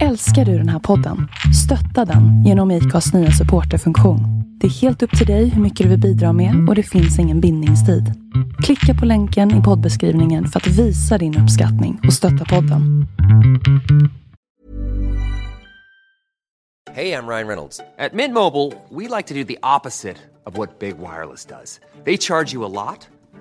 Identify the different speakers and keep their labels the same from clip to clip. Speaker 1: Älskar du den här podden? Stötta den genom IKAs nya supporterfunktion. Det är helt upp till dig hur mycket du vill bidra med och det finns ingen bindningstid. Klicka på länken i poddbeskrivningen för att visa din uppskattning och stötta podden.
Speaker 2: Hey, I'm Ryan Reynolds. At Mint Mobile, we like to do the opposite of what Big Wireless does. They charge you a lot,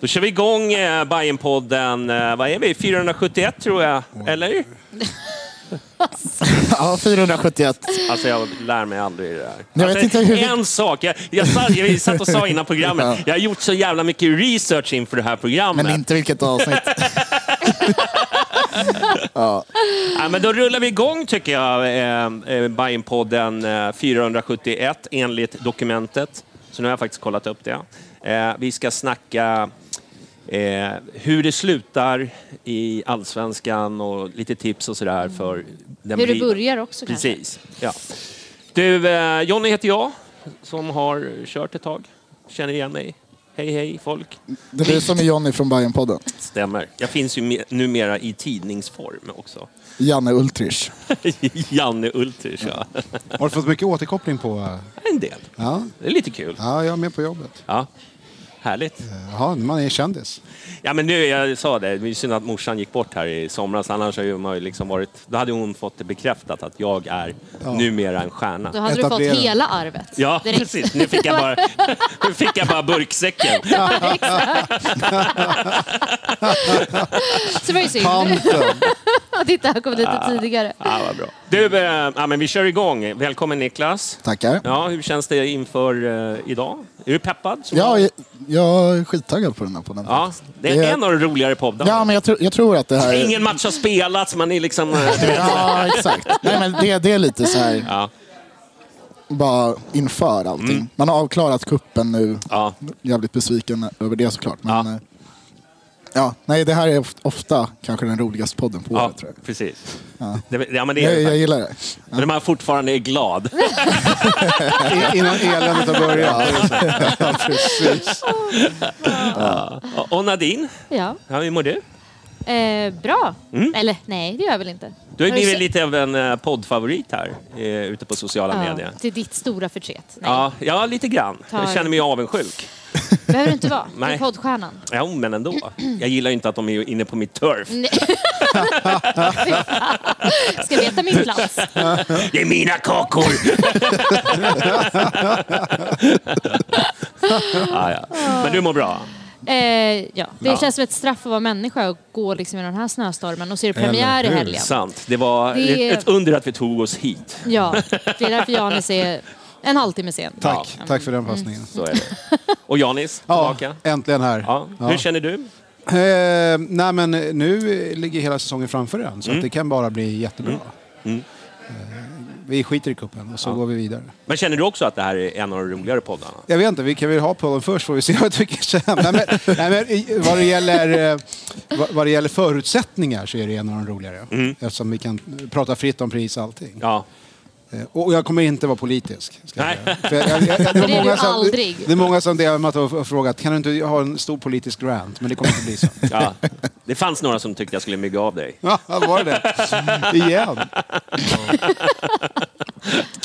Speaker 3: Då kör vi igång eh, Bajenpodden. Eh, vad är vi? 471 tror jag. Eller?
Speaker 4: Ja, 471.
Speaker 3: Alltså jag lär mig aldrig det där.
Speaker 4: Jag
Speaker 3: alltså,
Speaker 4: vet inte hur vi-
Speaker 3: En sak. Jag, jag, satt, jag satt och sa innan programmet. Jag har gjort så jävla mycket research inför det här programmet.
Speaker 4: Men inte vilket avsnitt.
Speaker 3: Ja, men då rullar vi igång tycker jag, eh, eh, Bajenpodden eh, 471 enligt dokumentet. Så nu har jag faktiskt kollat upp det. Eh, vi ska snacka eh, hur det slutar i Allsvenskan och lite tips och sådär för den
Speaker 5: Hur det
Speaker 3: bli-
Speaker 5: börjar också kanske.
Speaker 3: Precis. Ja. Du, eh, Jonny heter jag som har kört ett tag. Känner igen mig. Hej hej folk.
Speaker 4: Det är du som är Jonny från Bajenpodden.
Speaker 3: Stämmer. Jag finns ju me- numera i tidningsform också.
Speaker 4: Janne Ultrich.
Speaker 3: Janne Ultrich ja.
Speaker 6: Har du fått mycket återkoppling på...
Speaker 3: En del.
Speaker 6: Ja,
Speaker 3: Det är lite kul.
Speaker 6: ja jag är med på jobbet.
Speaker 3: Ja. Härligt.
Speaker 6: Jaha, man är kändis.
Speaker 3: Ja, men nu, jag sa det, det är synd att morsan gick bort här i somras. Annars hade man ju liksom varit, då hade hon fått det bekräftat att jag är numera en
Speaker 5: Då
Speaker 3: stjärna.
Speaker 5: hade du fått
Speaker 6: Etablera.
Speaker 5: hela arvet.
Speaker 3: Ja,
Speaker 5: direkt.
Speaker 3: precis. Nu fick jag bara, nu fick jag bara burksäcken.
Speaker 5: Så det var ju synd.
Speaker 6: Tanten.
Speaker 5: Att inte han kom lite tidigare.
Speaker 3: Ja, Ah, vad bra. Du, eh, ja, men vi kör igång. Välkommen Niklas.
Speaker 4: Tackar.
Speaker 3: Ja, hur känns det inför eh, idag? Är du peppad? som
Speaker 4: Ja,
Speaker 3: jag-
Speaker 4: jag, jag är skittaggad på den här podden.
Speaker 3: ja.
Speaker 4: faktiskt.
Speaker 3: Det är en av de roligare poddarna.
Speaker 4: Ja, men jag, tror- jag tror att det här... är-
Speaker 3: Ingen match har spelats, man är liksom... eh, du vet.
Speaker 4: Ja, exakt. Nej, men det, det är lite så här,
Speaker 3: Ja.
Speaker 4: bara inför allting.
Speaker 6: Mm.
Speaker 4: Man har avklarat kuppen nu.
Speaker 3: Ja.
Speaker 4: Jävligt besviken över det såklart. Men, ja. Ja, nej, det här är of- ofta kanske den roligaste podden på
Speaker 3: Ja,
Speaker 4: året. Tror jag.
Speaker 3: precis. Det, ja, men det är
Speaker 4: Jag,
Speaker 3: det
Speaker 4: jag gillar det.
Speaker 3: Men man fortfarande är glad.
Speaker 6: I- Innan eländet har börjat.
Speaker 3: Och- Och Nadine,
Speaker 5: Ja.
Speaker 3: ja, hur mår du?
Speaker 5: Eh, bra. Eller nej, det gör jag väl inte.
Speaker 3: Mm. Du har ju
Speaker 5: Har
Speaker 3: blivit
Speaker 5: se-
Speaker 3: lite av en eh, poddfavorit här eh, ute på sociala medier.
Speaker 5: Ja, till ditt stora förtret. Nej,
Speaker 3: Ja, ja, lite grann. Jag
Speaker 5: Tar-
Speaker 3: känner mig avundsjuk.
Speaker 5: behöver du inte vara. Du
Speaker 3: Nej.
Speaker 5: är poddstjärnan.
Speaker 3: Jo, men ändå. Jag gillar ju inte att de är inne på mitt turf.
Speaker 5: Ska veta min plats.
Speaker 3: Det är mina kakor! Ah, ja, ja. Men du mår bra?
Speaker 5: Eh, ja. Det
Speaker 3: Ja.
Speaker 5: känns som ett straff att vara människa och gå liksom i den här snöstormen och se premiär i
Speaker 6: Eller hur?
Speaker 5: helgen.
Speaker 3: Sant. Det var
Speaker 5: Det-
Speaker 3: ett under att vi tog oss hit.
Speaker 5: Ja, det är därför Janis är en halvtimme sen.
Speaker 6: Tack. Tack för den
Speaker 4: Mm.
Speaker 6: passningen.
Speaker 3: Så är det. Och Janis,
Speaker 6: Ja,
Speaker 3: tillbaka.
Speaker 6: äntligen här.
Speaker 3: Ja.
Speaker 6: Ja.
Speaker 3: Hur känner du?
Speaker 6: Eh, nej, men nu ligger hela säsongen framför en,
Speaker 3: Mm.
Speaker 6: så att det kan bara bli jättebra. Eh, vi skiter i kuppen och så går vi vidare.
Speaker 3: Men känner du också att det här är en av de roligare poddarna?
Speaker 6: Jag vet inte, vi kan väl ha podden först får vi se vad jag tycker sen. Nej, men, nej, men i- vad, det gäller, eh, vad, vad det gäller förutsättningar så är det en av de roligare. Eftersom vi kan prata fritt om pris och allting.
Speaker 3: Mm. Ja.
Speaker 6: Eh, Och jag kommer inte vara politisk. Ska jag
Speaker 3: Nej.
Speaker 6: säga. För jag, jag, jag, det,
Speaker 5: är
Speaker 6: var många
Speaker 5: du
Speaker 6: som,
Speaker 5: aldrig.
Speaker 6: det är många som DMat och och frågat, kan du inte ha en stor politisk rant? Men det kommer inte bli så.
Speaker 3: Ja. Det fanns några som tyckte jag skulle mygga av dig.
Speaker 6: Ja, var det det Igen.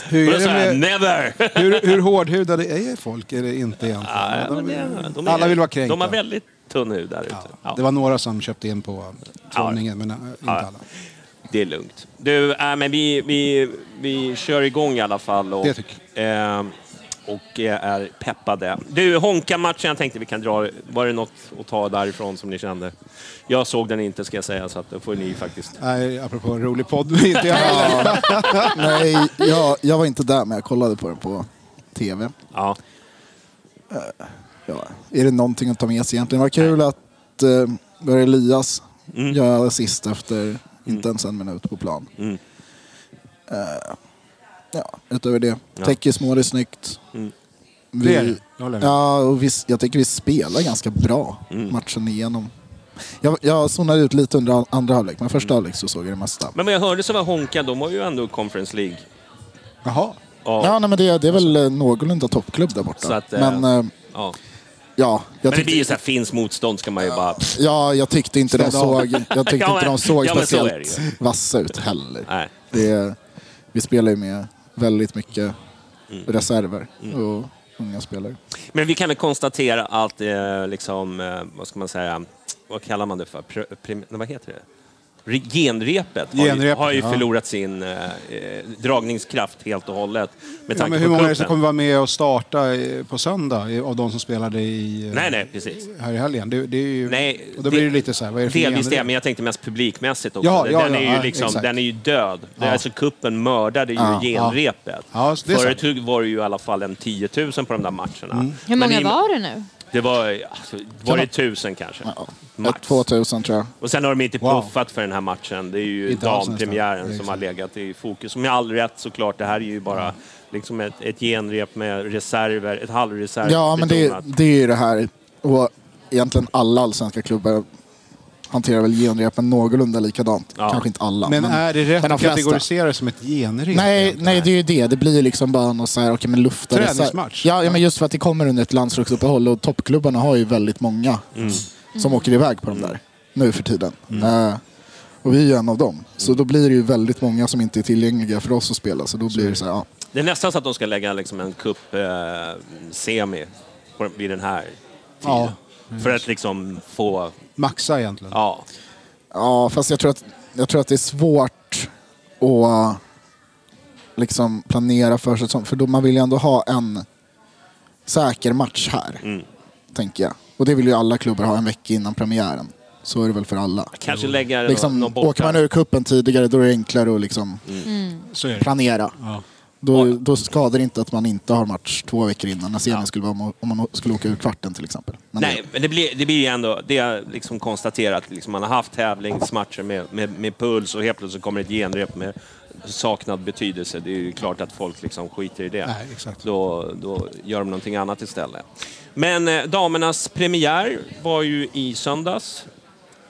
Speaker 6: Hur,
Speaker 3: Och då
Speaker 6: är
Speaker 3: sa
Speaker 6: det
Speaker 3: jag
Speaker 6: med,
Speaker 3: never!
Speaker 6: hur, hur hårdhudade är folk? Är det inte egentligen?
Speaker 3: Ja, men det- de är-
Speaker 6: alla vill vara kränkta.
Speaker 3: De har väldigt tunn hud där ute. Ja.
Speaker 6: Det var några som köpte in på trollningen, men eh, inte
Speaker 3: typ. Ja.
Speaker 6: alla.
Speaker 3: Det är lugnt. Du, äh, men vi, vi, vi kör igång i alla fall. Och,
Speaker 6: Det tycker
Speaker 3: eh, och eh, är peppade. Du, Honka-matchen, jag tänkte vi kan dra. Var det något att ta därifrån som ni kände? Jag såg den inte ska jag säga, så att då får ni faktiskt...
Speaker 6: Nej, apropå en rolig podd. Inte jag heller.
Speaker 7: Nej, jag, jag var inte där men jag kollade på det på tv.
Speaker 3: Ja.
Speaker 7: Ja. Är det någonting att ta med sig egentligen? Det var kul att eh, Börje Elias gör assist efter inte ens en minut på plan.
Speaker 3: Mm.
Speaker 7: Eh, ja, utöver det.
Speaker 3: Ja. Mm.
Speaker 7: Täcker mål är snyggt. Vi,
Speaker 6: Det är det. Jag håller med.
Speaker 7: Ja, och vi, jag tycker vi spelar ganska bra
Speaker 3: Mm.
Speaker 7: matchen igenom. Jag, jag zonade ut lite under an- andra halvlek, men första halvlek så såg jag det mesta.
Speaker 3: Mm. Men vad jag hörde så var Honka, de har ju ändå Conference League.
Speaker 6: Jaha.
Speaker 3: Ja.
Speaker 7: Ja, nej, men det, det är väl eh, någorlunda toppklubb där borta.
Speaker 3: Så att, eh,
Speaker 7: men eh,
Speaker 3: ja.
Speaker 7: ja, jag
Speaker 3: Men det blir ju
Speaker 7: tyckte,
Speaker 3: så här, finns motstånd ska man ju bara...
Speaker 7: ja, jag tyckte inte de
Speaker 6: Städa av.
Speaker 7: såg, jag tyckte
Speaker 3: Ja,
Speaker 7: inte
Speaker 3: men-
Speaker 7: de såg
Speaker 3: ja, men så är det ju.
Speaker 7: speciellt vassa ut heller.
Speaker 3: Nej.
Speaker 7: Det, vi spelar ju med väldigt mycket
Speaker 3: Mm.
Speaker 7: reserver och unga spelare.
Speaker 3: Men vi kan väl konstatera att, eh, liksom, eh, vad ska man säga, vad kallar man det för? Pr- prim- nej, vad heter det? Re- Genrepet har ju,
Speaker 6: Genrepet,
Speaker 3: har ju
Speaker 6: ja.
Speaker 3: förlorat sin eh, eh, dragningskraft helt och hållet. Med
Speaker 6: Ja,
Speaker 3: tanke
Speaker 6: men hur
Speaker 3: på
Speaker 6: många är det som
Speaker 3: cupen.
Speaker 6: kommer vara med och starta eh, på söndag eh, av de som spelade i, eh,
Speaker 3: Nej, nej, precis.
Speaker 6: här i helgen? Det, det är ju,
Speaker 3: Nej,
Speaker 6: och
Speaker 3: det-
Speaker 6: då blir det lite så här, vad är det för
Speaker 3: Delvis det,
Speaker 6: gener?
Speaker 3: men jag tänkte mest publikmässigt också.
Speaker 6: Ja, ja,
Speaker 3: den,
Speaker 6: ja,
Speaker 3: är ju
Speaker 6: ja,
Speaker 3: liksom,
Speaker 6: exakt.
Speaker 3: den är ju död. Ja.
Speaker 6: Ja.
Speaker 3: Alltså kuppen mördade ju genrepet.
Speaker 6: Ja, så det är Mm.
Speaker 3: Förut var det ju i alla fall en 10 000 på de där matcherna.
Speaker 5: Hur
Speaker 3: Men
Speaker 5: många
Speaker 3: i-
Speaker 5: var det nu?
Speaker 3: Det var, alltså, var det tusen kanske?
Speaker 7: Ett, 2000 tror jag.
Speaker 3: Och sen har de inte
Speaker 6: Wow.
Speaker 3: puffat för den här matchen. Det är ju
Speaker 6: Inte alls
Speaker 3: dampremiären
Speaker 6: nästan.
Speaker 3: som har legat i fokus. Som är all rätt såklart. Det här är ju bara liksom ett, ett genrep med reserver, ett halvreserv.
Speaker 7: Ja, men det,
Speaker 3: betonat.
Speaker 7: det är ju det här. Och egentligen alla allsvenska klubbar hanterar väl genrepen någorlunda likadant.
Speaker 3: Ja.
Speaker 7: Kanske inte alla.
Speaker 6: Men är det rätt
Speaker 7: men de
Speaker 6: att
Speaker 7: flesta.
Speaker 6: kategorisera som ett genrep?
Speaker 7: Nej,
Speaker 6: egentligen?
Speaker 7: nej, det är ju det. Det blir ju liksom bara något så här, okej men luftare.
Speaker 6: Träningsmatch.
Speaker 7: Ja, ja, men just för att det kommer under ett landslagsuppehåll och toppklubbarna har ju väldigt många som åker iväg på de där nu för tiden. Eh, och vi är ju en av dem. Så då blir det ju väldigt många som inte är tillgängliga för oss att spela. Så då blir det så här, ja.
Speaker 3: det är nästan så att de ska lägga liksom en cup-semi på vid den här tiden.
Speaker 6: Ja.
Speaker 3: För att liksom få...
Speaker 6: Maxa egentligen.
Speaker 3: Ja.
Speaker 7: Ja, fast jag tror att, jag tror att det är svårt att liksom planera för säsong. För då man vill ju ändå ha en säker match här,
Speaker 3: Mm.
Speaker 7: tänker jag. Och det vill ju alla klubbar ha en vecka innan premiären. Så är det väl för alla.
Speaker 3: Kanske lägga någon,
Speaker 7: Liksom,
Speaker 3: någon borta. Mm.
Speaker 7: åker man ur kuppen tidigare då är det enklare att liksom
Speaker 6: Så är det.
Speaker 7: planera. Då, då skadar det inte att man inte har match två veckor innan när serien skulle vara om, om man skulle åka ur kvarten till exempel. Men
Speaker 3: Nej, men det blir, det blir ju ändå, det är liksom konstaterat, liksom man har haft tävlingsmatcher med, med, med puls och helt plötsligt kommer ett genrep med saknad betydelse. Det är ju klart att folk liksom skiter i det.
Speaker 6: Nej, exakt.
Speaker 3: Då, då gör de någonting annat istället. Men eh, damernas premiär var ju i söndags.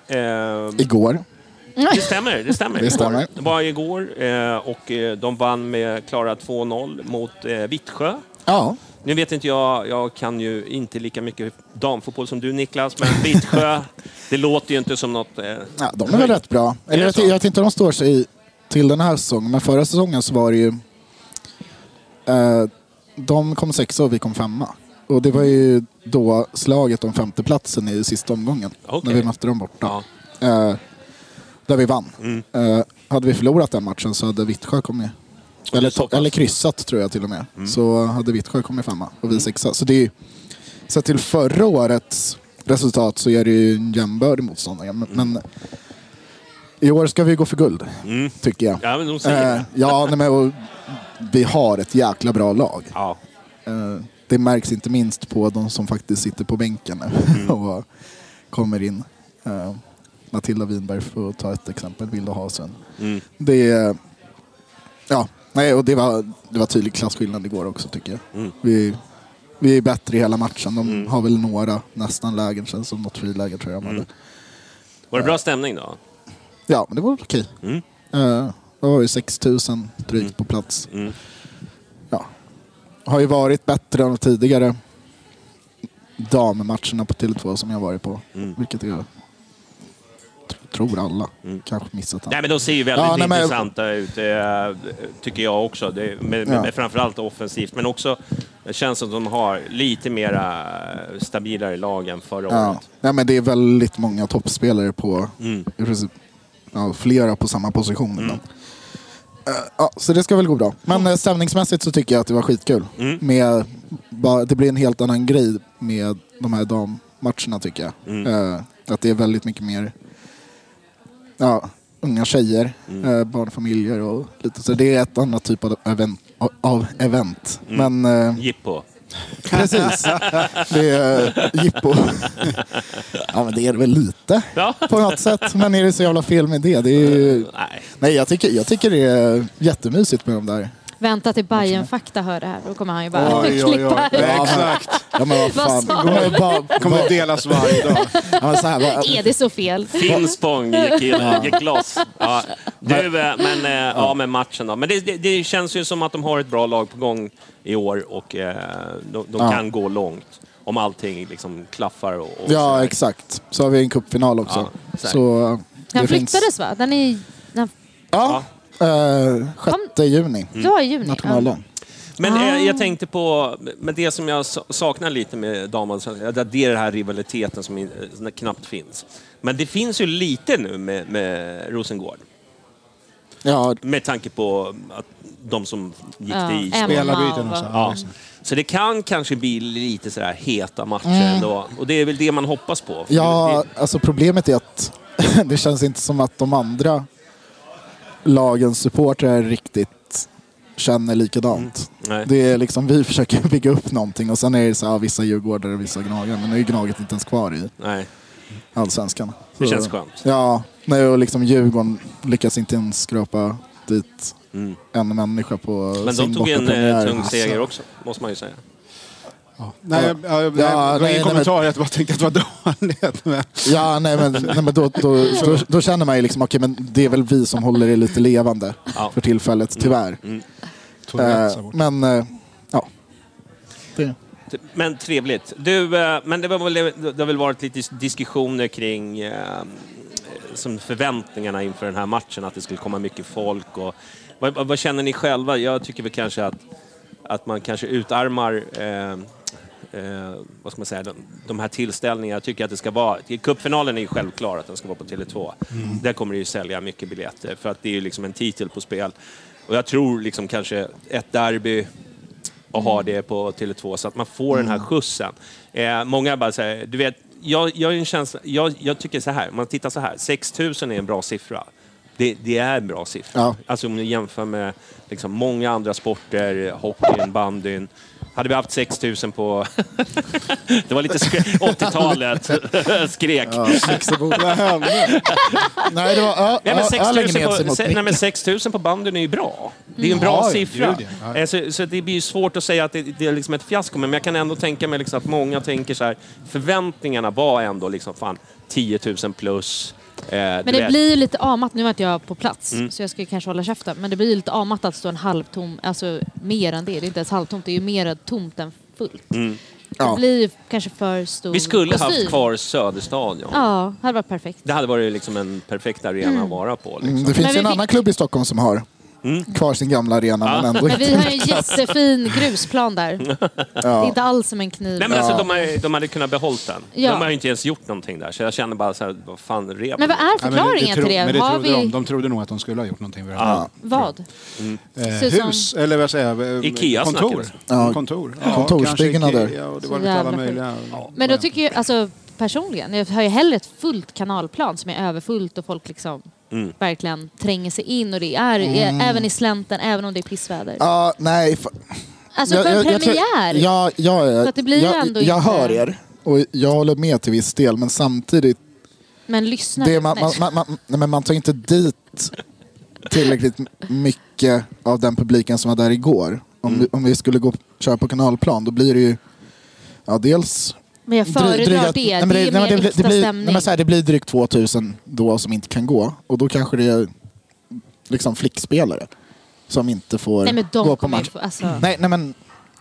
Speaker 3: Eh,
Speaker 7: det- Igår.
Speaker 3: det stämmer, det stämmer.
Speaker 7: Det stämmer.
Speaker 3: Det var igår eh, och eh, de vann med klara 2-0 mot eh, Vittsjö.
Speaker 7: Ja.
Speaker 3: Nu vet inte jag, jag kan ju inte lika mycket damfotboll som du Niklas, men Vittsjö, det låter ju inte som något... Eh,
Speaker 7: Ja, de är väl rätt bra. Eller
Speaker 3: det
Speaker 7: jag,
Speaker 3: så?
Speaker 7: ty- jag vet inte om de står sig i- till den här säsongen, men förra säsongen så var det ju... Eh, de kom sexa och vi kom femma. Och det var ju då slaget om femteplatsen i sista omgången,
Speaker 3: Okej.
Speaker 7: när vi mötte dem borta.
Speaker 3: Ja.
Speaker 7: Eh, där vi vann.
Speaker 3: Mm.
Speaker 7: Eh, hade vi förlorat den matchen så hade Vittsjö kommit... Eller,
Speaker 3: så
Speaker 7: to-
Speaker 3: pass.
Speaker 7: eller kryssat tror jag till och med.
Speaker 3: Mm.
Speaker 7: Så hade Vittsjö kommit femma och vi sexa. Så det är ju... Sett till förra årets resultat så är det ju en jämbördig motståndare. Men,
Speaker 3: Mm.
Speaker 7: men i år ska vi gå för guld, tycker jag.
Speaker 3: Ja, men de säger
Speaker 7: Eh,
Speaker 3: det.
Speaker 7: ja, nej, men, och, vi har ett jäkla bra lag.
Speaker 3: Ja.
Speaker 7: Eh, det märks inte minst på de som faktiskt sitter på bänken nu och kommer in. Eh, Matilda Winberg, för att ta ett exempel, Vilda Hasen. Det, är- ja, nej, och det, var, det var tydlig klasskillnad igår också, tycker jag. Vi, vi är bättre i hela matchen. De har väl några nästan lägen, känns som något friläge tror jag de hade.
Speaker 3: Var det bra stämning då?
Speaker 7: Ja, men det var väl okej.
Speaker 3: Mm.
Speaker 7: Eh, det var ju 6 000 drygt på plats.
Speaker 3: Mm.
Speaker 7: Ja. Har ju varit bättre än de tidigare
Speaker 3: Mm.
Speaker 7: dammatcherna på Tele2 som jag varit på. Vilket jag tror alla. Kanske missat den.
Speaker 3: Mm. Nej, men de ser ju väldigt
Speaker 7: Ja, nej, men-
Speaker 3: intressanta ut, eh, tycker jag också. Det, med, med,
Speaker 7: Ja.
Speaker 3: med framförallt offensivt, men också det känns som att de har lite mera eh, stabilare lag än förra
Speaker 7: Ja.
Speaker 3: året. Mm.
Speaker 7: Nej, men det är väldigt många toppspelare på i princip, ja, flera på samma position. Men, Eh, ja, så det ska väl gå bra. Men eh, stämningsmässigt så tycker jag att det var skitkul.
Speaker 3: Mm.
Speaker 7: Med, bara, det blir en helt annan grej med de här dammatcherna tycker jag.
Speaker 3: Mm.
Speaker 7: Eh, att det är väldigt mycket mer ja, unga tjejer,
Speaker 3: Mm.
Speaker 7: eh, barnfamiljer och lite så. Det är ett annat typ av event. Av event.
Speaker 3: Mm.
Speaker 7: Men, eh,
Speaker 3: Jippo.
Speaker 7: Precis. Det är eh, jippo. Ja, men det är det väl lite
Speaker 3: Ja.
Speaker 7: på något sätt. Men är det så jävla fel med det? det är ju...
Speaker 3: Nej.
Speaker 7: Nej, jag tycker, jag tycker det är jättemysigt med de där.
Speaker 5: Vänta till Bayern fakta hör det här, då kommer han ju bara
Speaker 6: Oj, oj,
Speaker 5: klippa.
Speaker 6: oj.
Speaker 5: ut.
Speaker 6: Nej, Exakt.
Speaker 7: Ja, men vad
Speaker 5: Vad
Speaker 7: fan.
Speaker 5: sa
Speaker 7: Det kommer bara-
Speaker 6: Det kommer att delas varje dag.
Speaker 7: Ja, men så här, va-
Speaker 5: Är det så fel?
Speaker 3: Finspång gick, in- gick loss. Ja. Du, eh, men, eh, ja, men matchen då. Men det, det, det känns ju som att de har ett bra lag på gång i år och eh, de, de
Speaker 7: Ja.
Speaker 3: kan gå långt. Om allting liksom klaffar och, och
Speaker 7: Ja,
Speaker 3: sådär.
Speaker 7: exakt. Så har vi en cupfinal också.
Speaker 3: Ja, säkert.
Speaker 7: så det
Speaker 5: Den
Speaker 7: finns-
Speaker 5: flyttades va? Den är
Speaker 3: Mm.
Speaker 5: den,
Speaker 7: Ja, eh, 6 juni.
Speaker 5: Det var i juni.
Speaker 7: Nationaldagen.
Speaker 3: Men eh, jag tänkte på, men det som jag sa- saknar lite med damallsvenskan, det det är den här rivaliteten som in- eh, knappt finns. Men det finns ju lite nu med, med Rosengård.
Speaker 7: Ja,
Speaker 3: Med tanke på att de som gick
Speaker 5: Ja.
Speaker 3: till
Speaker 5: Emma
Speaker 3: Island.
Speaker 6: Spelarbyten
Speaker 5: och-
Speaker 6: och så.
Speaker 3: Ja. Så det kan kanske bli lite sådär heta matcher
Speaker 5: Mm.
Speaker 3: ändå. Och det är väl det man hoppas på. För
Speaker 7: Ja,
Speaker 3: det-
Speaker 7: alltså problemet är att det känns inte som att de andra lagens supportrar riktigt känner likadant.
Speaker 3: Mm, Nej.
Speaker 7: Det är liksom, vi försöker bygga upp någonting och sen är det så här, vissa djurgårdare och vissa gnagare, men nu är ju Gnaget inte ens kvar i
Speaker 3: Nej.
Speaker 7: Allsvenskan.
Speaker 3: Det
Speaker 7: Så-
Speaker 3: känns skönt.
Speaker 7: Ja, nej, och liksom Djurgården lyckas inte ens skrapa dit en människa på
Speaker 3: Mm.
Speaker 7: Alltså.
Speaker 3: Men
Speaker 7: sin
Speaker 3: de tog en eh,
Speaker 7: bortapremiär.
Speaker 3: tung seger också, måste man ju säga.
Speaker 6: Nej, jag, jag, jag,
Speaker 7: Ja,
Speaker 6: det var
Speaker 7: nej, Eh,
Speaker 6: ingen
Speaker 7: nej,
Speaker 6: kommentar, jag bara tänkte att det var dåligt. Men,
Speaker 7: Ja, nej men, nej, men då, då, då, då känner man ju liksom, okej men det är väl vi som håller det lite levande
Speaker 3: Ja. Mm.
Speaker 7: för tillfället, tyvärr.
Speaker 6: Toalett,
Speaker 7: Eh,
Speaker 6: så.
Speaker 7: men, eh, ja. Det.
Speaker 3: Men trevligt. Du, eh, men det, var väl, det har väl varit lite diskussioner kring eh, som förväntningarna inför den här matchen, att det skulle komma mycket folk. Och, vad, vad vad känner ni själva? Jag tycker väl kanske att, att man kanske utarmar eh, eh, vad ska man säga, de, de här tillställningarna. Jag tycker att det ska vara... Cupfinalen är ju självklar att den ska vara på Tele2. Där kommer det ju sälja mycket biljetter för att det är ju liksom en titel på spel. Och jag tror liksom kanske ett derby och ha det på Tele2 så att man får den här skjutsen. Eh, många bara säger, du vet, jag, jag, har ju en känsla, jag, jag tycker så här, om man tittar så här, 6 000 är en bra siffra. Det, det är en bra siffra.
Speaker 7: Ja.
Speaker 3: Alltså om du jämför med liksom, många andra sporter, hockeyn, bandyn. Hade vi haft 6 000 på... det var lite skre- 80-talet, skrek.
Speaker 7: Vad hände? nej, det var ö-
Speaker 3: Nej, men
Speaker 7: ö-
Speaker 3: 6
Speaker 7: ölen
Speaker 3: 000
Speaker 7: gned sig
Speaker 3: på,
Speaker 7: mot
Speaker 3: se- nej, men
Speaker 7: micken.
Speaker 3: 6 000 på banden är ju bra. Det är ju en bra
Speaker 6: Mm. Ja, ja,
Speaker 3: siffra.
Speaker 6: gud, ja.
Speaker 3: Eh, Så, så det blir ju svårt att säga att det, det är liksom ett fiasko, men jag kan ändå tänka mig liksom att många tänker så här, förväntningarna var ändå liksom fan 10 000 plus. eh, du
Speaker 5: Men det
Speaker 3: vet. Mm.
Speaker 5: blir ju lite amat, nu var inte jag på plats så jag ska ju kanske hålla käften, men det blir ju lite amat att stå en halvtom, alltså mer än det, det är inte ens halvtomt, det är ju mer tomt än fullt. Det
Speaker 7: Ja.
Speaker 5: blir ju kanske för stor
Speaker 3: Mm. Vi skulle haft
Speaker 5: kostym.
Speaker 3: kvar Söderstadion.
Speaker 5: Ja, det hade varit perfekt.
Speaker 3: Det hade varit liksom en perfekt arena att vara på. Liksom.
Speaker 7: Mm, Det finns
Speaker 5: Men
Speaker 7: ju
Speaker 5: vi
Speaker 7: en
Speaker 5: fick-
Speaker 7: annan klubb i Stockholm som har
Speaker 3: Mm.
Speaker 7: kvar sin gamla arena, men ändå
Speaker 5: Men vi
Speaker 7: inte.
Speaker 5: har ju en jättefin grusplan där. Det är inte alls som en kniv.
Speaker 3: Nej men alltså de, har, ju- de hade kunnat behållit den.
Speaker 5: Ja.
Speaker 3: De har ju inte ens gjort någonting där, så jag känner bara så här, vad fan rep.
Speaker 5: Men vad är
Speaker 6: Ja, men det-
Speaker 5: förklaringen
Speaker 6: tro-
Speaker 5: till det?
Speaker 6: Men det
Speaker 5: har
Speaker 6: trodde
Speaker 5: vi
Speaker 6: de. De trodde nog att de skulle ha gjort någonting med det här.
Speaker 5: vad?
Speaker 6: Eh,
Speaker 5: Så som-
Speaker 6: hus, eller vad säger jag? eh,
Speaker 3: Ikea
Speaker 6: kontor.
Speaker 3: snackades.
Speaker 7: Ja,
Speaker 6: kontor.
Speaker 7: kontorsbyggnader.
Speaker 6: kanske Ikea och det var
Speaker 5: Så
Speaker 6: lite alla
Speaker 5: jävla
Speaker 6: möjliga. Ja.
Speaker 5: Men då tycker jag, alltså personligen, jag har ju hellre ett fullt kanalplan som är överfullt och folk liksom
Speaker 7: Mm.
Speaker 5: verkligen tränger sig in och det är, är även i slänten, även om det är pissväder.
Speaker 7: Ja, nej. fa-
Speaker 5: Alltså
Speaker 7: Jag-
Speaker 5: för en
Speaker 7: jag- jag tror-
Speaker 5: premiär!
Speaker 7: Ja, ja, ja.
Speaker 5: Så att det blir ju
Speaker 7: jag,
Speaker 5: ändå
Speaker 7: jag
Speaker 5: inte-
Speaker 7: hör er och jag håller med till viss del, men samtidigt
Speaker 5: Men lyssna
Speaker 7: Det,
Speaker 5: nu.
Speaker 7: är- man,
Speaker 5: Nej.
Speaker 7: man, man, man, nej, men man tar inte dit tillräckligt mycket av den publiken som var där igår. Om, vi, om vi skulle gå köra på kanalplan, då blir det ju ja, dels...
Speaker 5: Men jag
Speaker 7: dry-
Speaker 5: föredrar
Speaker 7: dryga-
Speaker 5: det.
Speaker 7: men
Speaker 5: Det är ju
Speaker 7: men
Speaker 5: mer
Speaker 7: blir-
Speaker 5: äkta
Speaker 7: blir,
Speaker 5: stämning.
Speaker 7: Nej, men så här, det blir drygt 2000 då som inte kan gå. Och då kanske det är liksom flickspelare som inte får
Speaker 5: Nej, men de
Speaker 7: gå på
Speaker 5: kommer ju
Speaker 7: match.
Speaker 5: få- alltså-
Speaker 7: Nej, nej men,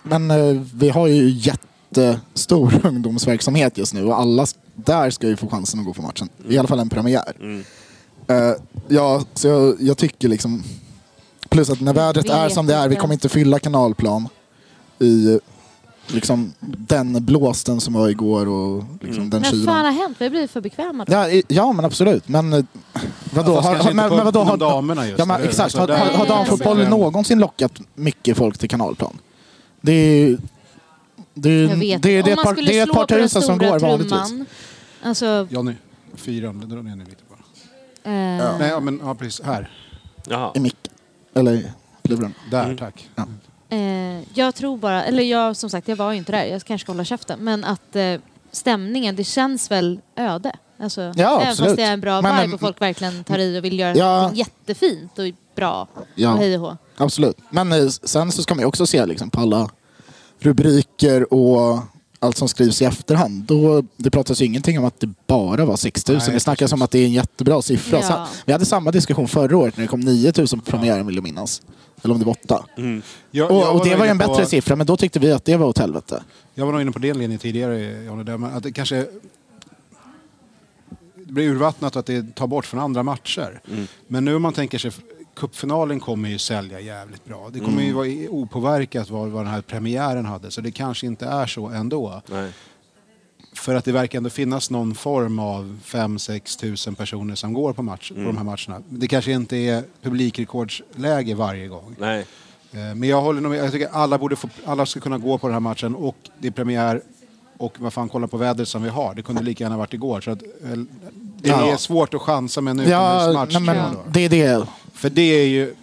Speaker 7: men eh, vi har ju jättestor ungdomsverksamhet just nu och alla s- där ska ju få chansen att gå på matchen. I alla fall en premiär. Eh, ja, så jag, jag tycker liksom... Plus att när vädret
Speaker 5: Vi
Speaker 7: är
Speaker 5: vet
Speaker 7: som det är, vi
Speaker 5: inte.
Speaker 7: kommer inte fylla kanalplan i liksom den blåsten som var igår och liksom den
Speaker 5: Men
Speaker 7: kylan.
Speaker 5: fan har hänt? Vi har blivit för bekväma. då.
Speaker 7: Ja, i- ja, men absolut. Men eh, vadå?
Speaker 6: fast
Speaker 7: har,
Speaker 6: kanske
Speaker 7: har, men,
Speaker 6: inte på-
Speaker 7: men vadå
Speaker 6: bland
Speaker 7: har,
Speaker 6: damerna just,
Speaker 7: ja, men,
Speaker 6: eller hur?
Speaker 7: exakt.
Speaker 6: Alltså,
Speaker 7: Har,
Speaker 6: där-
Speaker 7: har, har
Speaker 5: Nej,
Speaker 7: damfotbollen
Speaker 6: nej, nej.
Speaker 7: någonsin lockat mycket folk till kanalplan? Det är det är,
Speaker 5: Jag
Speaker 7: det
Speaker 5: vet
Speaker 7: är, det är
Speaker 5: inte. Om
Speaker 7: ett
Speaker 5: man
Speaker 7: par,
Speaker 5: skulle
Speaker 7: det är ett
Speaker 5: slå
Speaker 7: par
Speaker 5: på den
Speaker 7: tusen som
Speaker 5: stora
Speaker 7: går vanligtvis.
Speaker 5: trumman, Alltså,
Speaker 6: Johnny, fyran, dra ner nu lite bara.
Speaker 5: eh,
Speaker 6: Nej, ja, men ja, precis. Här.
Speaker 3: Jaha.
Speaker 7: I mick. Eller i luren.
Speaker 6: Där, tack.
Speaker 5: eh, jag tror bara, eller jag som sagt, jag var ju inte där. Jag kanske ska hålla käften. Men att eh, stämningen, det känns väl öde. Alltså, även
Speaker 7: absolut.
Speaker 5: fast det är en bra
Speaker 7: Men-
Speaker 5: vibe
Speaker 7: men-
Speaker 5: och folk verkligen tar i och vill göra
Speaker 7: Ja.
Speaker 5: någonting jättefint och bra.
Speaker 7: Ja.
Speaker 5: Och hej och hå.
Speaker 7: Absolut. Men eh, sen så ska man ju också se liksom, på alla rubriker och allt som skrivs i efterhand. Då, det pratas ju ingenting om att det bara var 6 000.
Speaker 6: Nej,
Speaker 7: det snackas om att det är en jättebra siffra.
Speaker 5: Ja.
Speaker 7: Sa- Vi hade samma diskussion förra året när det kom 9 000 på premiären vill jag minnas. Eller om det var 8.
Speaker 6: Mm. Jag,
Speaker 7: Och, och det var ju en
Speaker 6: inne på-
Speaker 7: bättre siffra, men då tyckte vi att det var åt helvete.
Speaker 6: Jag var nog inne på den linjen tidigare, Johnny, där, men att det kanske det blir urvattnat och att det tar bort från andra matcher. Men nu om man tänker sig, cupfinalen kommer ju sälja jävligt bra. Det kommer ju vara i- opåverkat vad, vad den här premiären hade, så det kanske inte är så ändå.
Speaker 3: Nej.
Speaker 6: För att det verkar ändå finnas någon form av 5-6 tusen personer som går på, match, på de här matcherna. Det kanske inte är publikrekordsläge varje gång.
Speaker 3: Nej.
Speaker 6: Eh, Men jag håller nog med. Jag tycker alla, borde få, alla ska kunna gå på den här matchen och det är premiär och vad fan, kolla på vädret som vi har. Det kunde lika gärna varit igår. Så att, eh, det
Speaker 7: Ja.
Speaker 6: är svårt att chansa med en
Speaker 7: Ja,
Speaker 6: utomhusmatch.
Speaker 7: nej, men,
Speaker 6: tror jag då.
Speaker 7: det är det.
Speaker 6: För det är ju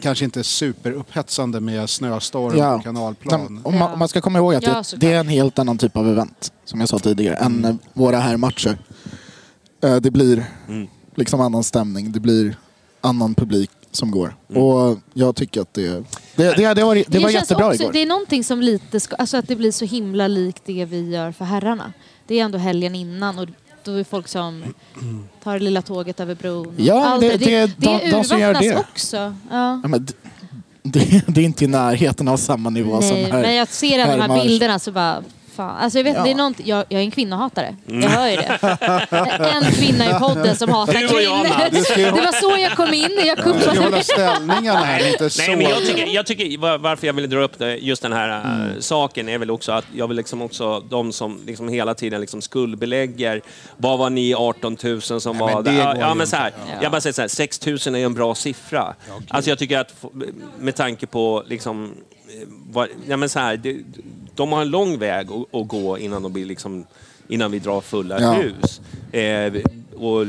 Speaker 6: kanske inte superupphetsande med snöstorm
Speaker 7: Ja.
Speaker 6: och kanalplan.
Speaker 7: Nej, Om man, om man ska komma ihåg att
Speaker 5: Ja,
Speaker 7: det,
Speaker 5: såklart.
Speaker 7: det är en helt annan typ av event, som jag sa tidigare, än eh, våra här matcher. Eh, Det blir liksom annan stämning, det blir annan publik som går. Och jag tycker att det, det, det, det var, det var
Speaker 5: känns
Speaker 7: jättebra
Speaker 5: också,
Speaker 7: igår.
Speaker 5: Det är någonting som lite, ska, alltså att det blir så himla likt det vi gör för herrarna. Det är ändå helgen innan och då är folk som tar det lilla tåget över bron.
Speaker 7: Ja,
Speaker 5: Allt
Speaker 7: det- det- de- de som gör
Speaker 5: urvattnas
Speaker 7: det.
Speaker 5: också. Ja.
Speaker 7: Ja, men d- det, det är inte i närheten av samma nivå som
Speaker 5: Nej,
Speaker 7: här.
Speaker 5: men jag ser alla de här
Speaker 7: Hermar.
Speaker 5: bilderna så bara... Fan. Alltså jag, vet,
Speaker 7: Ja.
Speaker 5: det är nånt, jag, jag är en kvinnohatare.
Speaker 6: Mm.
Speaker 5: Jag hör ju det. En kvinna i podden som hatar
Speaker 3: Du och jag,
Speaker 5: kvinnor.
Speaker 3: Mats.
Speaker 6: Du ska ju-
Speaker 5: Det var så jag kom in. Jag
Speaker 6: Du ska
Speaker 5: kuppade
Speaker 6: hålla ställningarna här, inte så.
Speaker 3: Nej, men jag tycker, jag tycker, var- varför jag ville dra upp det, just den här eh,
Speaker 6: Mm.
Speaker 3: saken är väl också att jag vill liksom också de som liksom hela tiden liksom skuldbelägger. Vad var ni 18 000 som
Speaker 6: men
Speaker 3: var
Speaker 6: det
Speaker 3: där? Ja, ja,
Speaker 6: går ju
Speaker 3: men
Speaker 6: inte.
Speaker 3: så här, Jag bara säger så här, 6 000 är ju en bra siffra. Alltså jag tycker att f- med tanke på liksom, eh, vad, ja, men så här, det, de har en lång väg att, att gå innan de blir liksom, innan vi drar fulla
Speaker 7: Ja.
Speaker 3: hus. Eh, och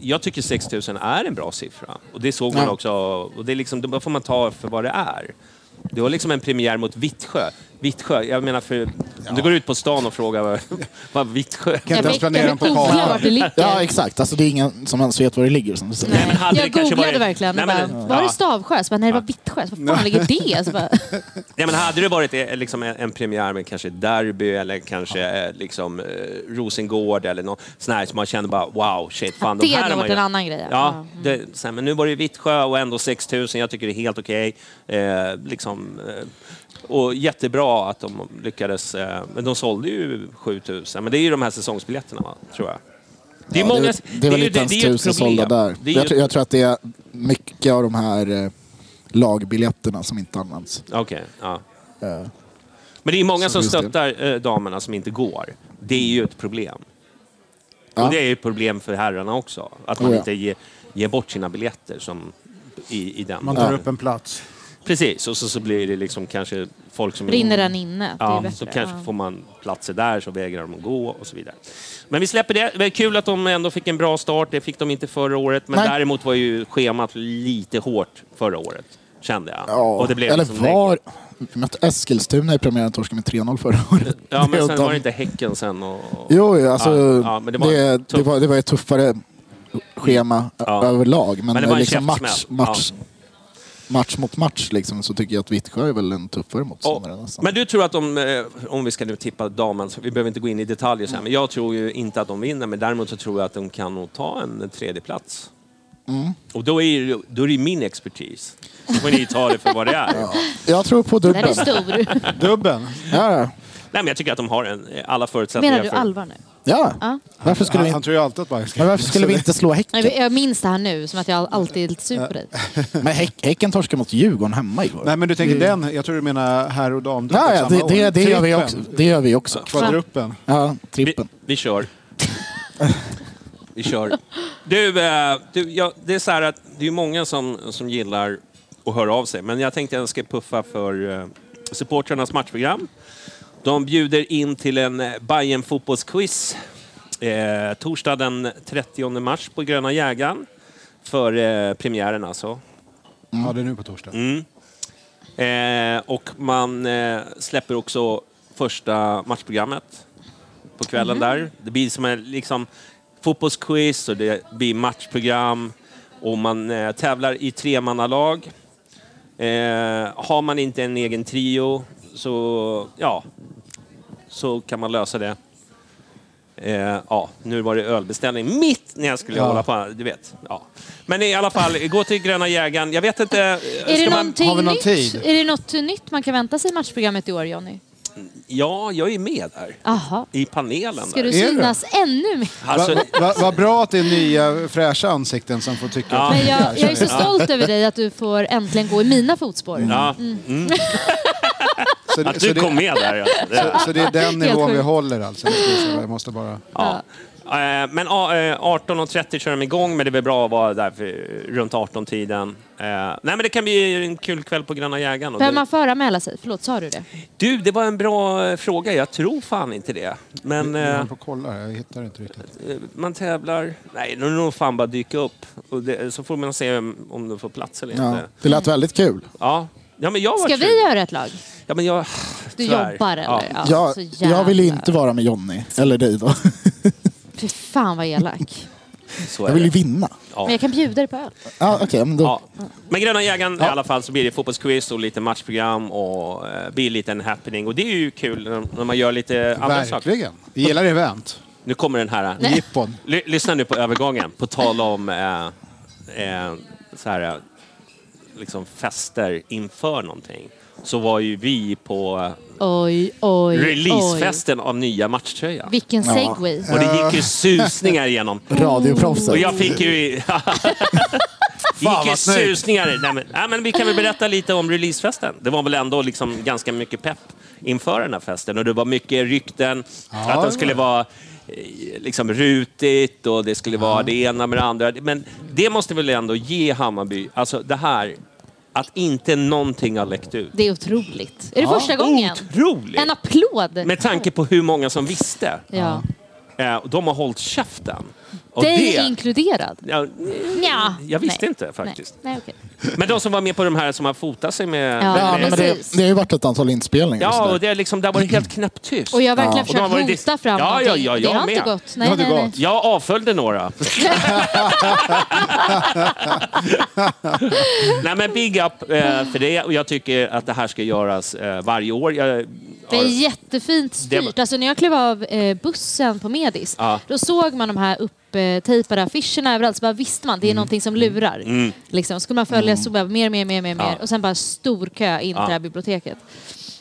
Speaker 3: jag tycker 6 000 är en bra siffra. Och det såg man
Speaker 7: Ja.
Speaker 3: också. Och det är liksom, då får man ta för vad det är. Det var liksom en premiär mot Vittsjö. Vittsjö, jag menar för... Om du går ut på stan och frågar vad, vad Vittsjö...
Speaker 6: Kan inte ens planera den på
Speaker 5: Oklart det
Speaker 6: kartan.
Speaker 5: ligger.
Speaker 7: Ja, exakt. Alltså, det är ingen som ens vet var det ligger. Som du säger.
Speaker 3: Nej, men hade
Speaker 5: jag
Speaker 3: det kanske
Speaker 5: googlade
Speaker 3: varit-
Speaker 5: verkligen.
Speaker 3: Nej, men-
Speaker 5: bara, var
Speaker 3: ja.
Speaker 5: det Stavsjö? Så bara, nej, det var Vittsjö. Så Var fan ligger det? Så bara,
Speaker 3: Nej, men hade det varit eh, liksom en, en premiär med kanske ett derby eller kanske eh, liksom, eh, Rosengård eller något sånt här som man kände bara wow, shit, fan
Speaker 5: det
Speaker 3: de här
Speaker 5: hade
Speaker 3: har man
Speaker 5: varit en
Speaker 3: gjort.
Speaker 5: annan grej, ja.
Speaker 3: Ja,
Speaker 5: Mm.
Speaker 3: det, så här, men nu var det ju Vittsjö och ändå 6000, jag tycker det är helt okej. Eh, liksom, eh, och jättebra att de lyckades, eh, men de sålde ju 7000, men det är ju de här säsongsbiljetterna va, tror jag. Det är,
Speaker 7: Ja,
Speaker 3: många,
Speaker 7: det, är- det är väl
Speaker 3: ju-
Speaker 7: inte ens
Speaker 3: det är ju ett
Speaker 7: tusen
Speaker 3: problem.
Speaker 7: sålda där.
Speaker 3: Det är
Speaker 7: Jag,
Speaker 3: ju-
Speaker 7: tror- jag tror att det är mycket av de här eh, lagbiljetterna som inte används.
Speaker 3: Okej, ja. Men det är många
Speaker 7: Så
Speaker 3: som
Speaker 7: finns det.
Speaker 3: stöttar eh, damerna som inte går. Det är ju ett problem.
Speaker 7: Ja.
Speaker 3: Och det är ju ett problem för herrarna också. Att man
Speaker 7: Oh ja.
Speaker 3: inte ger, ger bort sina biljetter som i, i den.
Speaker 6: Man tar upp en plats.
Speaker 3: Precis, och så, så blir det liksom kanske folk som...
Speaker 5: rinner den inne? det är
Speaker 3: Ja,
Speaker 5: bättre.
Speaker 3: så kanske
Speaker 5: Ja.
Speaker 3: får man platser där så vägrar de att gå och så vidare. Men vi släpper det. Det är kul att de ändå fick en bra start. Det fick de inte förra året. Men
Speaker 7: Nej.
Speaker 3: däremot var ju schemat lite hårt förra året. Kände jag.
Speaker 7: Ja,
Speaker 3: och det blev
Speaker 7: eller
Speaker 3: liksom
Speaker 7: var... Vi mötte Eskilstuna i premiären och torskade med 3-0 förra året.
Speaker 3: Ja, men
Speaker 7: är
Speaker 3: sen
Speaker 7: de-
Speaker 3: var det inte Häcken sen och...
Speaker 7: Jo, jo, alltså,
Speaker 3: Ja, ja, men
Speaker 7: det,
Speaker 3: det
Speaker 7: var
Speaker 3: var
Speaker 7: det,
Speaker 3: tufft.
Speaker 7: var, det var ett tuffare schema
Speaker 3: Ja.
Speaker 7: överlag. Men,
Speaker 3: Men det var en
Speaker 7: liksom match,
Speaker 3: käftsmäll.
Speaker 7: match, match mot match liksom, så tycker jag att Vittsjö är väl en tuffare motståndare.
Speaker 3: Och,
Speaker 7: nästan.
Speaker 3: men du tror att de, eh, om vi ska nu tippa damen, så vi behöver inte gå in i detaljer så här, men jag tror ju inte att de vinner, men däremot så tror jag att de kan nog ta en tredje plats. Och då är, ju- då är det ju min expertis. Då får ni ta det för vad det är.
Speaker 7: Jag tror på
Speaker 5: Den är
Speaker 7: dubbeln.
Speaker 5: stor.
Speaker 6: Dubben.
Speaker 7: Ja, ja.
Speaker 3: Nej, men jag tycker att de har en, eh, alla förutsättningar
Speaker 5: Menar du
Speaker 3: för...
Speaker 5: allvar nu?
Speaker 4: Ja,
Speaker 5: Ja.
Speaker 4: varför skulle,
Speaker 6: han,
Speaker 4: vi,
Speaker 6: han
Speaker 4: inte-
Speaker 6: tror ju alltid att Bayern ska
Speaker 4: men varför skulle vi inte slå Häcken?
Speaker 5: Nej, Jag minns det här nu, som att jag alltid är lite sur på dig.
Speaker 6: Äh,
Speaker 4: Men häck, häcken torskade mot Djurgården hemma igår.
Speaker 6: Nej, men du tänker den. Jag tror du menar herr och dam.
Speaker 4: ja, ja, det,
Speaker 6: samma
Speaker 4: det,
Speaker 6: år.
Speaker 4: det, gör vi
Speaker 6: Trippen.
Speaker 4: också, det gör vi också.
Speaker 6: Kvadruppen.
Speaker 4: Ja,
Speaker 3: Vi,
Speaker 4: trippen.
Speaker 3: vi kör. vi kör. Du, eh, du ja, det är så här att det är många som, som gillar att höra av sig, men jag tänkte att jag ska puffa för eh, supportrarnas matchprogram. De bjuder in till en eh, Bayern fotbollsquiz eh, torsdag den 30 mars på Gröna Jägaren för eh, premiären alltså.
Speaker 6: Ja, det är nu på torsdag.
Speaker 3: Eh, och man eh, släpper också första matchprogrammet på kvällen
Speaker 5: Mhm.
Speaker 3: där. Det blir som en liksom, fotbollsquiz och det blir matchprogram och man eh, tävlar i tremannalag. Eh, har man inte en egen trio så, ja, så kan man lösa det. Eh, ja, nu var det ölbeställning mitt när jag skulle hålla på. Du vet. Ja. Men i alla fall, gå till Gröna Jägaren. Jag vet inte...
Speaker 5: Är det, någonting
Speaker 6: har vi någon
Speaker 5: nytt?
Speaker 6: tid?
Speaker 5: är det något nytt man kan vänta sig i matchprogrammet i år, Jonny?
Speaker 3: Ja, jag är med där.
Speaker 5: Jaha.
Speaker 3: I panelen.
Speaker 5: Ska
Speaker 3: där.
Speaker 5: du
Speaker 6: Är du?
Speaker 5: synas ännu mer?
Speaker 3: Alltså,
Speaker 6: Vad va, va bra att det är nya fräscha ansikten som får tycka att
Speaker 5: Men jag, jag är så stolt över dig att du får äntligen gå i mina fotspår.
Speaker 3: ja,
Speaker 6: så, det-
Speaker 3: att
Speaker 6: så,
Speaker 3: du
Speaker 6: det,
Speaker 3: kom med där. Alltså. Det,
Speaker 6: så det är den nivån vi
Speaker 5: sjukt.
Speaker 6: håller alltså. Jag skulle säga, Jag måste bara...
Speaker 3: ja. Eh, Men ja, eh, 18.30 kör de igång, men det är väl bra att vara där för, runt 18-tiden. Eh, Nej, men det kan bli en kul kväll på Gröna Jägaren. och
Speaker 5: Behöver man
Speaker 3: det-
Speaker 5: föranmäla sig? Förlåt, sa du det?
Speaker 3: Du, det var en bra eh, fråga. Jag tror fan inte det. Men
Speaker 6: Jag
Speaker 3: eh,
Speaker 6: håller på och kollar, jag hittar inte riktigt.
Speaker 3: eh, man tävlar... Nej, det är nog fan bara dyka upp. Och det, så får man se om om de får plats eller
Speaker 4: Ja,
Speaker 3: inte.
Speaker 4: det lät väldigt kul.
Speaker 3: Ja. Ja, men jag var
Speaker 5: Ska vi
Speaker 3: sugen.
Speaker 5: göra ett lag?
Speaker 3: Ja, men jag...
Speaker 5: Du
Speaker 3: tyvärr.
Speaker 5: jobbar eller?
Speaker 3: Ja.
Speaker 5: Ja,
Speaker 4: Jag,
Speaker 5: så jävla-
Speaker 4: jag vill ju inte vara med Jonny, eller dig då.
Speaker 5: Fy fan vad elak.
Speaker 3: Så
Speaker 4: Jag
Speaker 3: är
Speaker 4: vill ju
Speaker 3: det.
Speaker 4: vinna.
Speaker 3: Ja.
Speaker 5: Men jag kan bjuda dig på öl.
Speaker 4: Ja, Okej, men då...
Speaker 3: Ja. Men Gröna jägaren i alla fall så blir det fotbollsquiz och lite matchprogram och eh, blir lite en happening. Och det är ju kul när- när man gör lite andra saker.
Speaker 6: Verkligen. Vi gillar event.
Speaker 3: Nu kommer den här. eh,
Speaker 6: Jippon.
Speaker 3: Ly- lyssna nu på övergången. På tal om eh, eh, så här, eh, liksom fester inför någonting. Så var ju vi på
Speaker 5: Oj,
Speaker 3: eh,
Speaker 5: oj,
Speaker 3: releasefesten av nya matchtröjan.
Speaker 5: oj. Vilken segway.
Speaker 3: Och det gick ju susningar igenom.
Speaker 4: Radioproffset.
Speaker 3: Och jag fick ju... Det gick ju
Speaker 6: vad snyggt.
Speaker 3: susningar. Nej, men, nej, men vi kan väl berätta lite om releasefesten. Det var väl ändå liksom ganska mycket pepp inför den här festen och det var mycket rykten för att den skulle vara eh, liksom rutigt och det skulle vara det ena med det andra. Men det måste väl ändå ge Hammarby, alltså det här, att inte någonting har läckt ut.
Speaker 5: Det är otroligt. Är det första gången?
Speaker 3: Otroligt!
Speaker 5: En applåd!
Speaker 3: Med tanke på hur många som visste.
Speaker 5: Ja.
Speaker 3: Eh, och De har hållit käften. Och
Speaker 5: Dig
Speaker 3: det,
Speaker 5: inkluderad?
Speaker 3: ja,
Speaker 5: Ja.
Speaker 3: Jag visste inte, faktiskt.
Speaker 5: Nej, Nej okej.
Speaker 3: men de som var med på de här som har fotat sig med...
Speaker 5: Ja,
Speaker 3: med,
Speaker 4: Ja,
Speaker 5: men
Speaker 4: men
Speaker 5: precis.
Speaker 4: det, det har ju varit ett antal inspelningar. och
Speaker 3: Ja,
Speaker 4: sådär.
Speaker 3: och det, är liksom, det har varit helt knäpptyst.
Speaker 5: Och jag har verkligen
Speaker 3: Och de har varit
Speaker 5: försökt hota
Speaker 3: dis-
Speaker 5: fram
Speaker 3: Ja, ja,
Speaker 5: någonting.
Speaker 3: ja,
Speaker 5: Det
Speaker 3: jag
Speaker 5: har inte
Speaker 3: med.
Speaker 5: gått. Nej,
Speaker 6: har inte
Speaker 5: nej, nej.
Speaker 6: gått.
Speaker 3: Jag avföljde några. Nej, men big up eh, för det. Och jag tycker att det här ska göras eh, varje år. Jag,
Speaker 5: Det är
Speaker 3: har,
Speaker 5: jättefint styrt.
Speaker 3: Det-
Speaker 5: Alltså, när jag klev av eh, bussen på Medis,
Speaker 3: Ja.
Speaker 5: då såg man de här upptejpade affischerna överallt. Så bara visste man, det är
Speaker 3: Mm.
Speaker 5: någonting som lurar. Liksom. Skulle man följa så bara mer, mer, mer, mer, mer. Och sen bara stor kö in till det här biblioteket.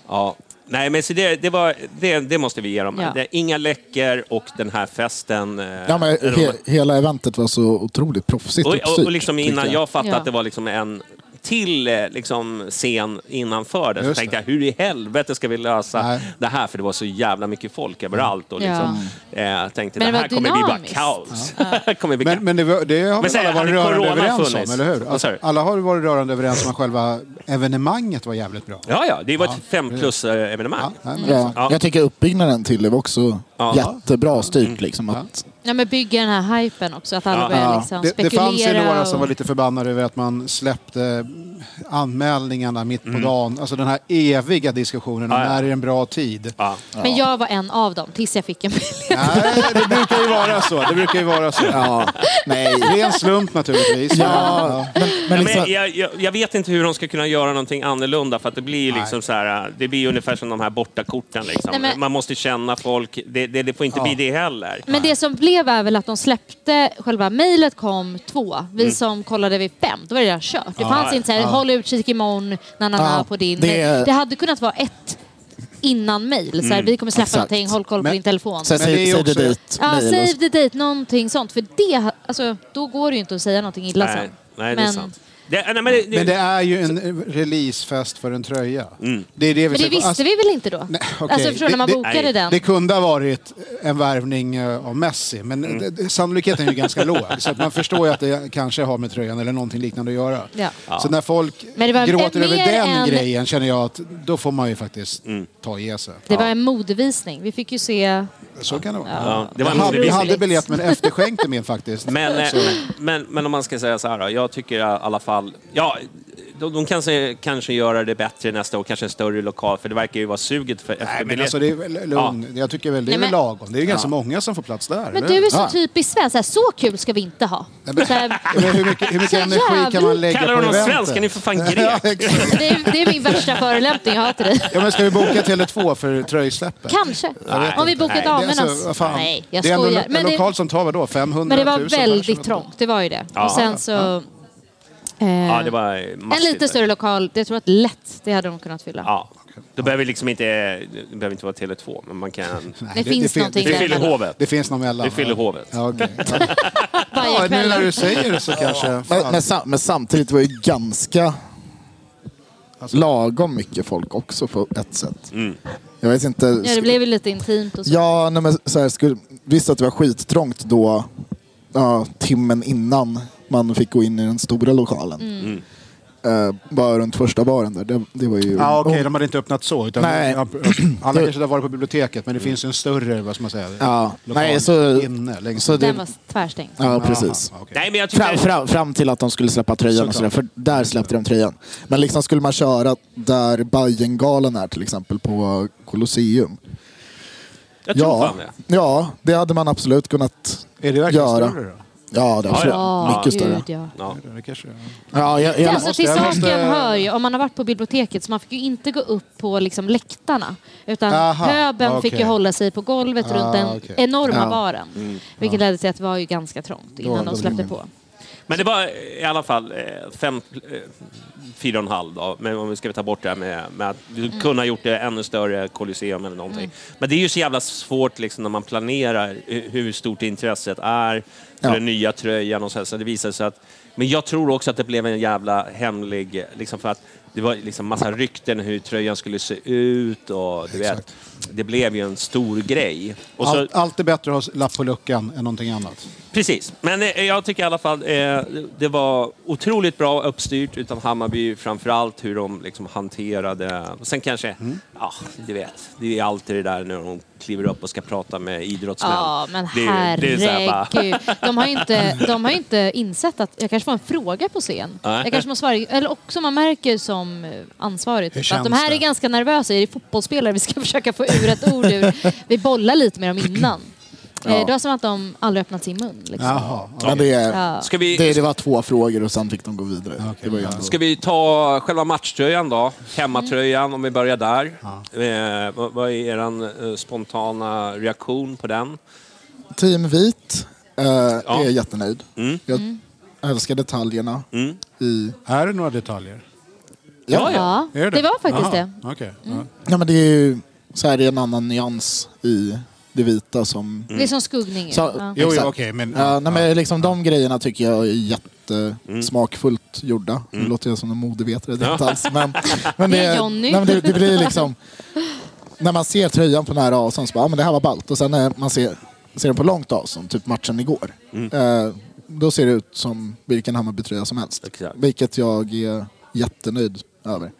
Speaker 3: ja. Nej, men så det, det, var, det, det måste vi ge dem.
Speaker 5: Ja.
Speaker 3: Det är inga läckor och den här festen. eh,
Speaker 4: Ja, men
Speaker 3: är
Speaker 4: he, hela eventet var så otroligt proffsigt
Speaker 3: Och, och,
Speaker 4: uppstyrt,
Speaker 3: och liksom
Speaker 4: tycker
Speaker 3: innan jag, fattade
Speaker 5: Ja.
Speaker 3: att det var liksom en till eh, liksom, scen innanför det, så
Speaker 6: Just
Speaker 3: tänkte
Speaker 6: det.
Speaker 3: jag hur i helvete ska vi lösa
Speaker 6: Nej.
Speaker 3: det här? För det var så jävla mycket folk överallt. Och
Speaker 5: Ja.
Speaker 3: liksom, eh, jag tänkte
Speaker 5: Men
Speaker 3: det,
Speaker 5: det
Speaker 3: här
Speaker 5: var
Speaker 3: kommer bli bara
Speaker 5: dynamiskt.
Speaker 3: kaos. Det kommer bli
Speaker 6: Mm. Men, men det, var- det har
Speaker 3: Men
Speaker 6: väl
Speaker 3: säg,
Speaker 6: alla varit
Speaker 3: hade
Speaker 6: rörande
Speaker 3: corona
Speaker 6: överens
Speaker 3: funnits?
Speaker 6: om, eller hur?
Speaker 3: Vad sa du?
Speaker 6: alla har varit rörande överens om att själva evenemanget var jävligt bra.
Speaker 3: Ja, ja, det var ett eh, fem plus-evenemang.
Speaker 6: Nej, men-
Speaker 4: jag. Ja.
Speaker 3: Ja.
Speaker 4: Jag tycker uppbyggnaden till det var också
Speaker 3: Ja. Mm.
Speaker 4: jättebra styrt. Liksom, att,
Speaker 5: Ja, men bygga den här hypen också, att alla börjar liksom
Speaker 6: Det,
Speaker 5: spekulera.
Speaker 6: det fanns ju några
Speaker 5: och-
Speaker 6: som var lite förbannade över att man släppte anmälningarna mitt på dagen. Alltså den här eviga diskussionen
Speaker 3: Mm.
Speaker 6: om
Speaker 3: Ja, ja.
Speaker 6: när är en bra tid.
Speaker 3: Ja.
Speaker 5: Men jag var en av dem, tills jag fick en biljett.
Speaker 6: Nej, det brukar ju vara så. Det brukar ju vara så.
Speaker 4: ja, nej.
Speaker 6: Det är en slump naturligtvis.
Speaker 4: Ja, men, men
Speaker 3: Ja,
Speaker 4: liksom,
Speaker 3: men jag, jag, jag vet inte hur de ska kunna göra någonting annorlunda för att det blir ju liksom så här, eh, det blir ju ungefär som de här bortakorten. Liksom.
Speaker 5: Nej, men-
Speaker 3: Man måste känna folk, det, det, det får inte bli det heller.
Speaker 5: Men det som blev är väl att de släppte, själva mejlet kom två. Vi som kollade vid fem, då var det redan kört. Det fanns inte så här, håll utkik imorgon, na, na, na,
Speaker 4: Ja,
Speaker 5: på din.
Speaker 4: det-
Speaker 5: Det... hade kunnat vara ett innan mejl. Så här, Vi kommer släppa
Speaker 7: Exakt.
Speaker 5: någonting, håll koll på
Speaker 6: Men-
Speaker 5: din telefon.
Speaker 7: Så jag
Speaker 6: Men det är
Speaker 7: säger,
Speaker 6: ju
Speaker 7: säger du
Speaker 6: också-
Speaker 7: dit
Speaker 5: Ja,
Speaker 7: mejl och
Speaker 5: save
Speaker 7: så-
Speaker 5: the date, någonting sånt. För det, alltså, då går det ju inte att säga någonting illa
Speaker 3: Nej,
Speaker 5: sen.
Speaker 3: nej, det är
Speaker 5: Men-
Speaker 3: sant. Det, nej, men det,
Speaker 6: Men det är ju en eh, releasefest för en tröja.
Speaker 3: Mm.
Speaker 6: Det är det vi
Speaker 5: Men det
Speaker 6: säger.
Speaker 5: visste
Speaker 6: Alltså-
Speaker 5: vi väl inte då?
Speaker 6: Nej, okej.
Speaker 5: Alltså förstår du, när man
Speaker 6: Det- det-
Speaker 5: bokade
Speaker 3: nej.
Speaker 5: den.
Speaker 6: Det kunde ha varit en värvning eh, av Messi, men
Speaker 3: Mm.
Speaker 6: det- det, sannolikheten är ju ganska låg. Så att man förstår ju att det kanske har med tröjan eller någonting liknande att göra.
Speaker 5: Ja.
Speaker 6: Så när folk
Speaker 5: Men det var
Speaker 6: gråter
Speaker 5: mer
Speaker 6: över den
Speaker 5: än-
Speaker 6: grejen känner jag att då får man ju faktiskt
Speaker 3: Mm.
Speaker 6: ta och ge sig.
Speaker 5: Det var en modevisning. Vi fick ju se...
Speaker 6: Så kan det vara.
Speaker 3: Ja, det var en
Speaker 6: jag, hade, jag
Speaker 3: modevisning.
Speaker 6: hade biljett men efterskänkte min faktiskt.
Speaker 3: Men, eh, men, men om man ska säga så här då, jag tycker i alla fall... Ja, de, de kanske, kanske göra det bättre nästa år, kanske en större lokal, för det verkar ju vara suget för
Speaker 6: Nej, men
Speaker 3: biljetter.
Speaker 6: alltså det är väl lugn. Jag tycker väl det är
Speaker 5: Nej,
Speaker 6: väl
Speaker 5: men-
Speaker 6: lagom. Det är ju ganska många som får plats där.
Speaker 5: Men
Speaker 6: eller?
Speaker 5: du är så typ-
Speaker 6: Ja.
Speaker 5: typiskt svensk. Så, här, så kul ska vi inte ha. Så här,
Speaker 6: Men hur mycket, hur
Speaker 5: Så
Speaker 6: mycket energi kan
Speaker 5: jävla-
Speaker 6: man lägga
Speaker 3: Kallar
Speaker 6: på
Speaker 3: honom
Speaker 6: eventet?
Speaker 3: svensk? Han är ju för fan grek!
Speaker 6: Exakt.
Speaker 5: det, är, det är min värsta förolämpning jag har till dig.
Speaker 6: Ja, men ska vi boka Tele2 för tröjsläppet?
Speaker 5: Kanske.
Speaker 3: vet
Speaker 5: Om vi
Speaker 3: inte. Nej,
Speaker 5: bokat
Speaker 6: Det är
Speaker 5: damernas.
Speaker 6: alltså, vad fan.
Speaker 5: Nej, jag
Speaker 6: det är ändå
Speaker 5: skojar.
Speaker 6: en
Speaker 5: Men det,
Speaker 6: lokal som tar vadå? 500
Speaker 5: men det var
Speaker 6: 000
Speaker 5: väldigt
Speaker 6: personer.
Speaker 5: trångt. Det var ju det.
Speaker 3: Ja.
Speaker 5: Och sen så... eh,
Speaker 3: Ja, det var
Speaker 5: en lite större lokal. Det tror jag att lätt, det hade de kunnat fylla.
Speaker 3: Ja. Då behöver vi liksom inte, det behöver inte vara Tele2, men man kan...
Speaker 6: Nej,
Speaker 5: Det finns någonting
Speaker 3: Vi
Speaker 6: det,
Speaker 3: fyller
Speaker 6: finns-
Speaker 3: hovet.
Speaker 6: det finns någon mellan.
Speaker 3: Vi fyller hovet.
Speaker 6: Ja, okej.
Speaker 5: Varje
Speaker 6: ja, nu när du
Speaker 5: kväll.
Speaker 6: säger det så kanske...
Speaker 7: Men,
Speaker 6: Fan.
Speaker 7: men, sam, men samtidigt var det ju ganska lagom mycket folk också på ett sätt. Jag vet inte.
Speaker 5: Ja, det
Speaker 7: sku-
Speaker 5: blev ju lite intimt och så.
Speaker 7: Ja, nej, men så här, skulle, visst att det var skittrångt då, ja, timmen innan man fick gå in i den stora lokalen.
Speaker 5: Mm.
Speaker 7: Eh, bara runt första baren där, det, det var ju...
Speaker 6: Ja, okej,
Speaker 7: och-
Speaker 6: de hade inte öppnat så. Utan
Speaker 7: oh. Nej.
Speaker 6: ja, Alla kanske hade varit på biblioteket, men det finns ju en större, vad ska man säga,
Speaker 7: Ja,
Speaker 6: lokal
Speaker 7: nej, så-
Speaker 6: inne. Längst.
Speaker 7: så det,
Speaker 5: Den var tvärstängd.
Speaker 7: ja,
Speaker 6: Aha,
Speaker 7: precis.
Speaker 6: okej.
Speaker 3: Nej, men jag
Speaker 7: Fram,
Speaker 3: tycker...
Speaker 7: fram, fram till att de skulle släppa tröjan och sådär, för där släppte de tröjan. Men liksom skulle man köra där Bajengalan är till exempel på Colosseum.
Speaker 3: Jag tror
Speaker 7: Ja,
Speaker 3: fan det.
Speaker 7: ja, det hade man absolut kunnat
Speaker 6: Är det verkligen
Speaker 7: göra.
Speaker 6: större då?
Speaker 7: Ja, det
Speaker 3: Ja,
Speaker 7: tror jag.
Speaker 5: Ja,
Speaker 7: Mycket större.
Speaker 5: gud, ja.
Speaker 3: Ja.
Speaker 6: Det kanske är.
Speaker 7: Ja, jag,
Speaker 5: Ja,
Speaker 7: jag,
Speaker 5: alltså, till
Speaker 6: jag
Speaker 5: saken
Speaker 6: måste-
Speaker 5: hör ju, om man har varit på biblioteket så man fick ju inte gå upp på liksom, läktarna. Utan
Speaker 6: Aha,
Speaker 5: pöben fick ju
Speaker 6: okej. Ah,
Speaker 5: hålla sig på golvet runt den
Speaker 6: okej. Mm,
Speaker 5: enorma
Speaker 7: Ja.
Speaker 5: baren. Vilket ledde till att det var ju ganska trångt innan
Speaker 6: då
Speaker 5: de släppte på.
Speaker 3: Men det var i alla fall eh, fem, eh, fyra och en halv då. Men om vi ska ta bort det här med, med att du kunde ha gjort det ännu större Colosseum eller någonting. Men det är ju så jävla svårt liksom när man planerar hu- hur stort intresset är för
Speaker 7: Ja.
Speaker 3: den nya tröjan och så, här, så det visar sig att... Men jag tror också att det blev en jävla hemlig, liksom för att det var liksom massa rykten hur tröjan skulle se ut och du vet, det blev ju en stor grej. Och så,
Speaker 6: Allt, allt är bättre att ha lapp på luckan än någonting annat.
Speaker 3: Precis, men eh, jag tycker i alla fall eh, det var otroligt bra uppstyrt utav Hammarby, framförallt hur de liksom hanterade... Sen kanske, ja, du vet, det är alltid det där när de kliver upp och ska prata med idrottsmän.
Speaker 5: Ja, men
Speaker 3: Det är- det är så här bara-
Speaker 5: herregud. De har ju inte, de har ju inte insett att jag kanske får en fråga på scen.
Speaker 3: Nej.
Speaker 5: Jag kanske måste svara, eller också man märker som eh, ansvarig typ, att
Speaker 6: känns
Speaker 5: de här
Speaker 6: det?
Speaker 5: är ganska nervösa. Är det fotbollsspelare vi ska försöka få ur ett ord ur? Vi bollar lite med dem innan. Eh, Det var som att de aldrig öppnat sin mun. Liksom.
Speaker 6: Jaha.
Speaker 7: men det,
Speaker 5: Ja.
Speaker 3: Ska
Speaker 7: det,
Speaker 3: vi,
Speaker 7: det var två frågor och sen fick de gå vidare. Det var ju ändå...
Speaker 3: ska vi ta själva matchtröjan då? Hemmatröjan, om vi börjar där. Eh, vad, vad är er eh, spontana reaktion på den?
Speaker 7: Team Vit eh, är jättenöjd.
Speaker 3: Mm.
Speaker 7: Jag älskar detaljerna. I,
Speaker 6: Är det några detaljer?
Speaker 3: Ja,
Speaker 5: Ja,
Speaker 6: Är det,
Speaker 5: det var faktiskt
Speaker 6: Jaha,
Speaker 5: det. Mm.
Speaker 6: okej.
Speaker 7: ja, men det är ju så här, det är en annan nyans i det vita som...
Speaker 5: Det är som skuggning. ju.
Speaker 7: Så,
Speaker 5: ja.
Speaker 6: Jo, jo,
Speaker 7: exakt.
Speaker 6: okej, men-
Speaker 7: Ja, nej, men liksom, de grejerna tycker jag är jättesmakfullt gjorda. Nu låter jag som en modevetare, det är inte alls. Men, men
Speaker 5: Det är Johnny.
Speaker 7: Nej, men det, det blir liksom... När man ser tröjan på nära avstånd så bara, ja, men det här var ballt. Och sen när man ser, ser den på långt avstånd, typ matchen igår. Eh, då ser det ut som vilken Hammarbytröja som helst.
Speaker 3: Exakt.
Speaker 7: Vilket jag är jättenöjd över.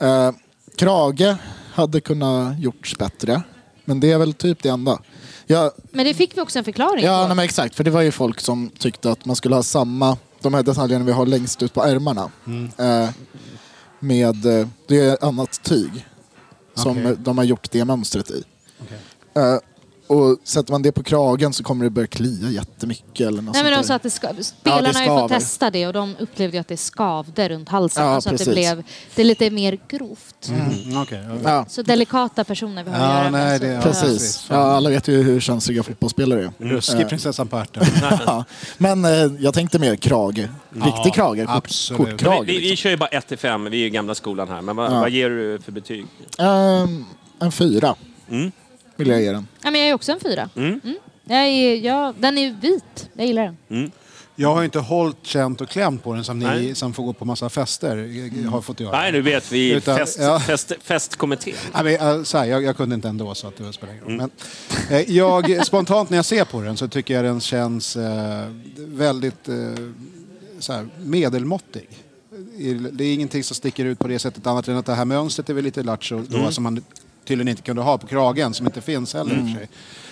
Speaker 7: Eh, krage hade kunnat gjorts bättre. Men det är väl typ det enda. Jag,
Speaker 5: Men det fick vi också en förklaring
Speaker 7: Ja,
Speaker 5: på.
Speaker 7: nej, men exakt. För det var ju folk som tyckte att man skulle ha samma, de här detaljerna vi har längst ut på ärmarna.
Speaker 6: Mm.
Speaker 7: Eh, med, eh, det är annat tyg som
Speaker 6: Okej.
Speaker 7: eh, de har gjort det mönstret i. Eh, och sätter man det på kragen så kommer det börja klia jättemycket eller något
Speaker 5: Nej, men de
Speaker 7: sånt
Speaker 5: sa
Speaker 7: där.
Speaker 5: att det ska, spelarna har ju fått
Speaker 7: skaver.
Speaker 5: testa det och de upplevde ju att det skavde runt halsen.
Speaker 7: Ja,
Speaker 5: så att det
Speaker 7: precis.
Speaker 5: blev det är lite mer grovt.
Speaker 6: Mm, okej, ja.
Speaker 7: Ja,
Speaker 5: Så delikata personer vi har
Speaker 6: Ja,
Speaker 5: att göra
Speaker 6: nej,
Speaker 5: med. alltså. Så-
Speaker 6: det- ja. Mm.
Speaker 7: precis.
Speaker 6: precis.
Speaker 7: Ja, alla vet ju hur känsliga fotbollsspelare är.
Speaker 6: Ruskig prinsessan på ärten.
Speaker 7: Ja, men eh, jag tänkte mer krage. Riktig krage. Kort,
Speaker 6: absolut.
Speaker 3: Vi,
Speaker 7: kortkrage.
Speaker 3: vi, vi
Speaker 7: liksom.
Speaker 3: kör ju bara 1 till 5, vi är ju gamla skolan här. Men vad, vad ger du för betyg?
Speaker 7: Ehm, en fyra.
Speaker 3: Mm.
Speaker 7: Vill jag ge den.
Speaker 5: Ja, men jag är också en fyra. Mm. Jag är, jag, den är vit. Jag gillar den.
Speaker 6: Mm. Jag har inte hållit, känt och klämt på den som
Speaker 3: Nej.
Speaker 6: ni som får gå på massa fester eh, har fått göra.
Speaker 3: Nej, nu vet vi.
Speaker 6: Utan-
Speaker 3: fest,
Speaker 6: ja.
Speaker 3: fest, festkommitté.
Speaker 6: Nej, men, eh, så här, jag, jag kunde inte ändå så att det spelar ingen roll.
Speaker 7: Mm.
Speaker 6: Men, eh, jag, spontant när jag ser på den så tycker jag den känns eh, väldigt eh, så här, medelmåttig. I- Det är ingenting som sticker ut på det sättet annat än att det här mönstret är väl lite lattjo då
Speaker 7: Mm.
Speaker 6: som man tydligen inte kunde ha på kragen som inte finns heller
Speaker 7: Mm.
Speaker 6: i och för sig.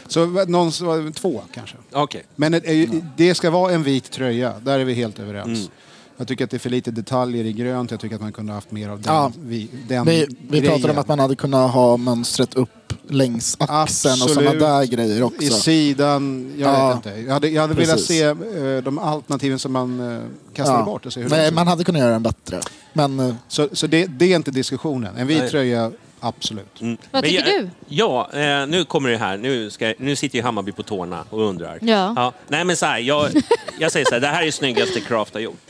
Speaker 6: Så va- någon, så- två kanske.
Speaker 3: Okej.
Speaker 6: Men det, är ju- det ska vara en vit tröja, där är vi helt överens.
Speaker 7: Mm.
Speaker 6: Jag tycker att det är för lite detaljer i grönt, jag tycker att man kunde haft mer av den,
Speaker 7: Ja.
Speaker 6: vi, den
Speaker 7: Vi, vi pratade om
Speaker 6: grejen.
Speaker 7: att man hade kunnat ha mönstret upp längs axeln och
Speaker 6: Absolut.
Speaker 7: sådana där grejer
Speaker 6: I
Speaker 7: också.
Speaker 6: sidan, jag
Speaker 7: Ja,
Speaker 6: vet inte. Jag hade, jag hade velat
Speaker 7: precis.
Speaker 6: se eh, de alternativen som man eh, kastade bort och se hur de
Speaker 7: Nej,
Speaker 6: ser
Speaker 7: man
Speaker 6: ut.
Speaker 7: hade kunnat göra den bättre. Men eh,
Speaker 6: Så, så det, det är inte diskussionen. En vit tröja, absolut.
Speaker 5: Vad
Speaker 3: Men
Speaker 5: tycker
Speaker 3: jag,
Speaker 5: du?
Speaker 3: Ja, eh, nu kommer det här. Nu, ska, jag- nu sitter ju Hammarby på tårna och undrar.
Speaker 5: Ja.
Speaker 3: nej, men så här, jag, jag säger så här, det här är det snyggaste Kraft har gjort.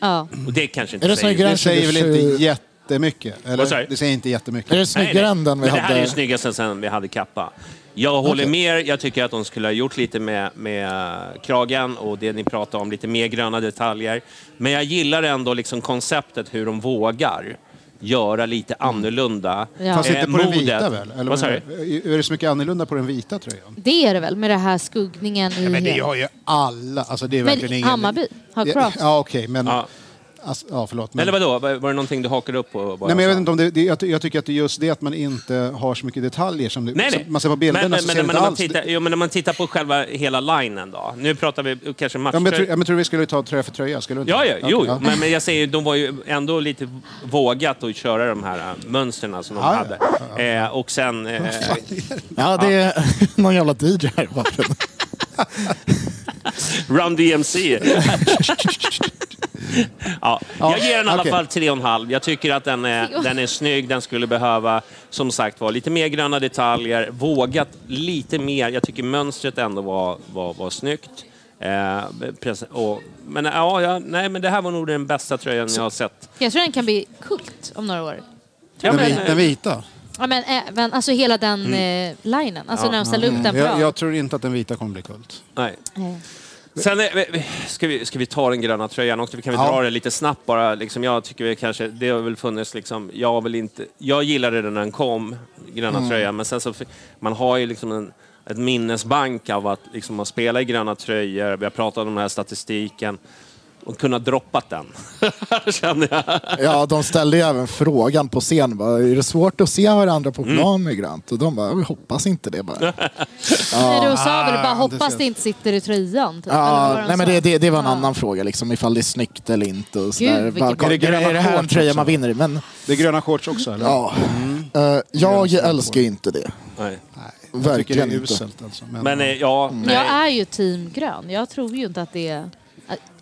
Speaker 5: Ja.
Speaker 3: Och det kanske inte
Speaker 7: Är det
Speaker 3: säger...
Speaker 7: snyggare?
Speaker 6: Det säger väl
Speaker 7: 20,
Speaker 6: inte jättemycket?
Speaker 3: Vad sa du?
Speaker 6: Eller? Det säger inte jättemycket.
Speaker 7: är det snyggare än den vi
Speaker 3: men det här är
Speaker 7: hade?
Speaker 3: ju snyggaste sen vi hade kappa. Jag håller med Jag tycker att de skulle ha gjort lite med, med eh, kragen och det ni pratade om, lite mer gröna detaljer. Men jag gillar ändå liksom konceptet hur de vågar göra lite annorlunda.
Speaker 5: Ja.
Speaker 6: Mm. Fast
Speaker 3: Eh,
Speaker 6: inte på den vita
Speaker 3: modet.
Speaker 6: väl?
Speaker 3: Vad sa
Speaker 6: är, är det så mycket annorlunda på den vita tröjan?
Speaker 5: Det är det väl med det här skuggningen i...
Speaker 6: Men det har ju alla. Alltså det är
Speaker 5: Men
Speaker 6: verkligen ingen...
Speaker 5: Hammarby har Kraft.
Speaker 6: Ja, okej. men...
Speaker 3: Ja.
Speaker 6: Alltså, ja, förlåt. Men...
Speaker 3: Eller vadå, var var det någonting du hakade upp på? bara
Speaker 6: Nej, men jag,
Speaker 3: så?
Speaker 6: vet inte om det, det, jag, ty- jag tycker att det är just det att man inte har så mycket detaljer som, det,
Speaker 3: Nej,
Speaker 6: som
Speaker 3: nej.
Speaker 6: man ser på bilderna.
Speaker 3: men, men,
Speaker 6: så
Speaker 3: men,
Speaker 6: ser
Speaker 3: men
Speaker 6: det inte
Speaker 3: om man
Speaker 6: alls.
Speaker 3: tittar, jo, men om man tittar på själva hela linen då. Nu pratar vi kanske matcher.
Speaker 6: Ja, men jag, tror, ja, men jag tror vi skulle ta tröja för tröja. Skulle du inte?
Speaker 3: Ja, ja, jo,
Speaker 6: Okej, ja.
Speaker 3: Men, men jag säger ju, de var ju ändå lite vågat att köra de här äh, mönstren som de
Speaker 6: Ja, ja.
Speaker 3: hade. Eh, och sen... Eh,
Speaker 7: Ja, det är någon jävla DJ här i bakgrunden.
Speaker 3: Run DMC. ja. Jag ger den i alla
Speaker 6: okej.
Speaker 3: fall tre och en halv. Jag tycker att den är, den är snygg, den skulle behöva, som sagt var, lite mer gröna detaljer, vågat lite mer. Jag tycker mönstret ändå var, var, var snyggt. Eh, presen- och, men ja, ja, nej, men det här var nog den bästa tröjan jag har sett.
Speaker 5: Jag tror den kan bli kult om några år.
Speaker 3: Ja,
Speaker 6: Den,
Speaker 3: men, eh,
Speaker 6: vi- den vita?
Speaker 5: Ja, men även, alltså hela den
Speaker 6: Mm.
Speaker 5: eh, linen. Alltså när de ställer upp den bra.
Speaker 6: Jag, jag tror inte att den vita kommer bli kult.
Speaker 3: nej.
Speaker 5: Eh,
Speaker 3: Sen är, ska, vi, ska vi ta den gröna tröjan också? Vi kan väl
Speaker 6: Ja.
Speaker 3: dra det lite snabbt bara. Liksom, jag tycker vi kanske, det har väl funnits liksom, jag har väl inte, jag gillade den när den kom, gröna tröjan, men sen så, fi- man har ju liksom en, ett minnesbank av att liksom, man spelar i gröna tröjor, vi har pratat om den här statistiken, och kunna droppat den, känner jag.
Speaker 7: Ja, de ställde ju även frågan på scen. Bara, är det svårt att se varandra på plan med grönt? Och de bara, vi hoppas inte det bara.
Speaker 5: Nej, då sa väl bara hoppas
Speaker 6: intressant.
Speaker 5: det inte sitter i tröjan. Typ. Eller vad
Speaker 7: Ja,
Speaker 5: de
Speaker 7: nej, men
Speaker 5: sa.
Speaker 7: det, det, det var en annan fråga, liksom, ifall det är snyggt eller inte. Och sådär.
Speaker 5: vilket-
Speaker 7: Bara,
Speaker 5: Är
Speaker 6: det
Speaker 7: är, det,
Speaker 6: gröna
Speaker 7: är det här en
Speaker 6: shorts
Speaker 7: tröja
Speaker 6: också?
Speaker 7: man vinner i? Men,
Speaker 6: Det är gröna shorts också, eller?
Speaker 7: ja.
Speaker 6: Mm.
Speaker 7: Eh, jag älskar ju inte det.
Speaker 3: Nej.
Speaker 6: Nej, jag tycker det
Speaker 7: Verkligen
Speaker 6: är
Speaker 7: inte.
Speaker 6: uselt alltså. Men,
Speaker 3: Men eh, ja, nej.
Speaker 5: Jag är ju team grön. Jag tror ju inte att det är...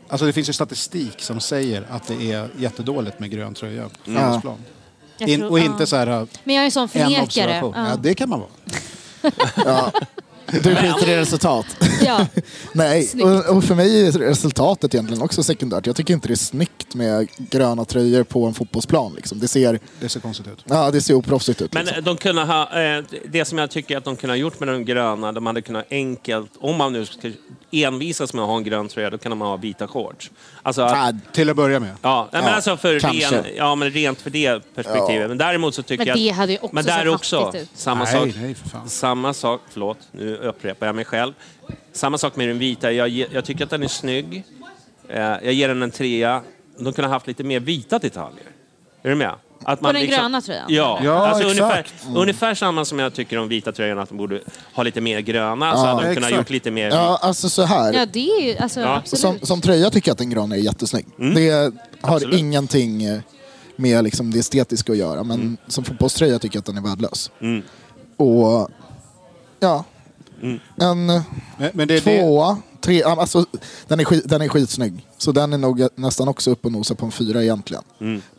Speaker 6: alltså, det finns ju statistik som säger att det är jättedåligt med grön tröja på fotbollsplan.
Speaker 5: Jag
Speaker 6: In,
Speaker 5: tror-
Speaker 6: och
Speaker 5: ja.
Speaker 6: inte så här eh,
Speaker 5: Men jag är en sån
Speaker 6: en
Speaker 5: förnekare.
Speaker 6: observation. Ja.
Speaker 5: Ja.
Speaker 6: det kan man vara.
Speaker 7: Du skiter i resultat.
Speaker 5: Ja.
Speaker 7: Nej,
Speaker 5: Snyggt.
Speaker 7: och, och för mig är resultatet egentligen också sekundärt. Jag tycker inte det är snyggt med gröna tröjor på en fotbollsplan. Liksom. Det, ser,
Speaker 6: Det ser konstigt ut.
Speaker 7: ja, det ser oproffsigt ut.
Speaker 3: Men
Speaker 7: liksom.
Speaker 3: de kunde ha, eh, det som jag tycker att de kunde ha gjort med de gröna, de hade kunnat enkelt, om man nu ska envisas med att ha en grön tröja, då kan man ha vita shorts. Alltså, att,
Speaker 7: Ah,
Speaker 6: Till att börja med.
Speaker 3: ja, nej, men
Speaker 7: ja,
Speaker 3: alltså för
Speaker 7: kanske.
Speaker 3: ren, ja, men rent för det perspektivet. Men däremot så tycker
Speaker 5: Men det
Speaker 3: jag... att-
Speaker 5: hade ju också
Speaker 3: men där
Speaker 5: sett
Speaker 3: också,
Speaker 5: hattigt ut.
Speaker 3: samma
Speaker 6: Nej,
Speaker 3: sak.
Speaker 6: nej, för fan.
Speaker 3: Samma sak, förlåt, nu upprepar jag mig själv. Samma sak med den vita, jag, ge- jag tycker att den är snygg. Eh, jag ger den en trea. De kunde ha haft lite mer vita detaljer. Är du med? Att liksom-
Speaker 5: den gröna tröjan?
Speaker 3: Ja,
Speaker 6: Ja,
Speaker 3: alltså
Speaker 6: exakt.
Speaker 3: ungefär,
Speaker 7: Mm.
Speaker 3: ungefär samma som jag tycker om vita tröjorna, att de borde ha lite mer gröna. så hade de kunnat ha
Speaker 6: exakt.
Speaker 3: gjort lite mer...
Speaker 7: Ja, alltså så här.
Speaker 5: ja, det är ju... Alltså,
Speaker 3: Ja.
Speaker 5: absolut.
Speaker 7: Som, som tröja tycker jag att den gröna är jättesnygg. Det har
Speaker 3: Absolut.
Speaker 7: ingenting eh, med liksom det estetiska att göra. Mm. Men som fotbollströja tycker jag att den är värdelös. Och ja, En
Speaker 6: Men, men det, det,
Speaker 7: tvåa, tre, ja, alltså, den, är skit, den är skitsnygg. Så den är nog nästan också upp och nosar på en fyra egentligen.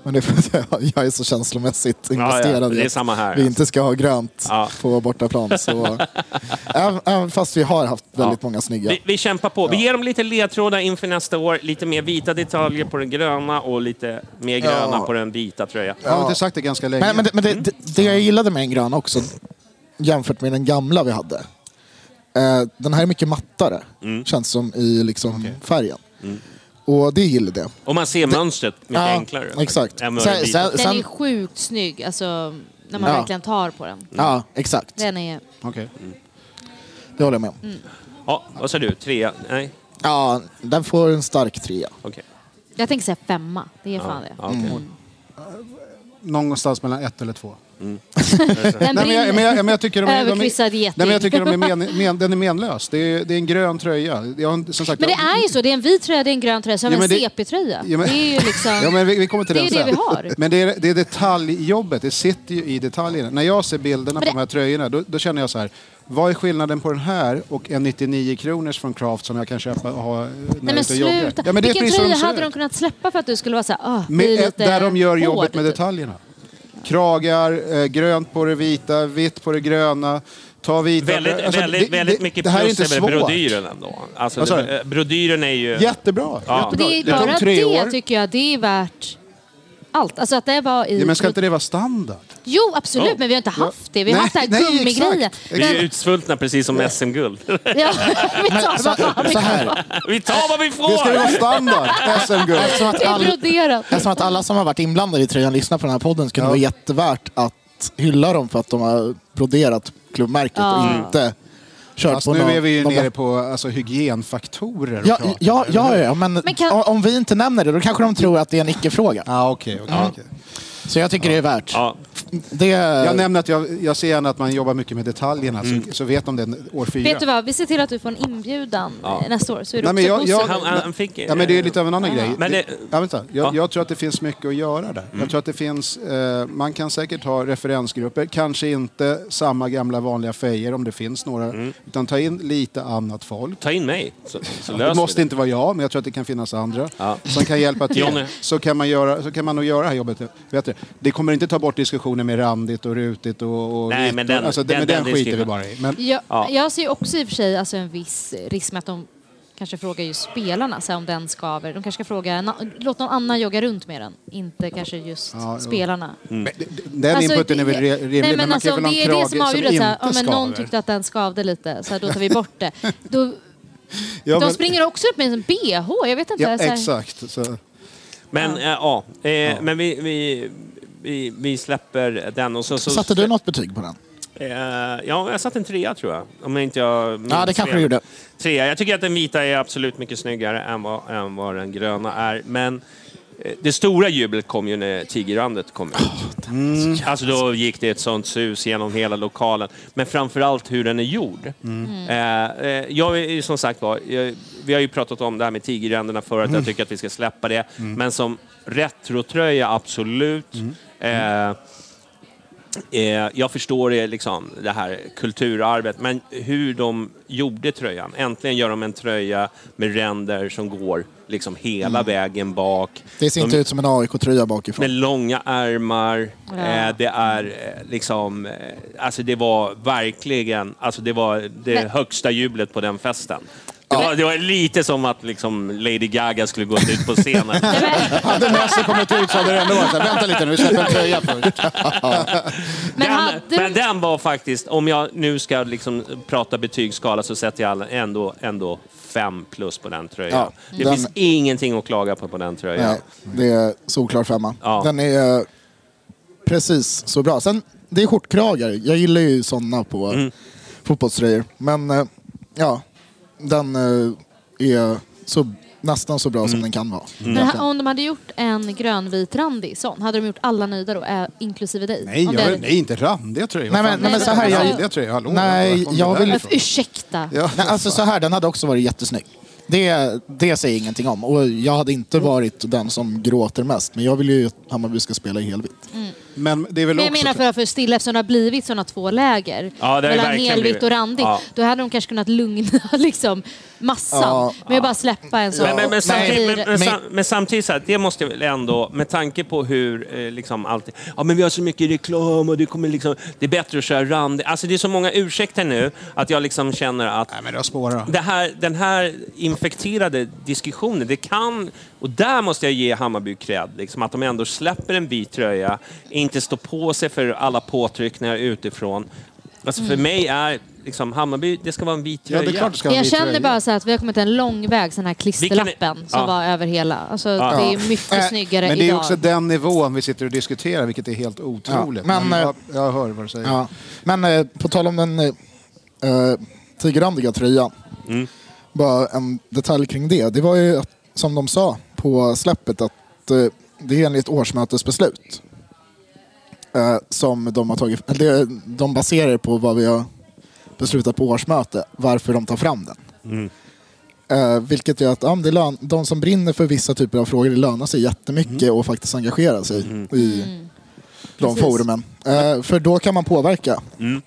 Speaker 7: Men det är för att jag, jag är så känslomässigt investerad
Speaker 3: Mm. ja, det är
Speaker 7: att
Speaker 3: samma här,
Speaker 7: vi
Speaker 3: alltså.
Speaker 7: inte ska ha grönt
Speaker 3: Ja.
Speaker 7: på bortaplan. Så, även, även fast vi har haft väldigt
Speaker 3: Ja.
Speaker 7: många snygga.
Speaker 3: Vi, vi kämpar på. Vi ger dem lite ledtrådar inför nästa år. Lite mer vita detaljer på den gröna och lite mer gröna på den vita tröjan.
Speaker 6: jag har inte sagt det ganska länge.
Speaker 7: Men, men, det- men det,
Speaker 3: Mm.
Speaker 7: det, det jag gillade med en grön också, jämfört med den gamla vi hade. Eh, den här är mycket mattare,
Speaker 3: Mm.
Speaker 7: känns som, i liksom färgen. Och det gillade jag.
Speaker 3: Och man ser mönstret mycket
Speaker 7: Ja,
Speaker 3: enklare.
Speaker 7: Exakt.
Speaker 3: Än
Speaker 7: Sen,
Speaker 3: med den
Speaker 7: sen,
Speaker 3: vita.
Speaker 7: sen,
Speaker 5: Den är sjukt snygg, alltså när man
Speaker 7: Ja.
Speaker 5: verkligen tar på den.
Speaker 7: ja, exakt.
Speaker 5: Den är...
Speaker 6: Okej. Mm.
Speaker 7: Det håller jag med om.
Speaker 5: Mm.
Speaker 3: Ja, vad sa du? Trea? Nej?
Speaker 7: Ja, den får en stark trea.
Speaker 3: Okej.
Speaker 5: Jag tänker säga femma, det är fan det.
Speaker 3: Ja, okej.
Speaker 6: Mm. Någonstans mellan ett eller två.
Speaker 5: Den
Speaker 6: Nej, men jag, men jag, men jag tycker de, de,
Speaker 5: Överkryssad
Speaker 6: nej,
Speaker 5: geting.
Speaker 6: men jag tycker de är men, men, den är menlös. Det är, det är en grön tröja. Jag, har inte- som sagt,
Speaker 5: Men det
Speaker 6: jag,
Speaker 5: är ju så, det är en vit tröja, det är en grön tröja, så har vi
Speaker 6: Ja,
Speaker 5: en
Speaker 6: men det-
Speaker 5: CP-tröja.
Speaker 6: Ja, men-
Speaker 5: Det är ju liksom...
Speaker 6: Ja, men vi, vi kommer till
Speaker 5: Det är
Speaker 6: den
Speaker 5: ju det
Speaker 6: sen.
Speaker 5: vi har.
Speaker 6: Men det är, det är detaljjobbet, det sitter ju i detaljerna. När jag ser
Speaker 5: Men
Speaker 6: bilderna på
Speaker 5: det-
Speaker 6: de här tröjorna, då, då känner jag så här. Vad är skillnaden på den här och en 99 kronors från Craft som jag kan köpa och ha eh, när jag
Speaker 5: Nej
Speaker 6: är
Speaker 5: men
Speaker 6: ute och jobbar?
Speaker 5: sluta.
Speaker 6: Ja, men det är
Speaker 5: Vilken
Speaker 6: precis som
Speaker 5: tröja
Speaker 6: ser
Speaker 5: hade
Speaker 6: ut.
Speaker 5: de kunnat släppa för att du skulle vara såhär, ah,
Speaker 6: Med,
Speaker 5: det är lite
Speaker 6: där de gör
Speaker 5: hård",
Speaker 6: jobbet med
Speaker 5: typ.
Speaker 6: detaljerna. Kragar, eh, grönt på det vita, vitt på det gröna. Ta vita...
Speaker 3: Väldigt,
Speaker 6: alltså,
Speaker 3: väldigt,
Speaker 6: det-
Speaker 3: väldigt
Speaker 6: det-
Speaker 3: mycket
Speaker 6: det här är
Speaker 3: plus
Speaker 6: inte
Speaker 3: över
Speaker 6: svårt.
Speaker 3: brodyren ändå. Alltså,
Speaker 6: Vad sa
Speaker 3: det- brodyren är ju...
Speaker 6: Jättebra.
Speaker 3: Ja.
Speaker 5: Och det är
Speaker 6: tog
Speaker 5: bara
Speaker 6: tre
Speaker 5: det
Speaker 6: år.
Speaker 5: tycker jag, det är värt allt. Alltså att det var i...
Speaker 6: Ja, men ska inte det vara standard?
Speaker 5: Jo absolut, men vi har inte haft det. Vi har
Speaker 6: Nej,
Speaker 5: haft det här
Speaker 6: nej,
Speaker 5: gummigrejen.
Speaker 6: exakt.
Speaker 3: Vi är
Speaker 5: Men-
Speaker 3: utsvultna precis som SM-guld.
Speaker 5: Ja, vi tar vad fan vi
Speaker 7: Så
Speaker 5: kan.
Speaker 7: här,
Speaker 3: Vi tar vad vi
Speaker 6: Det ska ju vara
Speaker 3: får!
Speaker 6: standard, SM-guld.
Speaker 7: eftersom, att
Speaker 5: Det är
Speaker 7: all,
Speaker 5: broderat.
Speaker 7: eftersom att alla som har varit inblandade i tröjan lyssnar på den här podden så kan det vara jättevärt att hylla dem för att de har broderat klubbmärket
Speaker 5: Ja.
Speaker 7: och inte kört
Speaker 6: Fast
Speaker 7: på
Speaker 6: nu
Speaker 7: någon,
Speaker 6: är vi ju
Speaker 7: någon-
Speaker 6: nere på alltså, hygienfaktorer och
Speaker 7: Ja,
Speaker 6: pratar.
Speaker 7: ja, ja, ja men,
Speaker 5: Men kan-
Speaker 7: o- om vi inte nämner det då kanske de tror att det är en icke-fråga.
Speaker 6: Ah, okej, okej, okej.
Speaker 7: Så jag tycker det är värt.
Speaker 3: Ja,
Speaker 7: Det,
Speaker 6: Jag nämnde att jag, jag ser gärna att man jobbar mycket med detaljerna,
Speaker 3: Mm.
Speaker 6: så, så vet de det år fyra.
Speaker 5: Vet du vad, vi ser till att du får en inbjudan eh, nästa år så är du
Speaker 6: Nej, men
Speaker 5: också
Speaker 6: jag- jag-
Speaker 5: positiv.
Speaker 3: han, han fick...
Speaker 6: Ja, men det är lite av en annan grej.
Speaker 3: Men det-
Speaker 6: det, ja, vänta. Jag,
Speaker 3: Ja. Mm.
Speaker 6: jag tror att det finns mycket att göra där. Jag tror att det finns, eh, man kan säkert ha referensgrupper, kanske inte samma gamla vanliga fejer om det finns några, utan ta in lite annat folk.
Speaker 3: Ta in mig, så, Mm. så löser
Speaker 6: Det måste
Speaker 3: vi
Speaker 6: inte vara jag, men jag tror att det kan finnas andra
Speaker 3: Ja.
Speaker 6: som kan hjälpa
Speaker 3: Johnny.
Speaker 6: till. Så kan, man göra, så kan man nog göra det här jobbet bättre. Det kommer inte ta bort diskussionen med randigt och rutigt och... och
Speaker 3: Nej,
Speaker 6: vitt
Speaker 3: men den-
Speaker 6: och, alltså, det-
Speaker 3: den-
Speaker 6: men
Speaker 3: den
Speaker 6: den, skiter vi
Speaker 3: diskussionen.
Speaker 6: bara i. Men,
Speaker 5: Jag,
Speaker 3: Ja.
Speaker 5: jag ser ju också i och för sig alltså en viss risk med att de kanske frågar ju spelarna så här, om den skaver. De kanske ska fråga, na, låt någon annan jogga runt med den. Inte kanske just
Speaker 6: Ja, jo.
Speaker 5: spelarna.
Speaker 6: men d- d- den
Speaker 5: Alltså,
Speaker 6: inputen är väl
Speaker 5: det-
Speaker 6: re- rimlig,
Speaker 5: nej, men,
Speaker 6: men man
Speaker 5: alltså,
Speaker 6: kan
Speaker 5: om
Speaker 6: väl ha
Speaker 5: det
Speaker 6: en
Speaker 5: är det
Speaker 6: krage
Speaker 5: som avgjorde
Speaker 6: inte
Speaker 5: så här, ja, men
Speaker 6: skaver.
Speaker 5: någon tyckte att den skavde lite, så här, då tar vi bort det. Då,
Speaker 6: Ja,
Speaker 5: de
Speaker 6: men-
Speaker 5: springer också upp med en bh, jag vet inte.
Speaker 6: Ja,
Speaker 5: så här,
Speaker 6: exakt. Så.
Speaker 3: Men eh, ja, eh, men vi, vi, vi, vi släpper den. Och så, så,
Speaker 7: satte du något betyg på den?
Speaker 3: Eh, ja, jag satte en trea tror jag. Om inte jag minns
Speaker 7: Ja, det kanske du gjorde.
Speaker 3: Trea. Jag tycker att den vita är absolut mycket snyggare än vad, än vad den gröna är. Men eh, det stora jublet kom ju när Tigerrandet kom ut. Alltså då gick det ett sånt sus genom hela lokalen. Men framförallt hur den är gjord. Eh, eh, jag är ju som sagt var, jag, vi har ju pratat om det här med Tigerränderna förut, jag tycker att vi ska släppa det. Men som retrotröja, absolut. Eh, Eh, jag förstår det, liksom, det här kulturarvet, men hur de gjorde tröjan. Äntligen gör de en tröja med ränder som går liksom hela vägen bak.
Speaker 7: Det ser
Speaker 3: de,
Speaker 7: inte ut som en AIK-tröja
Speaker 3: Med
Speaker 7: bakifrån.
Speaker 3: långa ärmar.
Speaker 5: Ja.
Speaker 3: Eh, det är eh, liksom... Eh, alltså det var verkligen... Alltså det var det
Speaker 5: Men-
Speaker 3: högsta jublet på den festen. Det var, det var lite som att liksom Lady Gaga skulle gå ut på scenen.
Speaker 6: Hade Messi kommit ut så hade det ändå varit så här, vänta lite nu, vi släpper en tröja först.
Speaker 5: Men
Speaker 3: den,
Speaker 5: hade
Speaker 3: men
Speaker 5: du...
Speaker 3: den var faktiskt, om jag nu ska liksom prata betygsskala så sätter jag alla- ändå, ändå fem plus på den tröjan.
Speaker 7: Ja,
Speaker 3: det
Speaker 7: den-
Speaker 3: finns ingenting att klaga på på den tröjan.
Speaker 7: Nej, det är solklar femma.
Speaker 3: Ja.
Speaker 7: Den är eh, precis så bra. Sen, det är skjortkragar. Jag gillar ju sådana på fotbollströjor. Men eh, ja, den eh, är så, nästan så bra som den kan vara.
Speaker 5: Men ha- om de hade gjort en grönvit randig sån, hade de gjort alla nöjda då, ä- inklusive dig?
Speaker 6: Nej,
Speaker 5: Om
Speaker 6: jag,
Speaker 5: det-
Speaker 6: nej, inte randiga tröjor.
Speaker 7: Nej, men-
Speaker 6: Fan,
Speaker 7: nej, men så här, jag-
Speaker 6: Randiga tröjor, hallå.
Speaker 7: Nej,
Speaker 6: Var kom
Speaker 7: jag
Speaker 6: det
Speaker 7: vill-
Speaker 6: där
Speaker 5: Ja,
Speaker 6: ifrån?
Speaker 5: Ursäkta.
Speaker 6: Ja.
Speaker 7: Nej, alltså så här, den hade också varit jättesnygg. Det, det säger ingenting om. Och jag hade inte varit den som gråter mest. Men jag vill ju att Hammarby ska spela i helvitt.
Speaker 6: Men det är väl
Speaker 5: Men jag
Speaker 6: också...
Speaker 5: menar för att förstilla, eftersom det har blivit sådana två läger
Speaker 3: det har ju
Speaker 5: mellan
Speaker 3: verkligen
Speaker 5: helvitt
Speaker 3: blivit.
Speaker 5: och randigt,
Speaker 3: Ja.
Speaker 5: då hade de kanske kunnat lugna liksom, massan
Speaker 7: Ja.
Speaker 5: med att bara släppa en sån.
Speaker 3: Men, men, men, samtidigt, men,
Speaker 5: satir.
Speaker 3: men, sam, men samtidigt, så här, det måste väl ändå, med tanke på hur eh, liksom allt... Ja, men vi har så mycket reklam och det kommer liksom... Det är bättre att köra rand... Alltså det är så många ursäkter nu att jag liksom känner att
Speaker 6: Nej, men det har spårat.
Speaker 3: det här, den här infekterade diskussionen, det kan... Och där måste jag ge Hammarby cred, liksom, att de ändå släpper en vit tröja, inte står på sig för alla påtryckningar utifrån. Alltså för mig är liksom, Hammarby, det ska vara en vit
Speaker 6: Ja,
Speaker 3: tröja.
Speaker 6: det är klart det ska vara
Speaker 5: Jag
Speaker 6: vit
Speaker 5: känner
Speaker 6: tröja.
Speaker 5: bara så här att vi har kommit en lång väg sen den här klisterlappen som
Speaker 3: ja.
Speaker 5: var över hela. Alltså, Det är mycket
Speaker 6: Äh,
Speaker 5: snyggare
Speaker 6: Men det är
Speaker 5: idag.
Speaker 6: också den nivån vi sitter och diskuterar, vilket är helt otroligt.
Speaker 7: Ja, men,
Speaker 6: jag,
Speaker 7: eh,
Speaker 6: jag hör vad du säger.
Speaker 7: Ja. Men eh, på tal om den eh, eh, tigerrandiga tröjan. Bara en detalj kring det. Det var ju att, som de sa på släppet att eh, det är enligt årsmötesbeslut. Eh, som de har tagit, eller det- de baserar på vad vi har beslutat på årsmöte, varför de tar fram den. Eh, vilket gör att ja, men det lön, de som brinner för vissa typer av frågor, det lönar sig jättemycket
Speaker 6: Mm.
Speaker 7: och faktiskt engagera sig i de forumen. Eh, för då kan man påverka.
Speaker 6: Mm.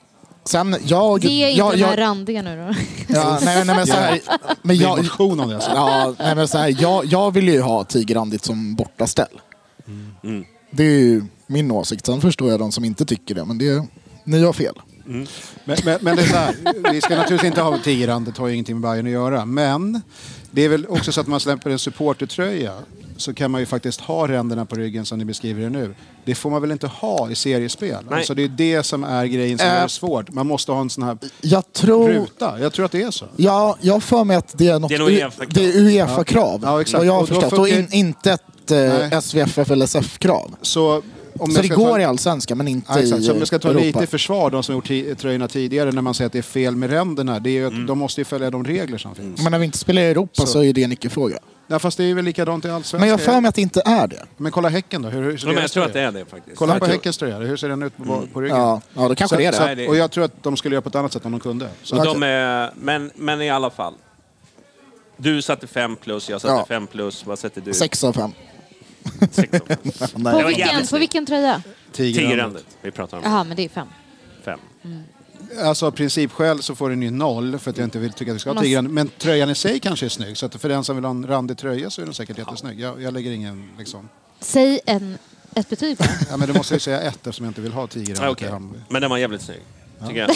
Speaker 7: Sen, jag...
Speaker 5: Ge inte
Speaker 7: jag,
Speaker 5: de här
Speaker 7: jag,
Speaker 5: randiga nu då.
Speaker 7: ja, nej, nej, men så här, men
Speaker 6: Det är en
Speaker 7: jag,
Speaker 6: motion om det. Alltså.
Speaker 7: ja, nej, men så här, jag, jag vill ju ha Tigerrandigt som bortaställ.
Speaker 6: Mm.
Speaker 7: Det är ju min åsikt. Sen förstår jag de som inte tycker det, men det, ni har fel.
Speaker 6: Men, men, men det är så här, vi ska naturligtvis inte ha Tigran, det har ju ingenting med Bayern att göra. Men det är väl också så att man släpper en supportertröja så kan man ju faktiskt ha ränderna på ryggen som ni beskriver det nu. Det får man väl inte ha i seriespel?
Speaker 3: Nej. Äh.
Speaker 6: Alltså det är det som är grejen som är svårt. Man måste ha en sån här
Speaker 7: Jag tror...
Speaker 6: ruta. Jag tror att det är så.
Speaker 7: Ja, jag har för mig att det är något
Speaker 3: Det är nog UEFA-krav.
Speaker 7: det är UEFA-krav.
Speaker 6: Ja, exakt.
Speaker 7: Vad jag har
Speaker 6: Och då
Speaker 7: förstått.
Speaker 6: funkar-
Speaker 7: Och in, inte ett
Speaker 6: Nej.
Speaker 7: eh, SVFF eller SF-krav.
Speaker 6: Så, om
Speaker 7: Så
Speaker 6: jag
Speaker 7: det
Speaker 6: ska
Speaker 7: går
Speaker 6: ta...
Speaker 7: i Allsvenskan, men inte
Speaker 6: Ja, exakt.
Speaker 7: i
Speaker 6: Så om jag ska ta
Speaker 7: Europa.
Speaker 6: lite i försvar, de som har gjort ti- tröjorna tidigare, när man säger att det är fel med ränderna, det är ju
Speaker 3: Mm.
Speaker 6: att de måste ju följa de regler som finns.
Speaker 7: Men när vi inte spelar i Europa så,
Speaker 6: Så
Speaker 7: är det en icke-fråga.
Speaker 6: Ja, fast det är väl likadant i allsvenskan.
Speaker 7: Men jag har för mig att det inte är det.
Speaker 6: Men kolla Häcken då. Hur, hur ser
Speaker 3: Ja, men jag
Speaker 6: deras
Speaker 3: tror
Speaker 6: tröja
Speaker 3: att det är det faktiskt.
Speaker 6: Kolla
Speaker 3: Jag
Speaker 6: på
Speaker 3: tror-
Speaker 6: Häckens tröja, hur ser den ut på,
Speaker 3: Mm.
Speaker 6: på ryggen?
Speaker 7: Ja, ja då kanske
Speaker 6: så,
Speaker 7: det är det.
Speaker 6: Så,
Speaker 3: Nej, det är-
Speaker 6: och jag tror att de skulle göra på ett annat sätt om de kunde. Så,
Speaker 3: Och de är, men, men i alla fall. Du satte fem plus, jag satte
Speaker 7: Ja.
Speaker 3: fem plus. Vad sätter du?
Speaker 7: Sex av fem.
Speaker 3: Sex och fem.
Speaker 5: På
Speaker 3: var
Speaker 5: vilken,
Speaker 3: jävligt
Speaker 5: på vilken tröja?
Speaker 3: Tigerrandet. Vi pratar om
Speaker 5: Jaha, men det är fem.
Speaker 3: fem.
Speaker 6: Alltså av principskäl så får den ju noll för att jag inte vill tycka att vi ska ha
Speaker 5: Man-
Speaker 6: tigrande. Men tröjan i sig kanske är snygg. Så att för den som vill ha en randig tröja så är den säkert jättesnygg. Jag, jag lägger ingen liksom...
Speaker 5: Säg en, ett betyg bara.
Speaker 6: Ja, men du måste ju säga ett eftersom jag inte vill ha
Speaker 3: Ah,
Speaker 6: tigrande.
Speaker 3: okej. Men den var jävligt snygg. Tycker jag.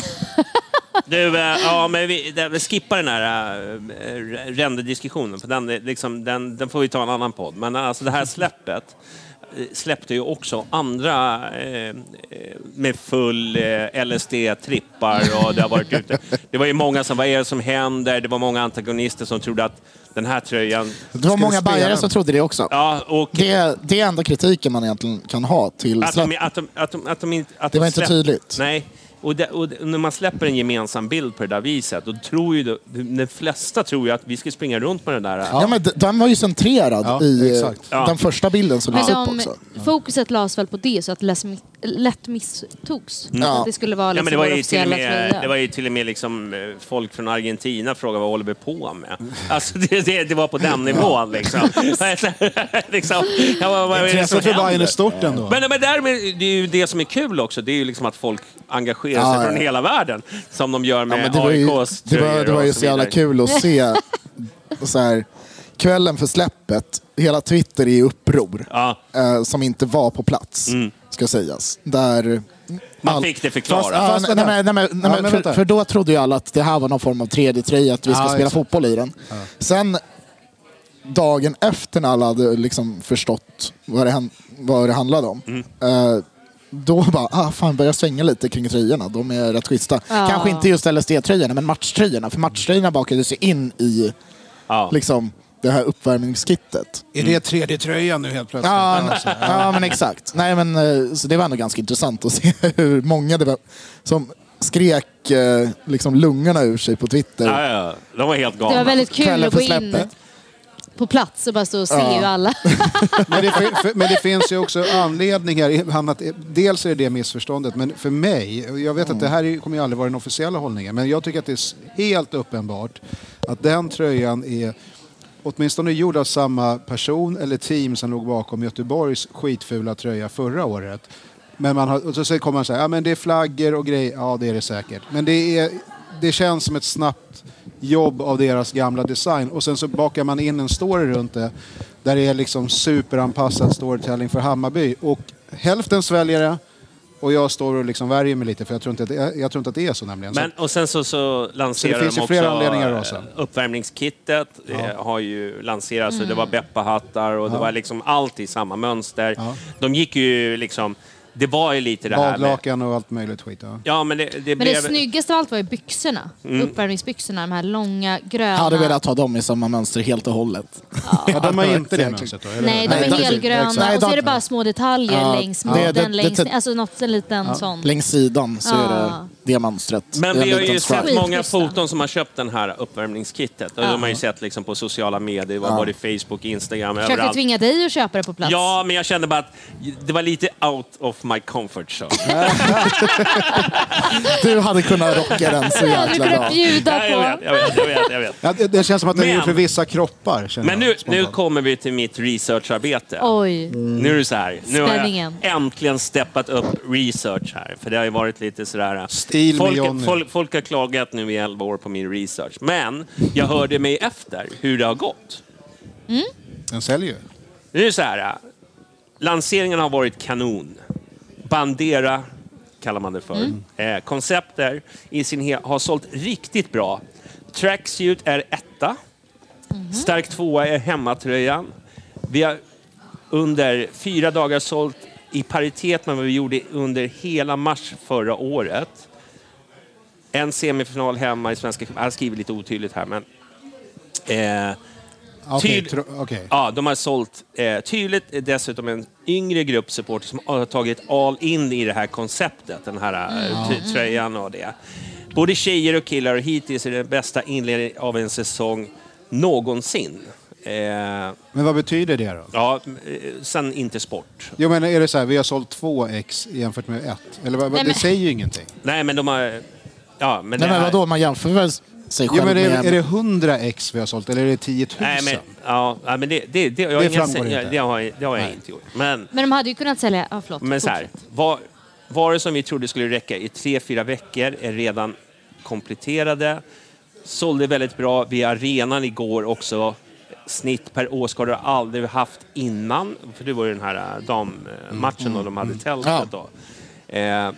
Speaker 3: Du, eh, ja, men vi, där- vi skippar den här äh, rändediskussionen. För den, är liksom, den, den får vi ta i en annan podd. Men alltså det här släppet eh, släppte ju också andra eh, eh, med full eh, LSD-trippar och det har varit ute. Det var ju många som, vad är det som händer? Det var många antagonister som trodde att den här tröjan...
Speaker 7: Det var
Speaker 6: Ska
Speaker 7: många
Speaker 6: vi spela
Speaker 7: bajare
Speaker 6: den?
Speaker 7: som trodde det också.
Speaker 3: Ja, och
Speaker 7: Det, det är enda kritiken man egentligen kan ha till
Speaker 3: Att de, att de, att de, att de inte, att
Speaker 7: Det var
Speaker 3: de
Speaker 7: inte
Speaker 3: släpp-
Speaker 7: tydligt.
Speaker 3: Nej. Och, det, och det- när man släpper en gemensam bild på det där viset, då tror ju de, de flesta tror ju att vi ska springa runt med den där.
Speaker 7: Ja, men d- den var ju centrerad
Speaker 6: Ja,
Speaker 7: i eh,
Speaker 6: exakt.
Speaker 3: Ja.
Speaker 7: den första bilden som
Speaker 5: Men
Speaker 7: lades upp
Speaker 5: de,
Speaker 7: också.
Speaker 5: fokuset lades väl på det så att läs, lätt misstogs. Att det skulle vara
Speaker 3: Ja,
Speaker 5: liksom
Speaker 3: men det var
Speaker 5: vår
Speaker 3: ju till och
Speaker 5: officiella
Speaker 3: med,
Speaker 5: tröja.
Speaker 3: det var ju till och med liksom eh, folk från Argentina frågade vad håller vi på med? Alltså, det, det, det var på den nivån liksom. liksom ja, vad, vad är det som
Speaker 6: Intresset för Bayern är
Speaker 3: händer?
Speaker 6: stort ändå.
Speaker 3: Men, men därmed, det är ju det som är kul också, det är ju liksom att folk engagerar sig
Speaker 7: Ja, ja.
Speaker 3: från hela världen. Som de gör
Speaker 7: Ja,
Speaker 3: med
Speaker 7: men det, var ju,
Speaker 3: AIKs
Speaker 7: det, var, det
Speaker 3: tröjor
Speaker 7: var ju
Speaker 3: och
Speaker 7: så jävla
Speaker 3: vidare.
Speaker 7: kul att se så här, kvällen för släppet. Hela Twitter är i uppror
Speaker 3: Ja. Mm.
Speaker 7: eh, som inte var på plats, ska sägas. Där
Speaker 3: Man
Speaker 7: all-
Speaker 3: fick det förklarat.
Speaker 7: Fast- ja,
Speaker 6: Fast
Speaker 7: nej, nej,
Speaker 6: vänta.
Speaker 7: nej, nej,
Speaker 6: Ja,
Speaker 7: nej,
Speaker 6: men
Speaker 7: för,
Speaker 6: vänta.
Speaker 7: för då trodde ju alla att det här var någon form av 3D-tröja, att vi ska
Speaker 6: Ja,
Speaker 7: spela
Speaker 6: exakt.
Speaker 7: fotboll i den. Sen dagen efter när alla hade liksom förstått vad det, hän- vad det handlade om.
Speaker 3: Mm.
Speaker 7: Eh, då bara, ah, fan börjar svänga lite kring tröjorna. De är rätt schyssta. Kanske inte just LSD-tröjorna, men matchtröjorna. För matchtröjorna bakades ju in i
Speaker 3: Ja.
Speaker 7: liksom, det här uppvärmningskittet.
Speaker 6: Är det tredje tröjan nu helt plötsligt?
Speaker 7: Ja, men, ja, men exakt. Nej, men, eh, så det var ändå ganska intressant att se hur många det var som skrek eh, liksom, lungorna ur sig på Twitter.
Speaker 3: Ja, ja, ja. De var helt galna.
Speaker 5: Det var väldigt kul
Speaker 7: Kvällen
Speaker 5: att gå
Speaker 7: för
Speaker 5: in
Speaker 7: släppet.
Speaker 5: på plats och bara stå och se hur alla...
Speaker 6: men, det, fin- för- men det finns ju också anledningar. Annat, dels är det det missförståndet, men för mig, och jag vet att det här är- kommer ju aldrig vara den officiella hållningen, men jag tycker att det är s- helt uppenbart att den tröjan är åtminstone gjord av samma person eller team som låg bakom Göteborgs skitfula tröja förra året. Men man har, och så- så kommer man säga, ja men det är flaggor och grejer. Ja, det är det säkert. Men det, är, det känns som ett snabbt jobb av deras gamla design. Och sen så bakar man in en story runt det. Där det är liksom superanpassad storytelling för Hammarby. Och hälften sväljer det. Och jag står och liksom värjer mig lite för jag tror inte att det är, jag tror inte att det är så nämligen.
Speaker 3: Men, och sen så, så lanserade
Speaker 6: Så det finns
Speaker 3: de
Speaker 6: ju
Speaker 3: också
Speaker 6: flera anledningar då sen.
Speaker 3: eh, uppvärmningskittet. Det har ju lanserats och det var Beppa-hattar och det var liksom allt i samma mönster.
Speaker 6: Ja.
Speaker 3: De gick ju liksom... Det var ju lite det
Speaker 6: så,
Speaker 3: här med...
Speaker 6: badlakan och allt möjligt skit. Ja.
Speaker 3: Ja, men det, det
Speaker 5: Men
Speaker 3: blev...
Speaker 5: det snyggaste av allt var ju byxorna. Uppvärmningsbyxorna, de här långa gröna.
Speaker 8: Jag Mm. hade velat ha dem i samma mönster helt och hållet.
Speaker 6: Ja, de har inte det
Speaker 8: Exakt.
Speaker 6: mönstret då? eller?
Speaker 5: Nej, de
Speaker 8: Nej,
Speaker 5: är
Speaker 8: de-
Speaker 5: helgröna
Speaker 8: Nej,
Speaker 5: och så
Speaker 8: de-
Speaker 5: är det bara små detaljer längs
Speaker 8: det-
Speaker 5: mitten,
Speaker 8: det-
Speaker 5: längs
Speaker 8: det-
Speaker 5: alltså något, en liten sån.
Speaker 8: Längs sidan så är det
Speaker 5: Ja.
Speaker 8: det mönstret.
Speaker 3: Men
Speaker 8: Det är en
Speaker 3: vi har ju
Speaker 8: liten stripe.
Speaker 3: sett många
Speaker 5: Skitschyssta.
Speaker 3: foton som har köpt den här uppvärmningskittet. Och de har ju sett liksom på sociala medier, ja. både Facebook, Instagram,
Speaker 5: Försökte
Speaker 3: överallt.
Speaker 5: tvinga dig att köpa det på plats.
Speaker 3: Ja, men jag kände bara att det var lite out of my comfort zone.
Speaker 8: Du hade kunnat rocka den så
Speaker 5: det hade du
Speaker 8: jäkla bra.
Speaker 5: kunnat bjuda
Speaker 3: Nej, jag vet,
Speaker 5: på.
Speaker 3: jag vet, jag vet, jag vet.
Speaker 6: Ja, det, det känns som att den är
Speaker 3: Men-
Speaker 6: gjord för vissa kroppar. känner
Speaker 3: Men
Speaker 6: jag
Speaker 3: nu, nu
Speaker 6: spontant.
Speaker 3: kommer vi till mitt researcharbete.
Speaker 5: Oj.
Speaker 3: Nu är det så här. Nu har jag
Speaker 5: Spänningen.
Speaker 3: äntligen steppat upp research här. För det har ju varit lite sådär...
Speaker 6: Stil med
Speaker 3: folk,
Speaker 6: Johnny.
Speaker 3: folk, folk har klagat nu i 11 år på min research. Men jag hörde mig efter hur det har gått.
Speaker 6: Den säljer ju.
Speaker 3: Nu är det så här. äh, Lanseringen har varit kanon. Bandera kallar man det för. Eh, koncepter i sin hel- har sålt riktigt bra. Tracksuit är etta. Stark tvåa är hemmatröjan. Vi har under fyra dagar sålt i paritet med vad vi gjorde under hela mars förra året. En semifinal hemma i Svenska cupen. Jag skriver lite otydligt här, men... Eh,
Speaker 6: Okej.
Speaker 3: Tyd-
Speaker 6: tro- okej.
Speaker 3: Ja, de har sålt eh, tydligt eh, dessutom en yngre grupp supporter som har tagit all in i det här konceptet, den här eh, ty- tröjan och det. Både tjejer och killar och hittills är det bästa inledningen av en säsong någonsin. Eh,
Speaker 6: Men vad betyder det då?
Speaker 3: ja, eh, sen inte sport.
Speaker 6: Jo men är det så här, vi har sålt två ex jämfört med ett? Eller vad, vad-
Speaker 5: Nej,
Speaker 6: det
Speaker 5: men-
Speaker 6: säger ju ingenting.
Speaker 3: Nej, men de har... Ja, men
Speaker 8: Nej
Speaker 3: det
Speaker 8: men
Speaker 3: här-
Speaker 8: vadå, man jämför väl sig själv
Speaker 6: Jo men är,
Speaker 8: med...
Speaker 6: är det hundra ex vi har sålt eller är det 10 000?
Speaker 3: Nej, men, ja, ja, men det, det, det, jag har
Speaker 6: Det
Speaker 3: inga-
Speaker 6: framgår inte.
Speaker 3: ja, det har jag, det har jag inte gjort. Men,
Speaker 5: Men de hade ju kunnat sälja... Ja, förlåt.
Speaker 3: Men så här, var, varor som vi trodde skulle räcka i tre, fyra veckor är redan kompletterade. Sålde väldigt bra vid arenan igår också. Snitt per åskådare har aldrig haft innan. För det var ju den här eh, dammatchen och de hade tältet då. Eh,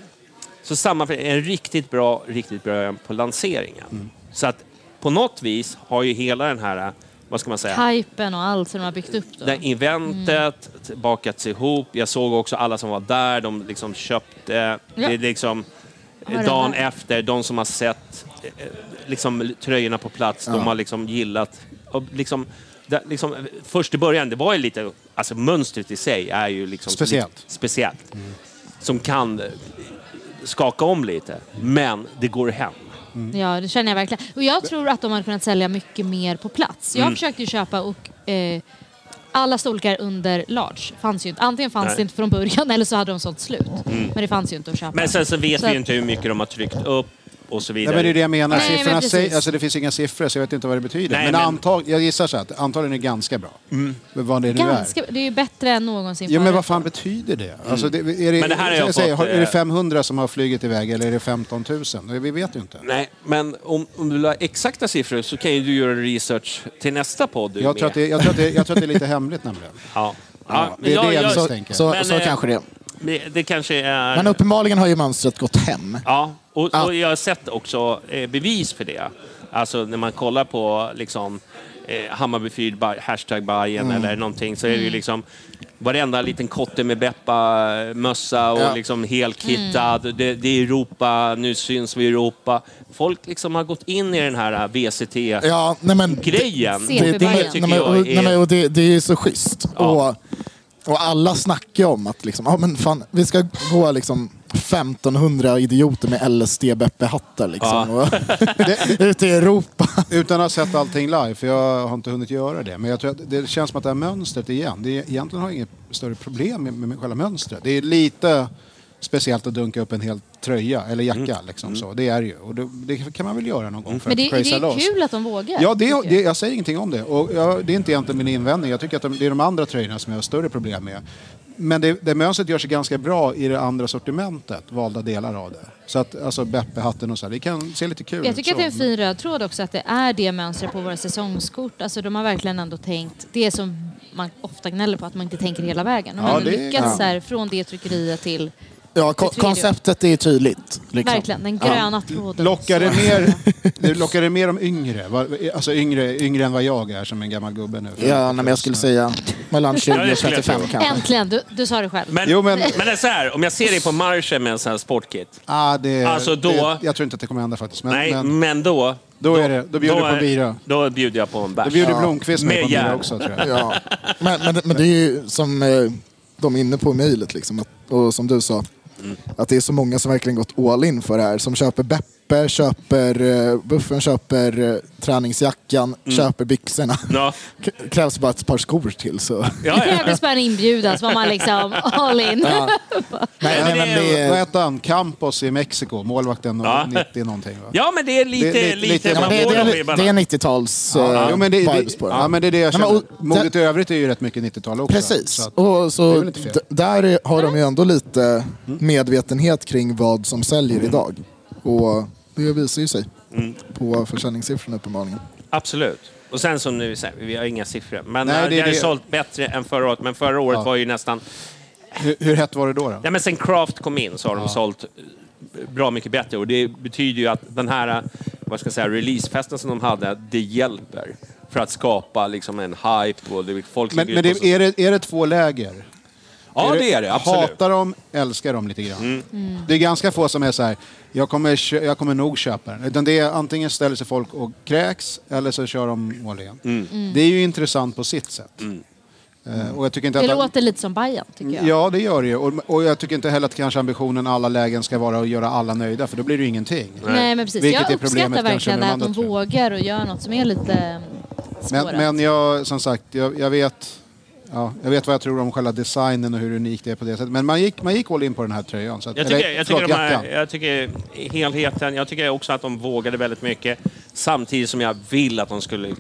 Speaker 3: så samma, en riktigt bra, riktigt bra början på lanseringen. Så att på något vis har ju hela den här, eh, vad ska man säga?
Speaker 5: Hypen och allt som de har byggt upp då.
Speaker 3: det här eventet t- bakats ihop. Jag såg också alla som var där, de liksom köpte. Det är liksom
Speaker 5: Var det
Speaker 3: dagen
Speaker 5: här?
Speaker 3: efter, de som har sett eh, eh, liksom, tröjorna på plats, de har liksom gillat. Och liksom, det, liksom, eh, först i början, det var ju lite, alltså mönstret i sig är ju liksom
Speaker 6: Speciellt.
Speaker 3: Lite, speciellt. Som kan eh, skaka om lite, men det går hem.
Speaker 5: Ja, det känner jag verkligen. Och jag tror att de hade kunnat sälja mycket mer på plats. Jag
Speaker 3: Mm.
Speaker 5: försökte ju köpa och eh, alla storlekar under large fanns ju inte. Antingen fanns
Speaker 3: Nej. Mm.
Speaker 5: det inte från början eller så hade de sålt slut. Men det fanns ju inte att köpa.
Speaker 3: Men sen så vet
Speaker 5: Så
Speaker 3: vi
Speaker 5: att-
Speaker 3: ju inte hur mycket de har tryckt upp och så
Speaker 6: Nej,
Speaker 3: vidare.
Speaker 6: men det är det jag menar.
Speaker 5: Nej, men
Speaker 6: Siffrorna
Speaker 5: precis.
Speaker 6: säger, alltså, det finns inga siffror så jag vet inte vad det betyder.
Speaker 3: Nej,
Speaker 6: men
Speaker 3: men- Mm.
Speaker 6: antag, jag gissar så här, att antagligen är ganska bra. Men Vad det nu
Speaker 5: Ganska,
Speaker 6: är.
Speaker 5: det är ju bättre än någonsin
Speaker 6: Ja, men
Speaker 5: förut.
Speaker 6: vad fan betyder det? Alltså, det, är det,
Speaker 3: Mm. Men det här har jag fått,
Speaker 6: säger, har- är det
Speaker 3: eh,
Speaker 6: 500 som har flugit iväg eller är det 15 000? Vi vet ju inte.
Speaker 3: Nej, men om, om du vill ha exakta siffror så kan ju du göra research till nästa podd. Du
Speaker 6: Jag tror,
Speaker 3: med.
Speaker 6: att det, jag, tror att det, jag tror att det är lite hemligt nämligen.
Speaker 3: Ja.
Speaker 6: Ja,
Speaker 3: men
Speaker 6: det är det jag
Speaker 8: Så,
Speaker 6: misstänker.
Speaker 8: så,
Speaker 3: Men,
Speaker 8: så
Speaker 3: eh,
Speaker 8: kanske det.
Speaker 3: det, det kanske är...
Speaker 8: Men uppenbarligen har ju mönstret gått hem.
Speaker 3: ja, och, och jag har sett också eh, bevis för det. Alltså när man kollar på liksom, eh, Hammarby Fyrd, Ba- hashtag Bajen
Speaker 6: Mm.
Speaker 3: eller någonting så är det ju liksom varenda liten kotte med Beppa-mössa och liksom helkittad. Det, det är Europa, nu syns vi i Europa. Folk liksom har gått in i den här eh, VCT-grejen.
Speaker 8: Ja, nej men...
Speaker 5: Det- det-
Speaker 8: nej,
Speaker 5: Bajen
Speaker 8: men-
Speaker 3: tycker
Speaker 8: nej, men- och-
Speaker 3: jag
Speaker 8: nej, men-
Speaker 3: är...
Speaker 8: och det, det är ju så schysst.
Speaker 3: Ja.
Speaker 8: Och, och alla snackar ju om att liksom, ah, men fan, vi ska gå liksom 1500 idioter med LSD-Beppe-hattar liksom, och- ute i Europa.
Speaker 6: Utan att ha sett allting live, för jag har inte hunnit göra det. Men jag tror att det känns som att det här mönstret igen, det är, egentligen har jag inget större problem med, med själva mönstret. Det är lite speciellt att dunka upp en hel tröja eller jacka. Liksom, så. Det är det ju. Och det, det kan man väl göra någon gång för
Speaker 5: Men det,
Speaker 6: att
Speaker 5: det
Speaker 6: pröjsa
Speaker 5: är
Speaker 6: loss.
Speaker 5: kul att de vågar.
Speaker 6: Ja, det,
Speaker 5: tycker
Speaker 6: det,
Speaker 5: jag.
Speaker 6: jag säger ingenting om det. Och jag, det är inte egentligen min invändning. Jag tycker att de, det är de andra tröjorna som jag har större problem med. Men det, det mönstret gör sig ganska bra i det andra sortimentet, valda delar av det. Så att, alltså Beppe-hatten och så, här, det kan se lite kul
Speaker 5: Jag
Speaker 6: ut
Speaker 5: tycker att
Speaker 6: så,
Speaker 5: det är en fin röd tråd också att det är det mönstret på våra säsongskort. Alltså de har verkligen ändå tänkt, det som man ofta gnäller på att man inte tänker hela vägen. De har
Speaker 6: Ja,
Speaker 5: ändå
Speaker 6: det-
Speaker 5: lyckats
Speaker 6: ja. Liksom.
Speaker 5: så här, från det tryckeriet till,
Speaker 8: Ja, ko-
Speaker 5: Till tredje.
Speaker 8: konceptet är tydligt. Liksom.
Speaker 5: verkligen, den gröna tråden.
Speaker 6: Lockar det
Speaker 5: Så-
Speaker 6: mer, det lockar det mer de yngre? Va- Alltså yngre, yngre än vad jag är som en gammal gubbe nu.
Speaker 8: Ja, nej, men jag skulle säga mellan 20 och
Speaker 3: det skulle jag
Speaker 8: 35 kanske.
Speaker 5: Äntligen, du, du sa det själv.
Speaker 3: Men,
Speaker 6: Jo,
Speaker 3: men...
Speaker 6: men-
Speaker 3: det är så här, om jag ser dig på marschen med en sån här sportkit.
Speaker 6: Ah, det,
Speaker 3: Alltså då-
Speaker 6: det, jag tror inte att det kommer hända faktiskt. Men,
Speaker 3: Nej,
Speaker 6: men,
Speaker 3: men, då...
Speaker 6: Då är det- då bjuder du på
Speaker 3: är-
Speaker 6: bira.
Speaker 3: Då bjuder jag på en
Speaker 6: då
Speaker 3: bärs.
Speaker 6: bjuder Blomqvist mig
Speaker 3: Med
Speaker 6: på mig
Speaker 3: järn.
Speaker 6: också tror jag.
Speaker 8: Ja. Men, men, men det är ju som eh, de är inne på i mejlet, liksom, att- och som du sa, att det är så många som verkligen gått all in för det här. Som köper Beppe, köper eh, buffen, köper eh, träningsjackan, köper byxorna.
Speaker 3: Ja.
Speaker 8: K- krävs bara ett par skor till så.
Speaker 3: Ja, ja.
Speaker 5: Tävlingsspärren bara en inbjudan så var man liksom all in.
Speaker 8: Nej,
Speaker 3: men
Speaker 8: nej,
Speaker 3: det
Speaker 8: men
Speaker 3: är-
Speaker 8: det är...
Speaker 6: Vad hette han? Campos i Mexiko, målvakten
Speaker 3: Ja.
Speaker 6: 90 någonting va?
Speaker 3: ja, men det är lite...
Speaker 6: Det
Speaker 3: lite,
Speaker 6: är lite- lite-
Speaker 8: Ja,
Speaker 3: man
Speaker 8: men det,
Speaker 3: får
Speaker 8: det,
Speaker 3: de
Speaker 8: är-
Speaker 3: vibbarna.
Speaker 8: det är 90-tals eh,
Speaker 6: Jo, men det,
Speaker 8: vibes
Speaker 6: det,
Speaker 8: på det.
Speaker 6: ja, men det är det jag
Speaker 8: Nej, men,
Speaker 6: känner.
Speaker 8: och-
Speaker 6: Modet i övrigt är ju rätt mycket 90-tal också.
Speaker 8: Precis.
Speaker 6: Så att-
Speaker 8: och
Speaker 6: det är
Speaker 8: så
Speaker 6: väl inte fel.
Speaker 8: d- där har de ju ändå lite medvetenhet kring vad som säljer idag. Och det visar ju sig på försäljningssiffrorna uppenbarligen.
Speaker 3: Absolut. Och sen som nu, så här, vi har inga siffror, men
Speaker 6: Nej,
Speaker 3: Nej, det,
Speaker 6: det är
Speaker 3: har ju
Speaker 6: det.
Speaker 3: sålt bättre än förra året. Men förra året
Speaker 6: Ja.
Speaker 3: var ju nästan...
Speaker 6: hur, hur hett var det då? då?
Speaker 3: Nej, men sen Craft kom in så har de sålt eh, bra mycket bättre och det betyder ju att den här eh, vad ska jag säga, releasefesten som de hade, det hjälper för att skapa liksom en hype och det, folk
Speaker 6: Men,
Speaker 3: ligger
Speaker 6: men
Speaker 3: ute och
Speaker 6: det,
Speaker 3: så-
Speaker 6: är, det, är det två läger?
Speaker 3: Ja, det är det. Absolut. Mm.
Speaker 6: Hatar dem, älskar dem lite grann.
Speaker 5: Mm.
Speaker 6: Det är ganska få som är så här, jag kommer, kö- jag kommer nog köpa den. Utan det är antingen ställer sig folk och kräks eller så kör de all in.
Speaker 3: Mm.
Speaker 5: Mm.
Speaker 6: Det är ju intressant på sitt sätt. Eh, och jag tycker inte
Speaker 5: Det
Speaker 6: att han-
Speaker 5: låter lite som Bayern tycker jag.
Speaker 6: Ja, det gör det ju. Och, och jag tycker inte heller att kanske ambitionen alla lägen ska vara att göra alla nöjda, för då blir det ju ingenting.
Speaker 5: Nej men precis,
Speaker 6: Vilket
Speaker 5: jag
Speaker 6: är problemet
Speaker 5: uppskattar
Speaker 6: kanske
Speaker 5: verkligen
Speaker 6: med de
Speaker 5: att de
Speaker 6: andra, tror jag.
Speaker 5: vågar och gör något som är lite svårare.
Speaker 6: Men, men jag, som sagt, jag, jag vet... Ja, jag vet vad jag tror om själva designen och hur unikt det är på det sättet. Men man gick, man gick all in på den här tröjan. Så att,
Speaker 3: Jag tycker,
Speaker 6: eller,
Speaker 3: jag, tycker
Speaker 6: förlåt,
Speaker 3: de här,
Speaker 6: jackan.
Speaker 3: jag tycker helheten, jag tycker också att de vågade väldigt mycket samtidigt som jag vill att de skulle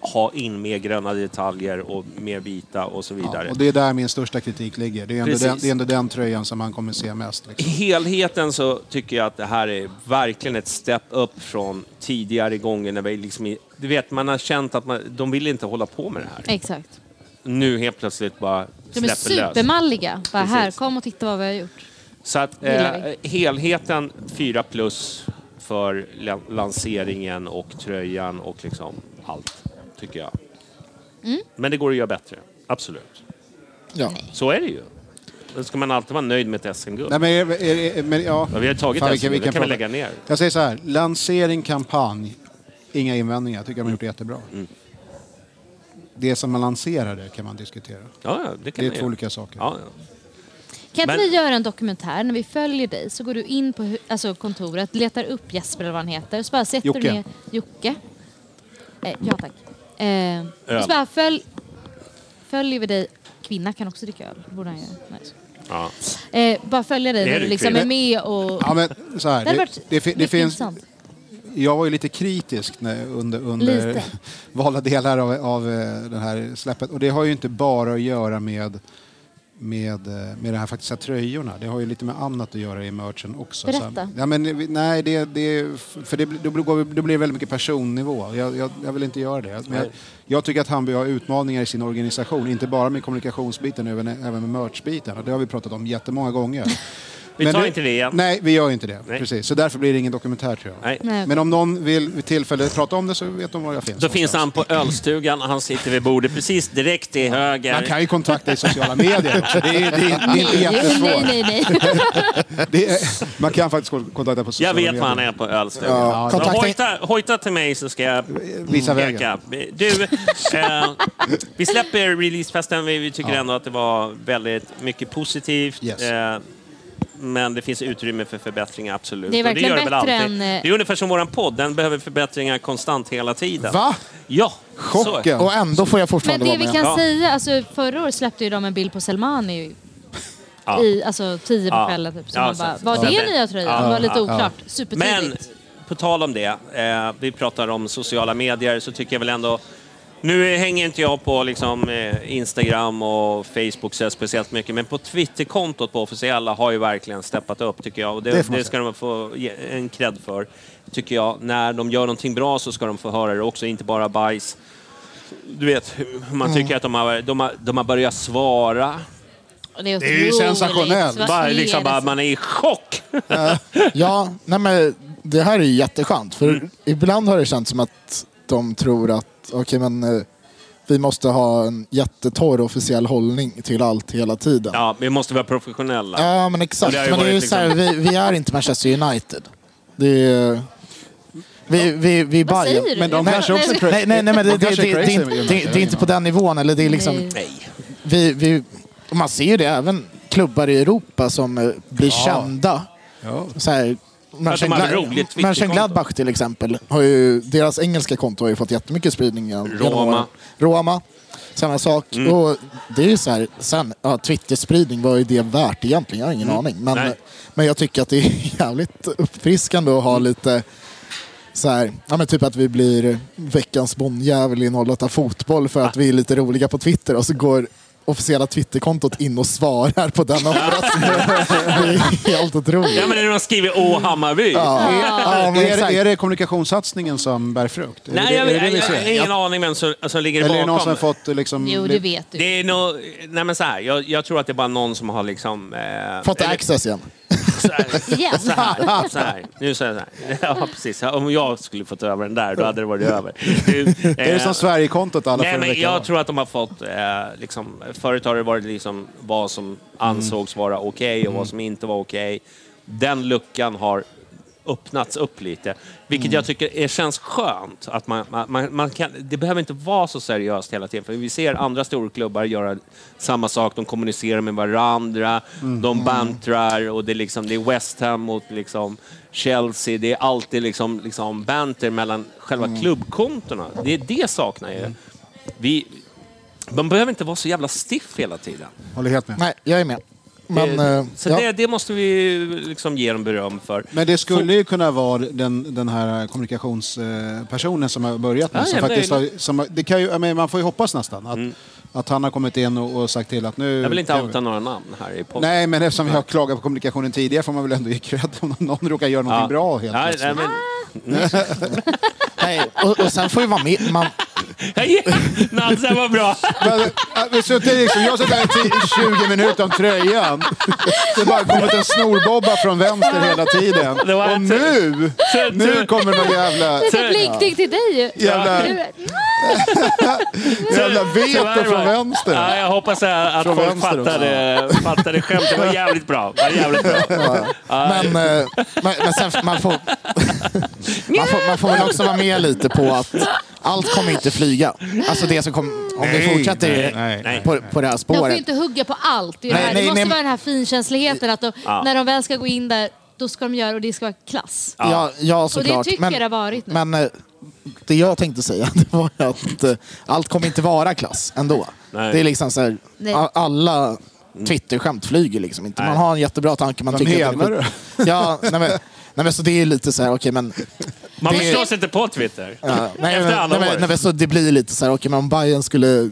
Speaker 3: ha in mer gröna detaljer och mer vita och så vidare.
Speaker 6: Ja, och det är där min största kritik ligger. Det är ändå,
Speaker 3: Precis.
Speaker 6: den, det är ändå den tröjan som man kommer se mest.
Speaker 3: I
Speaker 6: Liksom.
Speaker 3: helheten så tycker jag att det här är verkligen ett step up från tidigare gånger när vi liksom... i- Du vet, man har känt att man, de vill inte hålla på med det här.
Speaker 5: Exakt.
Speaker 3: Nu helt plötsligt bara
Speaker 5: De är
Speaker 3: släpper lös.
Speaker 5: supermalliga. Bara här,
Speaker 3: Precis.
Speaker 5: kom och titta vad vi har gjort.
Speaker 3: Så att eh,
Speaker 5: Gillar
Speaker 3: helheten 4 plus för la- lanseringen och tröjan och liksom allt, tycker jag.
Speaker 5: Mm.
Speaker 3: Men det går att göra bättre, absolut.
Speaker 8: Ja.
Speaker 3: Så är det ju. Då ska man alltid vara nöjd med ett SM-guld.
Speaker 6: Nej, men, är, är, är, men, ja.
Speaker 3: Ja, vi har tagit
Speaker 6: Fan,
Speaker 3: SM,
Speaker 6: vilken-
Speaker 3: det
Speaker 6: vilken
Speaker 3: kan vi
Speaker 6: prata-
Speaker 3: lägga ner.
Speaker 6: Jag säger så här, lansering, kampanj, inga invändningar. Jag tycker de har gjort det jättebra.
Speaker 3: Mm.
Speaker 6: Det som man lanserade kan man diskutera.
Speaker 3: Ja, ja, det, kan
Speaker 6: Det är
Speaker 3: man
Speaker 6: två
Speaker 3: göra.
Speaker 6: olika saker.
Speaker 3: Ja, ja.
Speaker 5: Kan inte
Speaker 3: Men-
Speaker 5: vi göra en dokumentär? När vi följer dig så går du in på hu- alltså kontoret, letar upp Jesper eller vad han heter. Så bara sätter du
Speaker 6: Jocke.
Speaker 5: ner Jocke. Eh, ja tack. Eh, och
Speaker 3: Öl.
Speaker 5: så bara följ, följer vi dig. Kvinna kan också dricka öl. Borde han göra. Nej, så.
Speaker 3: Ja.
Speaker 5: Eh, bara följa dig
Speaker 3: Det är det
Speaker 5: när du
Speaker 3: ju
Speaker 5: liksom
Speaker 3: kul.
Speaker 5: är med och...
Speaker 6: Ja, men, så här,
Speaker 5: det hade
Speaker 6: det,
Speaker 5: varit
Speaker 6: det, fi- det
Speaker 5: mycket
Speaker 6: finns,
Speaker 5: intressant.
Speaker 6: jag var ju lite kritisk när, under, under
Speaker 5: Lite.
Speaker 6: valda delar av, av eh, det här släppet. Och det har ju inte bara att göra med, med, eh, med de här faktiska tröjorna. Det har ju lite med annat att göra i merchen också.
Speaker 5: Berätta.
Speaker 6: Så, ja, men, vi- nej, det, det, för det, blir- då, blir- går vi- då blir det väldigt mycket personnivå. Jag, jag, jag vill inte göra det. Men jag, jag tycker att Hamburg har utmaningar i sin organisation. Inte bara med kommunikationsbiten, även, även med merchbiten. Och Det har vi pratat om jättemånga gånger.
Speaker 3: Vi
Speaker 6: Men
Speaker 3: tar
Speaker 6: du-
Speaker 3: inte det igen.
Speaker 6: Nej, vi gör inte det.
Speaker 3: Nej.
Speaker 6: Precis. Så därför blir det ingen dokumentär tror jag.
Speaker 3: Nej.
Speaker 5: Nej.
Speaker 6: Men om någon vill vid tillfälle prata om det så vet de var jag finns.
Speaker 3: Då finns
Speaker 6: någonstans.
Speaker 3: han på ölstugan, han sitter vid bordet precis direkt till höger.
Speaker 6: Man kan ju kontakta i sociala medier också. Det är, det är, det är inte
Speaker 5: nej,
Speaker 6: jättesvårt.
Speaker 5: nej, nej.
Speaker 6: Det är, man kan faktiskt kontakta på
Speaker 3: Jag
Speaker 6: sociala medier.
Speaker 3: vet var han är på ölstugan.
Speaker 8: Ja,
Speaker 3: Så
Speaker 8: kontakta-
Speaker 3: hojta, hojta till mig så ska jag
Speaker 6: Visa vägen.
Speaker 3: peka. Du, eh, vi släpper releasefesten. Vi, vi tycker ändå att det var väldigt mycket positivt.
Speaker 6: Yes.
Speaker 3: Eh, men det finns utrymme för förbättringar, absolut.
Speaker 5: Det är
Speaker 3: Och
Speaker 5: verkligen
Speaker 3: gör det väl
Speaker 5: bättre
Speaker 3: alltid.
Speaker 5: än, eh,
Speaker 3: Det är ungefär som vår podd, den behöver förbättringar konstant hela tiden.
Speaker 6: Va?
Speaker 3: Ja.
Speaker 6: Chocken.
Speaker 3: Så.
Speaker 8: Och ändå får jag
Speaker 5: Men
Speaker 8: fortfarande
Speaker 5: det
Speaker 8: vara
Speaker 5: vi
Speaker 8: med.
Speaker 5: kan
Speaker 3: Ja.
Speaker 5: säga, alltså förra året släppte ju de en bild på Selmani
Speaker 3: Ja.
Speaker 5: i alltså tio på
Speaker 3: Ja.
Speaker 5: kvällen typ. Så
Speaker 3: Ja,
Speaker 5: man
Speaker 3: så-
Speaker 5: bara,
Speaker 3: så-
Speaker 5: var
Speaker 3: så-
Speaker 5: det
Speaker 3: så-
Speaker 5: nya tröjan?
Speaker 3: Ja.
Speaker 5: det var lite
Speaker 3: Ja.
Speaker 5: oklart.
Speaker 3: Men
Speaker 5: Supertidigt.
Speaker 3: på tal om det, eh, vi pratar om sociala medier, så tycker jag väl ändå Nu eh, hänger inte jag på liksom, eh, Instagram och Facebook så här speciellt mycket, men på Twitterkontot på officiella har ju verkligen steppat upp tycker jag. Och det,
Speaker 9: Det får
Speaker 3: det,
Speaker 9: man
Speaker 3: ska de få ge en cred för, tycker jag. När de gör någonting bra så ska de få höra det också, inte bara bajs. Du vet, hur man
Speaker 9: Mm.
Speaker 3: tycker att de har, de, har, de har börjat svara.
Speaker 5: Och Det är,
Speaker 6: är ju
Speaker 5: otroligt.
Speaker 6: sensationellt.
Speaker 5: Vad
Speaker 3: Bara,
Speaker 5: är
Speaker 3: liksom,
Speaker 5: det
Speaker 3: bara,
Speaker 5: som-
Speaker 3: man är i chock!
Speaker 7: Ja, nej men det här är ju jätteskönt. För
Speaker 8: Mm.
Speaker 7: ibland har det känts som att de tror att okej men eh, vi måste ha en jättetorr officiell hållning till allt hela tiden. Ja,
Speaker 3: Ja, vi måste vara professionella.
Speaker 7: men exakt.
Speaker 3: Det har ju
Speaker 7: men det är ju
Speaker 3: varit
Speaker 7: så här, vi,
Speaker 6: liksom-
Speaker 7: vi är inte Manchester United. Det är, eh, vi, vi, vi är
Speaker 5: Vad
Speaker 7: Bayern.
Speaker 5: säger du?
Speaker 6: Men de
Speaker 5: Jag
Speaker 6: kanske också
Speaker 5: fattar-
Speaker 6: cra-
Speaker 7: Nej, nej, nej men det, det,
Speaker 6: De
Speaker 7: det,
Speaker 6: kanske är
Speaker 7: det,
Speaker 6: crazy
Speaker 7: det,
Speaker 6: med
Speaker 7: det, det är inte på den nivån. Eller det är liksom...
Speaker 5: Nej.
Speaker 3: Nej.
Speaker 7: vi, vi, och man ser ju det även klubbar i Europa som eh, blir kända.
Speaker 6: Ja.
Speaker 7: Så här,
Speaker 3: hade
Speaker 7: Mönchengla-
Speaker 3: roligt Twitterkonto.
Speaker 7: Mönchengladbach till exempel, har ju, deras engelska konto har ju fått jättemycket spridning. genom- genom
Speaker 3: Roma. Mm.
Speaker 7: åren. Roma, samma sak. Och det är ju så här, sen, ja, Twitterspridning, vad är det värt egentligen? Jag har ingen aning. Men,
Speaker 3: Mm. Nej.
Speaker 7: men jag tycker att det är jävligt uppfriskande att ha
Speaker 3: Mm.
Speaker 7: lite så här, ja men typ att vi blir veckans bonnjävel i 08 fotboll för att
Speaker 3: Ah.
Speaker 7: vi är lite roliga på Twitter och så går officiella Twitterkontot in och svarar på den omröstningen. det är helt otroligt.
Speaker 3: Ja, men när de skriver Å Hammarby.
Speaker 7: Ja, men
Speaker 6: Är,
Speaker 7: exakt.
Speaker 6: är det kommunikationssatsningen som bär frukt? Är det
Speaker 3: Nej,
Speaker 6: det-
Speaker 3: jag,
Speaker 6: är det det
Speaker 3: jag,
Speaker 6: vi
Speaker 3: jag
Speaker 6: ser?
Speaker 3: har ingen aning vem som, som ligger
Speaker 6: Eller är det någon som
Speaker 3: bakom.
Speaker 6: har fått liksom...
Speaker 5: Jo, det vet du.
Speaker 3: Det är nog... Nej men så här, jag, jag tror att det är bara någon som har liksom... Eh,
Speaker 7: Fått
Speaker 3: eller-
Speaker 7: access igen.
Speaker 3: Så här,
Speaker 5: Igen.
Speaker 3: så här, så här. Nu säger jag så här. Ja, precis. Om jag skulle fått över den där, då hade det varit över. Du,
Speaker 6: Är
Speaker 3: eh,
Speaker 6: det som Sverigekontot alla
Speaker 3: Nej,
Speaker 6: får en
Speaker 3: men
Speaker 6: vecka
Speaker 3: jag
Speaker 6: var?
Speaker 3: tror att de har fått... Eh, liksom, förut har det varit liksom vad som ansågs vara okej och vad som inte var okej. Den luckan har öppnats upp lite, vilket jag tycker är, känns skönt. Att man, man- man, man kan, det behöver inte vara så seriöst hela tiden, för vi ser andra storklubbar göra samma sak. De kommunicerar med varandra, de bantrar och det är, liksom, det är West Ham mot liksom Chelsea. Det är alltid liksom, liksom banter mellan själva klubbkontona. Det är det saknar jag. Vi, man behöver inte vara så jävla stiff hela tiden.
Speaker 6: Håller helt med.
Speaker 7: Nej, jag är med. Men,
Speaker 3: det,
Speaker 7: eh,
Speaker 3: så
Speaker 7: ja.
Speaker 3: det, det måste vi liksom ge dem beröm för.
Speaker 6: Men det skulle ju kunna vara den, den här kommunikationspersonen som har börjat nu.
Speaker 3: Ja,
Speaker 6: som
Speaker 3: ja,
Speaker 6: faktiskt
Speaker 3: nej.
Speaker 6: har, som, har- det kan ju, jag menar, man får ju hoppas nästan att, att han har kommit in och, och sagt till att nu...
Speaker 3: Mm. Jag vill inte outa några namn här i podden.
Speaker 6: Nej, men eftersom vi har klagat på kommunikationen tidigare får man väl ändå ge cred om någon råkar göra någonting bra helt
Speaker 3: nej,
Speaker 6: plötsligt.
Speaker 3: nej, men,
Speaker 7: Nej, och, och sen får ju vara med. Man,
Speaker 3: nej, Nansen var bra.
Speaker 6: Men, äh, vi suttit liksom, jag har suttit här i 20 minuter om tröjan. Det har bara kommit en snorbobba från vänster hela tiden.
Speaker 3: Det var
Speaker 6: Och
Speaker 3: ett-
Speaker 6: nu, nu kommer någon jävla,
Speaker 5: Det är blinkning till dig ju.
Speaker 6: Jävla-
Speaker 5: Du-
Speaker 6: jävla veto
Speaker 3: Tyvärr,
Speaker 6: från
Speaker 3: va?
Speaker 6: vänster.
Speaker 3: Ja, jag hoppas att att
Speaker 6: Från
Speaker 3: folk
Speaker 6: vänster
Speaker 3: fattade, fattade skämtet. Det var jävligt bra. Det var jävligt bra.
Speaker 7: men, eh, men, men sen f- man får, man får... Man får väl också vara med lite på att allt kommer inte flyga. Alltså det som kom, om vi fortsätter
Speaker 6: nej, nej.
Speaker 7: på, på det här
Speaker 5: De får ju
Speaker 7: spåret.
Speaker 5: inte hugga på allt. Det, är det
Speaker 7: Nej,
Speaker 5: här.
Speaker 7: nej,
Speaker 5: det måste
Speaker 7: nej.
Speaker 5: vara den här finkänsligheten att de, när de väl ska gå in där, då ska de göra och det ska vara klass.
Speaker 7: Ja, ja såklart.
Speaker 5: tycker jag det har varit nu.
Speaker 7: Men eh, det jag tänkte säga det var ju att eh, allt kommer inte vara klass ändå.
Speaker 3: Nej.
Speaker 7: Det är liksom så här,
Speaker 5: Nej.
Speaker 7: a- alla Twitterskämt flyger liksom inte. Man har en jättebra tanke. Man
Speaker 6: Vad
Speaker 7: tycker att
Speaker 6: menar
Speaker 7: det är skit- Ja, nej, men, nej, men så det är ju lite så här, okej men
Speaker 3: Man
Speaker 7: Det-
Speaker 3: förstår sig inte på Twitter.
Speaker 7: Ja, nej,
Speaker 3: Efter
Speaker 7: men,
Speaker 3: alla
Speaker 7: nej, men,
Speaker 3: år.
Speaker 7: nej, men, så det blir lite så här, okej, men om Bayern skulle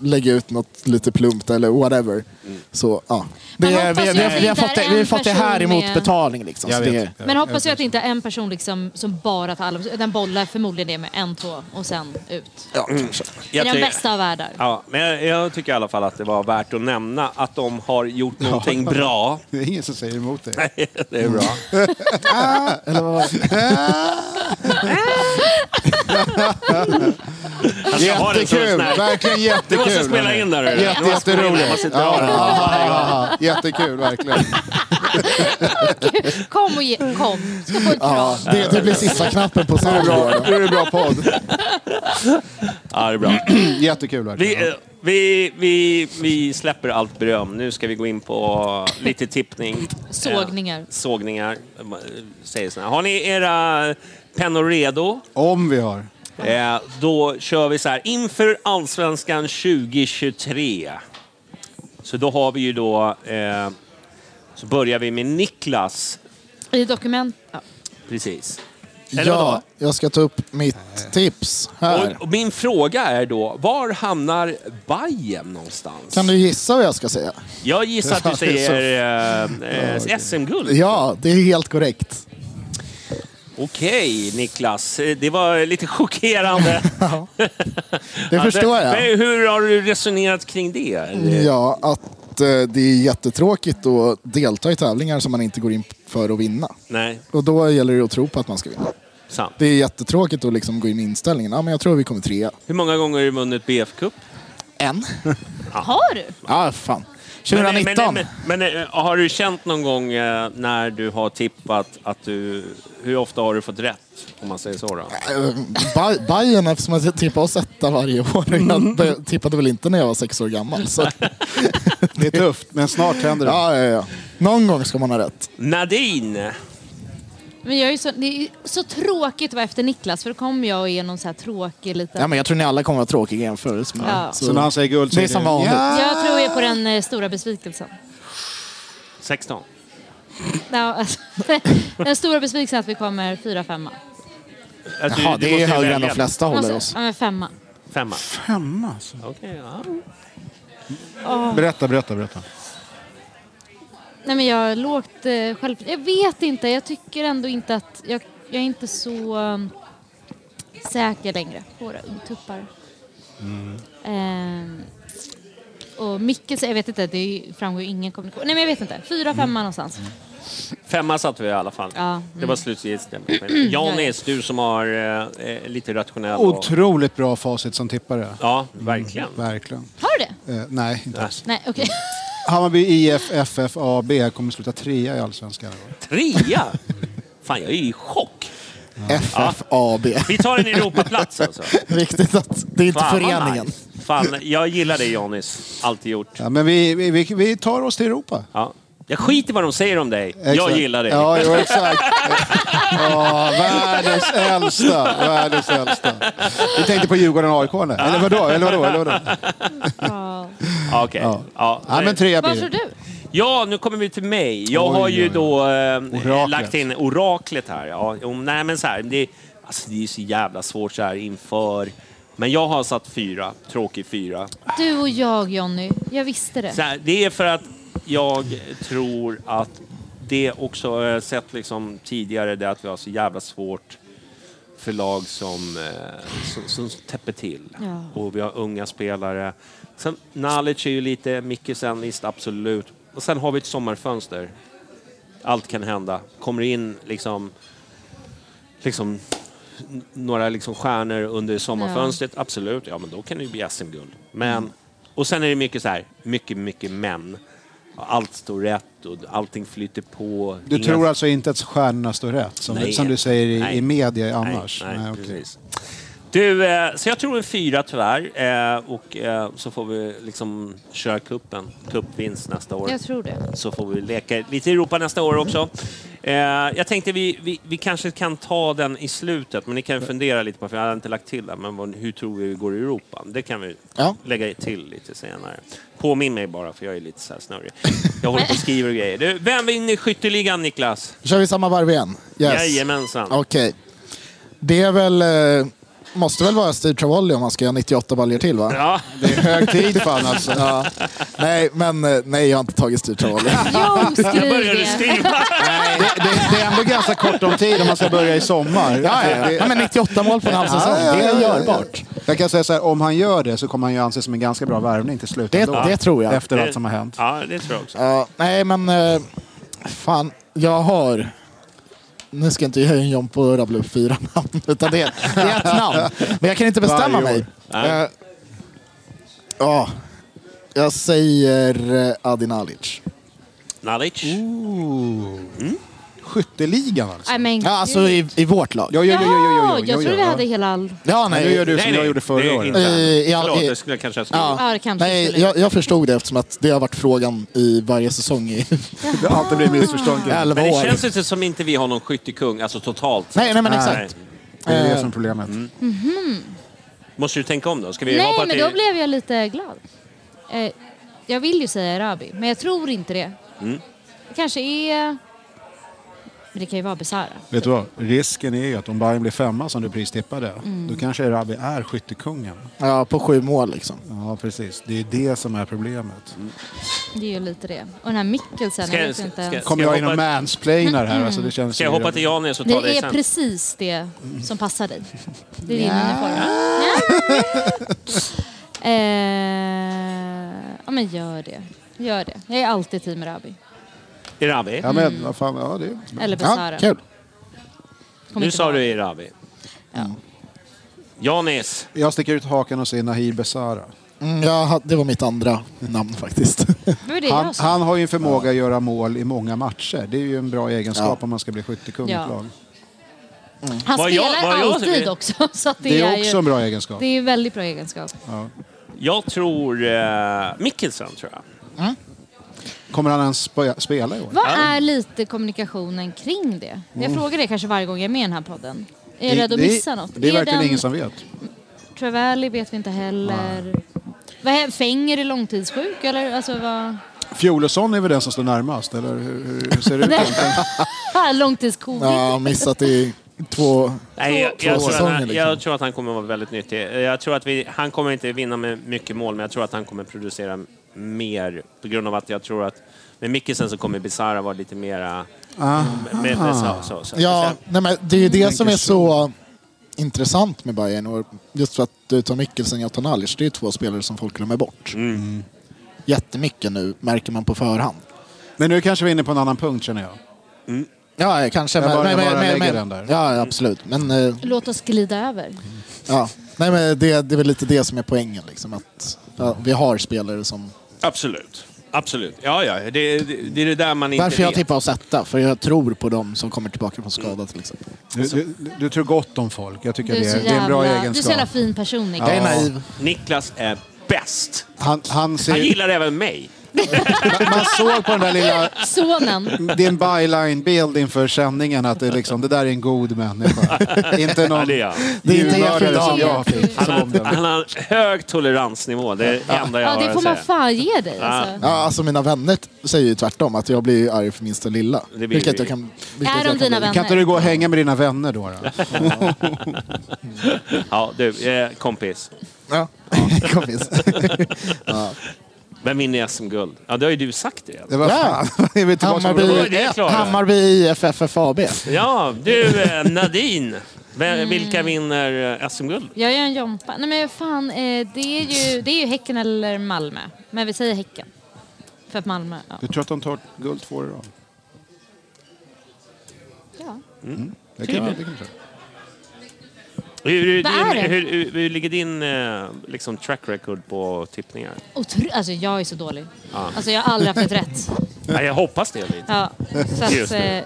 Speaker 7: lägga ut något lite plumpt eller whatever. Så, ja.
Speaker 5: Man
Speaker 7: Det, är-
Speaker 5: hoppas
Speaker 7: vi,
Speaker 5: ju
Speaker 7: vi,
Speaker 5: att
Speaker 7: vi, har
Speaker 5: det
Speaker 7: fått
Speaker 5: inte
Speaker 7: det,
Speaker 5: är
Speaker 7: vi har
Speaker 5: en
Speaker 7: fått det här
Speaker 5: person
Speaker 7: emot
Speaker 5: med-
Speaker 7: betalning. Liksom, så det, är-
Speaker 5: Men hoppas jag att det inte är en person liksom, som bara tar alla, utan bollar förmodligen det med en, två och sen ut.
Speaker 7: ja, kanske.
Speaker 5: I den
Speaker 3: tycker-
Speaker 5: bästa av världar.
Speaker 3: Ja, men jag, jag tycker i alla fall att det var värt att nämna att de har gjort någonting bra.
Speaker 6: Det är ingen som säger emot det.
Speaker 3: Det är bra.
Speaker 7: Eller vad var det?
Speaker 3: Alltså, jag har en sån
Speaker 6: Jättekul,
Speaker 3: här-
Speaker 6: verkligen
Speaker 3: Du
Speaker 6: jättekul.
Speaker 3: måste spela in där. Du
Speaker 6: Jätte,
Speaker 3: måste spela in den. Jag
Speaker 6: jätteroligt.
Speaker 3: måste dra
Speaker 6: Ja,
Speaker 3: den.
Speaker 6: ja, ja, jättekul, verkligen.
Speaker 5: Kom och ge, kom. Ska få en kram.
Speaker 7: Ja, det, det blir sista knappen på
Speaker 6: Nu är det bra,
Speaker 7: soundboarden.
Speaker 6: nu är det bra podd.
Speaker 3: Ja, det är bra.
Speaker 6: Jättekul,
Speaker 3: Vi,
Speaker 6: verkligen.
Speaker 3: eh, vi, vi, vi släpper allt beröm. Nu ska vi gå in på lite tippning.
Speaker 5: Sågningar.
Speaker 3: Eh, Sågningar. eh, Säger såna. här. Har ni era pennor redo?
Speaker 6: Om vi har.
Speaker 3: Eh, då kör vi så här. Inför Allsvenskan 2023. Så då har vi ju då... Eh, så börjar vi med Niklas.
Speaker 5: I dokument... Ja.
Speaker 3: Precis. Eller
Speaker 7: ja,
Speaker 3: vadå?
Speaker 7: jag ska ta upp mitt tips här.
Speaker 3: Och, och min fråga är då, var hamnar Bayern någonstans?
Speaker 7: Kan du gissa vad jag ska säga?
Speaker 3: Jag gissar att du
Speaker 7: Ja, det är så-
Speaker 3: säger eh, eh, SM-guld.
Speaker 7: Ja, det är helt korrekt.
Speaker 3: Okej, Niklas. Eh, Det var lite chockerande.
Speaker 7: Det förstår jag.
Speaker 3: Men hur har du resonerat kring det?
Speaker 7: Ja, att eh, det är jättetråkigt att delta i tävlingar som man inte går in för att vinna.
Speaker 3: Nej,
Speaker 7: Och då gäller det att tro på att man ska vinna.
Speaker 3: sant.
Speaker 7: Det är jättetråkigt att liksom gå in med inställningen, ja men jag tror vi kommer trea.
Speaker 3: Hur många gånger har du vunnit BF-cup?
Speaker 7: En?
Speaker 5: Har du?
Speaker 7: Ja, fan. 2019.
Speaker 3: Men, men, men, eh, har du känt någon gång eh, när du har tippat att du... Hur ofta har du fått rätt? Om man säger så då.
Speaker 7: Ba- Bayern eftersom jag tippade oss etta varje år. Jag bör- tippade väl inte när jag var sex år gammal. Så.
Speaker 6: Det är tufft, men snart händer det.
Speaker 7: Ja, ja, ja. Någon gång ska man ha rätt.
Speaker 3: Nadine!
Speaker 5: Men jag är ju så, det är ju så tråkigt att vara efter Niklas för då kommer jag och är någon så här tråkig liten...
Speaker 7: Ja, men jag tror ni alla kommer vara tråkiga i jämförelse med
Speaker 5: Ja.
Speaker 6: Så när han säger guld så
Speaker 7: Det är som vanligt.
Speaker 6: Ja,
Speaker 5: Jag tror jag är på den eh, stora besvikelsen.
Speaker 3: 16.
Speaker 5: Ja, alltså, den stora besvikelsen är att vi kommer fyra, femma.
Speaker 3: Alltså,
Speaker 7: Jaha,
Speaker 3: du- du
Speaker 7: det är
Speaker 3: måste ju
Speaker 7: högre än de
Speaker 3: välja.
Speaker 7: flesta håller oss.
Speaker 5: Alltså, ja, men femma.
Speaker 3: Femma.
Speaker 6: Femma alltså.
Speaker 3: Okej, ja.
Speaker 6: Berätta, berätta, berätta.
Speaker 5: Nej, men jag har lågt eh, själv... Jag vet inte, jag tycker ändå inte att... Jag, jag är inte så um, säker längre på våra ungtuppar. Ehm, och Micke, så- jag vet inte, det är ju- framgår ju ingen kommunikation. Nej men jag vet inte, fyra,
Speaker 7: Mm.
Speaker 5: femma någonstans.
Speaker 3: Femma satt vi i alla fall.
Speaker 5: Ja, mm.
Speaker 3: Det var slutgiltigt. Janis, du som har eh, eh, lite rationell... och-
Speaker 6: Otroligt bra facit som tippare.
Speaker 3: Ja, verkligen.
Speaker 7: Mm.
Speaker 6: Verkligen.
Speaker 5: Har du det?
Speaker 6: Eh, nej, inte alls.
Speaker 5: Nej, okej.
Speaker 6: Hammarby IF FF AB kommer sluta trea i Allsvenskan.
Speaker 3: Trea! Fan, jag är i chock.
Speaker 7: FFAB.
Speaker 3: Vi tar en Europaplats alltså.
Speaker 7: Viktigt att det är inte
Speaker 3: Fan, vad
Speaker 7: föreningen.
Speaker 3: nice. Fan, jag gillar dig Janis. Alltid gjort.
Speaker 6: Ja, men vi, vi- vi, vi tar oss till Europa.
Speaker 3: Ja. Jag skiter vad de säger om dig. Jag
Speaker 6: Exakt.
Speaker 3: gillar dig.
Speaker 6: Ja, jo, exakt. ja, världens äldsta. Världens äldsta. Vi tänkte på Djurgården och AIK nu. Eller vadå? Eller vadå? Eller vadå?
Speaker 7: Mm.
Speaker 5: Ja.
Speaker 3: Ja, Okej.
Speaker 6: Ja.
Speaker 3: Ja.
Speaker 6: Ja, men trea
Speaker 5: Vad
Speaker 6: blir
Speaker 5: tror
Speaker 6: det.
Speaker 5: du?
Speaker 3: Ja, nu kommer vi till mig. Jag
Speaker 6: Oj,
Speaker 3: har ju
Speaker 6: oj, oj.
Speaker 3: då eh,
Speaker 6: Oraklet.
Speaker 3: lagt in oraklet här. Ja, jo, nej, men så här, det, alltså, det är ju så jävla svårt så här inför. Men jag har satt fyra, tråkig fyra.
Speaker 5: Du och jag Jonny, jag visste det.
Speaker 3: Så här, det är för att jag tror att det också har jag sett liksom tidigare det att vi har så jävla svårt förlag som, eh, som, som täpper till.
Speaker 5: Ja.
Speaker 3: Och vi har unga spelare. Sen Nalic är ju lite, Mikkelsen visst absolut. Och sen har vi ett sommarfönster. Allt kan hända. Kommer in liksom, liksom n- några liksom stjärnor under sommarfönstret, absolut. Ja, men då kan det ju bli SM-guld. Men, och sen är det mycket så här, mycket, mycket men. Allt står rätt och allting flyter på.
Speaker 6: Du
Speaker 3: Inga-
Speaker 6: tror alltså inte att stjärnorna står rätt, som,
Speaker 3: Nej.
Speaker 6: som du säger i,
Speaker 3: Nej.
Speaker 6: i media annars?
Speaker 3: Nej, nej,
Speaker 6: okej.
Speaker 3: precis. Du, eh, så jag tror en fyra tyvärr. Eh, Och eh, så får vi liksom köra kuppen. Cupvinst nästa år.
Speaker 5: Jag tror det.
Speaker 3: Så får vi leka lite i Europa nästa år också. Eh, Jag tänkte vi, vi, vi kanske kan ta den i slutet, men ni kan ju fundera lite på, för jag hade inte lagt till den, men vad, hur tror vi vi går i Europa? Det kan vi
Speaker 7: Ja.
Speaker 3: lägga till lite senare. Påminn mig bara, för jag är lite så här snurrig. Jag håller på och skriver och grejer. Du, vem vinner skytteligan, Niklas?
Speaker 7: Då kör vi samma varv igen. Yes.
Speaker 3: Jajamensan.
Speaker 7: Okej. Det är väl... eh, Måste väl vara Steve Travolli om man ska göra 98 baljer till va?
Speaker 3: Ja.
Speaker 7: Det är hög tid fan alltså. Ja. Nej, men eh, nej, jag har inte tagit Steve Travolli.
Speaker 5: Jo, skriv
Speaker 3: Börjar du
Speaker 5: det.
Speaker 3: skriva?
Speaker 6: Nej, det, det, det är ändå ganska kort om tid om man ska börja i sommar.
Speaker 7: Ja, ja,
Speaker 6: Det-
Speaker 7: ja. men 98 mål på en halv
Speaker 6: Ja,
Speaker 7: säsong,
Speaker 6: ja,
Speaker 7: det är
Speaker 6: ja, ja.
Speaker 7: görbart.
Speaker 6: Jag kan säga så här, om han gör det så kommer han ju anses som en ganska bra värvning till slut.
Speaker 7: Det-
Speaker 6: ändå.
Speaker 7: det tror jag.
Speaker 6: Efter allt som har hänt.
Speaker 3: Ja, det tror jag också.
Speaker 7: Ja, nej, men eh, fan, jag har... Nu ska inte jag göra en John på och rabbla upp fyra namn, utan det är, det är ett namn. Men jag kan inte bestämma
Speaker 6: Varje år.
Speaker 7: mig. Eh, Ja, jag säger eh, Adi Nalic.
Speaker 3: Nalic.
Speaker 6: Skytteligan alltså?
Speaker 5: Nej, men
Speaker 7: Ja, alltså
Speaker 5: gud.
Speaker 7: i, i vårt lag.
Speaker 6: Jo, jo, jo, jo, jo, jo,
Speaker 5: Ja,
Speaker 6: jo,
Speaker 5: jag
Speaker 6: jo,
Speaker 5: trodde vi
Speaker 6: ja.
Speaker 5: hade hela... all-
Speaker 7: Ja,
Speaker 6: Nej, nu
Speaker 7: nej.
Speaker 6: gör du som
Speaker 3: nej.
Speaker 6: jag gjorde
Speaker 3: Det
Speaker 6: förra
Speaker 3: är
Speaker 6: året.
Speaker 3: inte-
Speaker 6: Eh,
Speaker 7: I- i all-
Speaker 3: Förlåt,
Speaker 7: i-
Speaker 3: det skulle jag kanske ha skrivit.
Speaker 7: Ja,
Speaker 5: Ja, det kanske
Speaker 7: nej,
Speaker 5: skulle-
Speaker 7: jag, jag förstod det eftersom att det har varit frågan i varje säsong i
Speaker 6: Det har alltid blivit missförstånd.
Speaker 7: elva
Speaker 3: Men det
Speaker 7: år.
Speaker 3: känns inte som inte vi har någon skyttekung, alltså totalt.
Speaker 7: Nej, nej, men
Speaker 6: Nej.
Speaker 7: exakt.
Speaker 6: Det
Speaker 5: Eh.
Speaker 6: är det som är problemet.
Speaker 3: Mm. Måste du tänka om då? Ska vi hoppa
Speaker 5: Nej, men
Speaker 3: till...
Speaker 5: då blev jag lite glad. Eh, jag
Speaker 3: Mm.
Speaker 5: vill ju säga Erabi, men jag tror inte det. Det kanske är Men det kan ju vara Besara.
Speaker 6: Vet du vad? Risken är ju att om Bayern blir femma som du pristippade,
Speaker 5: Mm.
Speaker 6: då kanske Erabi är skyttekungen.
Speaker 8: Ja, på sju mål liksom.
Speaker 6: Ja, precis. Det är ju det som är problemet.
Speaker 3: Mm.
Speaker 5: Det är ju lite det. Och den här Mikkelsen,
Speaker 3: Ska
Speaker 5: jag
Speaker 3: jag-
Speaker 5: vet inte
Speaker 3: ska-
Speaker 5: ens.
Speaker 6: Kommer
Speaker 3: jag
Speaker 6: jag in och
Speaker 3: hoppa-
Speaker 6: mansplainar
Speaker 5: Mm.
Speaker 6: här? Alltså, det känns
Speaker 3: Ska jag
Speaker 6: ju-
Speaker 3: hoppa till Janne så tar vi
Speaker 5: Det
Speaker 3: det
Speaker 5: är
Speaker 3: sen?
Speaker 5: precis det som passar dig. Det är din uniform. Ja. Eh, ja, men gör det. Gör det. Jag är alltid team Rabi.
Speaker 3: Irabi?
Speaker 6: Ja, men vad fan. Ja, det är...
Speaker 5: Eller
Speaker 8: Ja,
Speaker 5: Besara.
Speaker 8: kul.
Speaker 5: Kommer
Speaker 3: nu
Speaker 5: inte
Speaker 3: sa
Speaker 5: vara.
Speaker 3: du Irabi. Janis.
Speaker 6: Jag sticker ut haken och säger Nahir Besara.
Speaker 8: Mm, ja, ha- det var mitt andra namn faktiskt.
Speaker 5: Det var det
Speaker 6: Han,
Speaker 5: jag sa.
Speaker 6: han har ju en förmåga att göra mål i många matcher. Det är ju en bra egenskap om man ska bli skyttekung i
Speaker 5: Ja.
Speaker 6: ett lag.
Speaker 5: Han
Speaker 3: Vad jag-
Speaker 5: spelar
Speaker 3: vad jag-
Speaker 5: alltid också. Så att det,
Speaker 6: Det
Speaker 5: är
Speaker 6: är också
Speaker 5: ju,
Speaker 6: en bra egenskap.
Speaker 5: Det är en väldigt bra egenskap.
Speaker 3: Jag tror eh, Mikkelsen, tror jag.
Speaker 6: Kommer han ens spe- spela i år?
Speaker 5: Vad är lite kommunikationen kring det? Jag frågar det kanske varje gång jag är med i den här podden. Är jag
Speaker 6: Mm. Det-
Speaker 5: rädd att
Speaker 6: det är-
Speaker 5: missa något?
Speaker 6: Det är verkligen
Speaker 5: den
Speaker 6: ingen som vet.
Speaker 5: Travelli vet vi inte heller. Vad är, Fenger är långtidssjuk eller? Alltså vad...
Speaker 6: Fjolosson är väl den som står närmast, eller hur, hur hur ser det ut? egentligen?
Speaker 5: Ah, Långtidscovid.
Speaker 8: Ja, missat i två...
Speaker 3: Nej, jag,
Speaker 8: Två
Speaker 3: jag, tror att
Speaker 8: säsonger,
Speaker 3: han,
Speaker 8: liksom.
Speaker 3: jag tror att han kommer att vara väldigt nyttig. Eh, Jag tror att vi, han kommer inte vinna med mycket mål, men jag tror att han kommer producera mer på grund av att jag tror att med Mikkelsen så kommer Bizarra vara lite mera... med- Med, med, så, så, så.
Speaker 8: Ja,
Speaker 3: Så-
Speaker 8: nej, men det är ju det som är så intressant med Bayern. Och just för att du tar Mikkelsen, jag tar Nalic. Det är ju två spelare som folk glömmer bort. Jättemycket nu, märker man på förhand.
Speaker 6: Men nu kanske vi är inne på en annan punkt känner jag.
Speaker 8: Ja, kanske.
Speaker 6: Jag
Speaker 8: men-
Speaker 6: bara-
Speaker 8: men-
Speaker 6: jag bara
Speaker 8: men- men-
Speaker 6: lägger
Speaker 8: men-
Speaker 6: den där.
Speaker 8: Ja, absolut. Men, eh,
Speaker 5: Låt oss glida över.
Speaker 8: ja. Nej, men det, det är väl lite det som är poängen. Liksom, att, ja, vi har spelare som...
Speaker 3: Absolut. Absolut. Ja, ja. Det, det, det är det där man inte
Speaker 8: Därför jag
Speaker 3: vet.
Speaker 8: tippar att sätta. För jag tror på dem som kommer tillbaka från skada till exempel.
Speaker 6: Du, du, du tror gott om folk. Jag tycker
Speaker 5: Du är,
Speaker 6: det,
Speaker 5: så
Speaker 6: är,
Speaker 5: jävla,
Speaker 6: det är en bra
Speaker 5: du är så jävla
Speaker 6: egenskap.
Speaker 5: fin person Nick.
Speaker 8: Jag är naiv.
Speaker 3: Niklas är bäst.
Speaker 6: Han, han
Speaker 3: Han
Speaker 6: ser,
Speaker 3: gillar även mig.
Speaker 6: man såg på den där lilla...
Speaker 5: Sonen.
Speaker 6: Det är en byline-bild inför sändningen att det, liksom, det där är en god människa. inte
Speaker 3: Ja,
Speaker 6: någon
Speaker 3: det är jag.
Speaker 8: Det är inte
Speaker 6: djurmördare
Speaker 8: Jeffrey
Speaker 6: som
Speaker 8: Dahmer.
Speaker 6: jag fick.
Speaker 3: Han
Speaker 6: som
Speaker 3: har,
Speaker 6: omdöme.
Speaker 3: han har en hög toleransnivå. Det är det enda jag
Speaker 5: Ja,
Speaker 3: har
Speaker 5: det
Speaker 3: att
Speaker 5: får man
Speaker 3: säga.
Speaker 5: fan ge dig. Alltså.
Speaker 8: Ja, alltså mina vänner t- säger ju tvärtom. Att jag blir ju arg för minsta lilla.
Speaker 3: blir
Speaker 8: vilket
Speaker 3: vi.
Speaker 8: jag kan... vilket
Speaker 5: Är
Speaker 8: jag kan
Speaker 5: de dina
Speaker 8: bli.
Speaker 5: vänner?
Speaker 6: Kan inte du gå och hänga med dina vänner då? då?
Speaker 3: Ja, du, eh, kompis.
Speaker 8: Ja. Kompis.
Speaker 3: Vem vinner SM-guld? Ja, det har ju du sagt det.
Speaker 6: Det var
Speaker 8: Ja.
Speaker 6: fan. Är vi tillbaka på
Speaker 3: Då
Speaker 8: Hammarby,
Speaker 3: är det klart.
Speaker 8: Hammarby IF FFAB.
Speaker 3: Ja, du eh, Nadine. Vem,
Speaker 5: Mm.
Speaker 3: Vilka vinner eh, SM-guld?
Speaker 5: Jag gör en jompa. Nej men fan, eh, det är, ju, det är ju Häcken eller Malmö. Men vi säger Häcken. För att Malmö, ja.
Speaker 6: Du tror att de tar guld två år i rad?
Speaker 5: ja.
Speaker 6: Mm.
Speaker 5: Mm.
Speaker 6: Det kan det kan jag tro.
Speaker 3: Hur, hur,
Speaker 5: Vad är
Speaker 3: din,
Speaker 5: det?
Speaker 3: hur, hur, hur ligger din eh, liksom track record på tippningar?
Speaker 5: Otro, alltså jag är så dålig. Alltså jag har aldrig haft ett rätt.
Speaker 3: Nej, jag hoppas det lite.
Speaker 5: Ja. Så att,
Speaker 3: Just det.
Speaker 5: eh,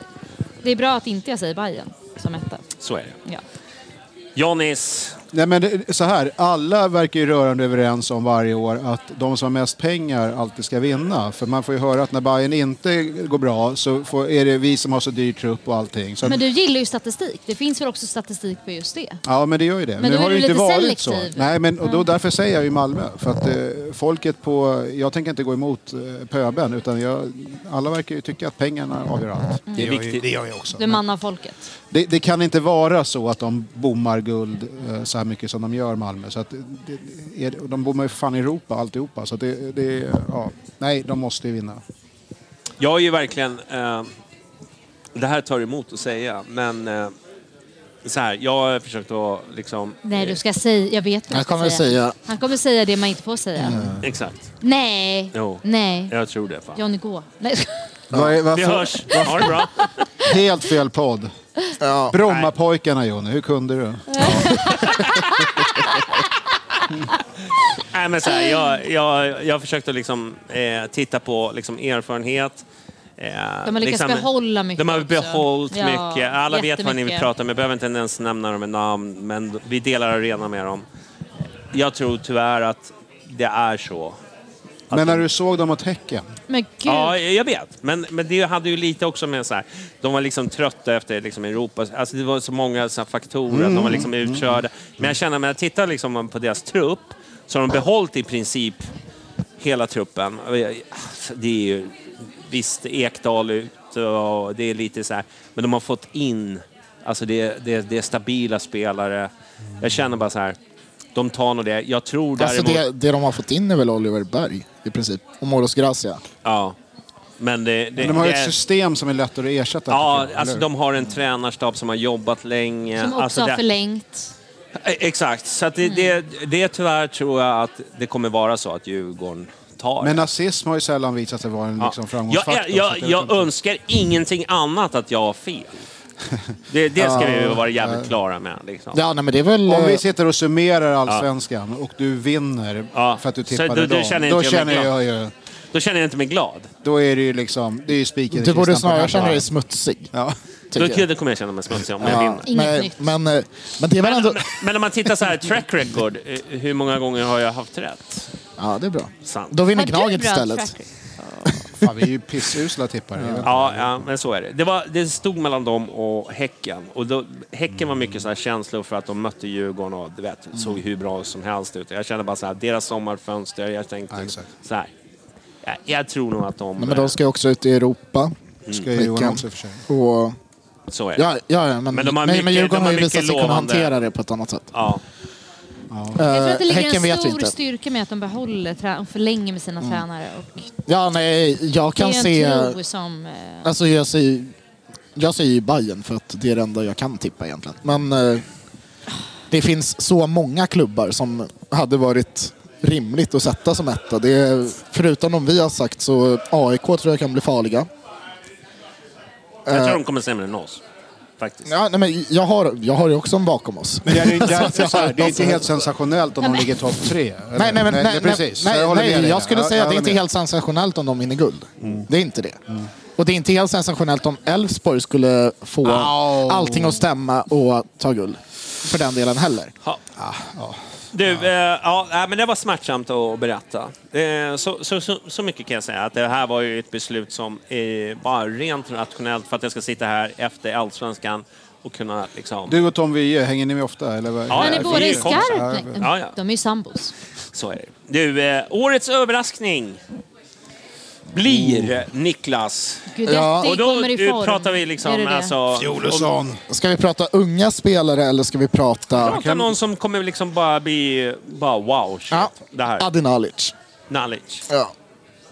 Speaker 5: det är bra att inte jag säger Bayern som etta.
Speaker 3: Så är det.
Speaker 5: Ja.
Speaker 3: Janis,
Speaker 6: Nej, men det- så här, alla verkar ju rörande överens om varje år att de som har mest pengar alltid ska vinna. För man får ju höra att när Bayern inte går bra så får, är det vi som har så dyr trupp och allting. Så,
Speaker 5: Men du gillar ju statistik. Det finns väl också statistik på just det?
Speaker 6: ja, men det gör ju det.
Speaker 5: Men då är
Speaker 6: har det
Speaker 5: du
Speaker 6: ju inte
Speaker 5: lite
Speaker 6: varit
Speaker 5: selektiv. Mm.
Speaker 6: så. Nej, men och då, därför säger jag ju Malmö. För att eh, folket på... Jag tänker inte gå emot eh, pöben utan jag, alla verkar ju tycka att pengarna avgör allt.
Speaker 3: det är viktigt.
Speaker 5: Du är man av folket.
Speaker 6: Det, det kan inte vara så att de bommar guld eh, så här mycket som de gör Malmö. Så att det, det, är, de bommar ju fan Europa alltihopa. Så att det, det, ja. Nej, de måste ju vinna.
Speaker 3: Jag är ju verkligen... Eh, det här tar emot att säga, men... Eh, så här, jag har försökt att liksom...
Speaker 5: Nej, du ska säga... Jag vet vad
Speaker 8: Han
Speaker 5: du ska
Speaker 8: kommer säga... Mm.
Speaker 5: Han kommer säga det man inte får säga.
Speaker 3: Exakt.
Speaker 5: Nej.
Speaker 3: Jo.
Speaker 5: Nej.
Speaker 3: Jag tror det. Fan.
Speaker 5: Johnny, gå. Nej.
Speaker 6: Vad är-
Speaker 3: Vi
Speaker 6: varför-
Speaker 3: hörs. Ha det bra.
Speaker 6: Helt fel podd.
Speaker 8: Ja.
Speaker 6: Brommapojkarna Jonny, hur kunde du?
Speaker 3: Nej, men så här, jag, jag, jag har försökt att liksom, eh, titta på liksom, erfarenhet. Eh,
Speaker 5: De har lyckats behålla mycket
Speaker 3: De har
Speaker 5: också.
Speaker 3: behållit
Speaker 5: Ja,
Speaker 3: mycket. Alla vet vad ni vill
Speaker 5: jättemycket.
Speaker 3: prata om. Jag behöver inte ens nämna dem med namn, men vi delar arena med dem. Jag tror tyvärr att det är så.
Speaker 6: Men när du såg dem mot Häcken?
Speaker 5: Men gud.
Speaker 3: Ja, jag vet. Men, men det hade ju lite också med så här, de var liksom trötta efter liksom Europa. Alltså det var så många så här faktorer, att de var liksom
Speaker 6: Mm.
Speaker 3: utkörda. Men jag känner, när jag tittar liksom på deras trupp, så har de behållit i princip alltså, hela truppen. Det är ju, visst, Ekdal ut jämnt och det är lite så här. Men de har fått in, alltså det, det, det är stabila spelare. Jag känner bara så här, de tar nog det. Jag tror däremot...
Speaker 7: Alltså det, det de har fått in är väl Oliver Berg i princip. Och Moros Gracia.
Speaker 3: Ja. Men det, det,
Speaker 6: Men de har ju
Speaker 3: det är-
Speaker 6: ett system som är lättare att ersätta.
Speaker 3: Ja,
Speaker 6: tycker jag,
Speaker 3: alltså
Speaker 6: eller
Speaker 3: de har en tränarstab som har jobbat länge.
Speaker 5: Som också
Speaker 3: alltså
Speaker 5: har
Speaker 3: det-
Speaker 5: förlängt. Mm.
Speaker 3: Eh, Exakt, så att det, det, det tyvärr tror jag att det kommer vara så att Djurgården tar
Speaker 6: Men
Speaker 3: det.
Speaker 6: nazism har ju sällan visat sig vara en liksom, framgångsfaktor.
Speaker 3: jag,
Speaker 6: så
Speaker 3: jag,
Speaker 6: att liksom- jag
Speaker 3: jag
Speaker 6: vet inte.
Speaker 3: önskar ingenting annat att jag har fel. Det, det ska vi vara jävligt klara med. Liksom.
Speaker 7: Ja, nej men det är väl...
Speaker 6: Om
Speaker 7: eh,
Speaker 6: vi sitter och summerar allsvenskan och du vinner
Speaker 3: Ja.
Speaker 6: för att du
Speaker 3: Så
Speaker 6: tippade
Speaker 3: då- då
Speaker 6: dem,
Speaker 3: känner
Speaker 6: då
Speaker 3: inte jag mig
Speaker 6: känner jag, ju...
Speaker 3: Då känner jag inte mig glad.
Speaker 6: Då är det ju liksom... Det är ju spiken i
Speaker 7: Du borde
Speaker 6: kistan på den
Speaker 7: snarare
Speaker 6: här
Speaker 7: känna dig
Speaker 6: dagen.
Speaker 7: smutsig.
Speaker 6: Ja.
Speaker 3: Då,
Speaker 7: tycker jag.
Speaker 3: då kommer jag känna mig smutsig om jag vinner.
Speaker 5: Inget
Speaker 7: men,
Speaker 5: nytt.
Speaker 7: men, eh, men det är väl ändå...
Speaker 3: Men, men om man tittar så här, track record, eh, hur många gånger har jag haft rätt?
Speaker 7: Ja, det är bra.
Speaker 3: Sant.
Speaker 7: Då vinner
Speaker 5: Har du
Speaker 7: Gnaget
Speaker 5: bra
Speaker 7: istället. Eh,
Speaker 5: track record?
Speaker 6: Fan, vi är ju pissusla tippare. Ja.
Speaker 3: Ja, ja, men så är det. Det, var, det stod mellan dem och Häcken. Och då, häcken var mycket så här känslor för att de mötte Djurgården och du vet, såg hur bra som helst ut. Jag kände bara så här, deras sommarfönster, jag tänkte
Speaker 6: Ja, exakt.
Speaker 3: så här. Ja, jag tror nog att de...
Speaker 7: Nej, men de ska ju också ut i Europa.
Speaker 3: Mm.
Speaker 6: Ska ju Johan också för sig.
Speaker 7: Och,
Speaker 3: Så är det.
Speaker 7: ja, ja, ja, men,
Speaker 3: Men de har
Speaker 7: nej,
Speaker 3: mycket-
Speaker 7: men
Speaker 3: de
Speaker 7: Djurgården
Speaker 3: har
Speaker 7: har ju visat
Speaker 3: mycket
Speaker 7: sig kunna
Speaker 3: lovande-
Speaker 7: hantera det på ett annat sätt.
Speaker 3: Ja.
Speaker 5: Jag tror att det
Speaker 7: Eh,
Speaker 5: ligger
Speaker 7: Häcken
Speaker 5: en
Speaker 7: vet vi
Speaker 5: stor
Speaker 7: inte.
Speaker 5: styrka med att de behåller trä- och förlänger med sina tränare. Och
Speaker 7: Ja, nej, jag
Speaker 5: det är
Speaker 7: kan
Speaker 5: en
Speaker 7: se...
Speaker 5: tro som... eh,
Speaker 7: Alltså jag säger, jag säger ju Bayern för att det är det enda jag kan tippa egentligen. Men eh, det finns så många klubbar som hade varit rimligt att sätta som etta. Det är, förutom de vi har sagt så AIK tror jag kan bli farliga.
Speaker 3: Jag tror de kommer sämre än oss. Faktiskt.
Speaker 7: Eh. Ja, nej, men jag, har, jag har ju också en bakom oss.
Speaker 6: Men det är, ju- det, är, så här, det är inte helt sensationellt om de ligger topp tre. eller?
Speaker 7: Nej, nej, men, nej, nej,
Speaker 6: precis.
Speaker 7: nej,
Speaker 6: jag
Speaker 7: jag,
Speaker 6: håller med
Speaker 7: nej,
Speaker 6: dig
Speaker 7: jag
Speaker 6: där.
Speaker 7: skulle säga att det
Speaker 6: håller
Speaker 7: inte är
Speaker 6: med. Mm.
Speaker 7: helt sensationellt om de vinner guld. Det är inte det. Och det är inte helt sensationellt om Elfsborg skulle få
Speaker 6: Au.
Speaker 7: allting att stämma och ta guld. För den delen heller.
Speaker 3: Ja. Du, eh, ja, nej, men det var smärtsamt att berätta. Eh, så, så, så, så mycket kan jag säga, att det här var ju ett beslut som eh, var rent rationellt för att jag ska sitta här efter Allsvenskan och kunna liksom...
Speaker 6: Du och Tom Wye, hänger ni med ofta? Eller? vad?
Speaker 3: Ja,
Speaker 5: Men
Speaker 3: ja,
Speaker 5: ni
Speaker 3: vi
Speaker 5: båda
Speaker 3: är
Speaker 5: är
Speaker 3: ju kompisar.
Speaker 5: skarpt. Nej,
Speaker 3: Ja, ja.
Speaker 5: De är ju sambos.
Speaker 3: Så är det. Du, eh, årets överraskning
Speaker 7: Oh.
Speaker 3: blir eh, Niklas.
Speaker 5: Gudetti
Speaker 7: Ja.
Speaker 3: Och då
Speaker 5: kommer i
Speaker 3: eh,
Speaker 5: form.
Speaker 3: pratar vi
Speaker 5: Är
Speaker 3: liksom
Speaker 5: det det?
Speaker 3: alltså...
Speaker 6: Fjolosson.
Speaker 7: Ska vi prata unga spelare eller ska vi prata
Speaker 3: Prata om någon som kommer liksom bara bli... Bara wow, shit.
Speaker 7: Ja.
Speaker 3: Det här.
Speaker 7: Adinalic?
Speaker 3: Knowledge.
Speaker 7: Ja.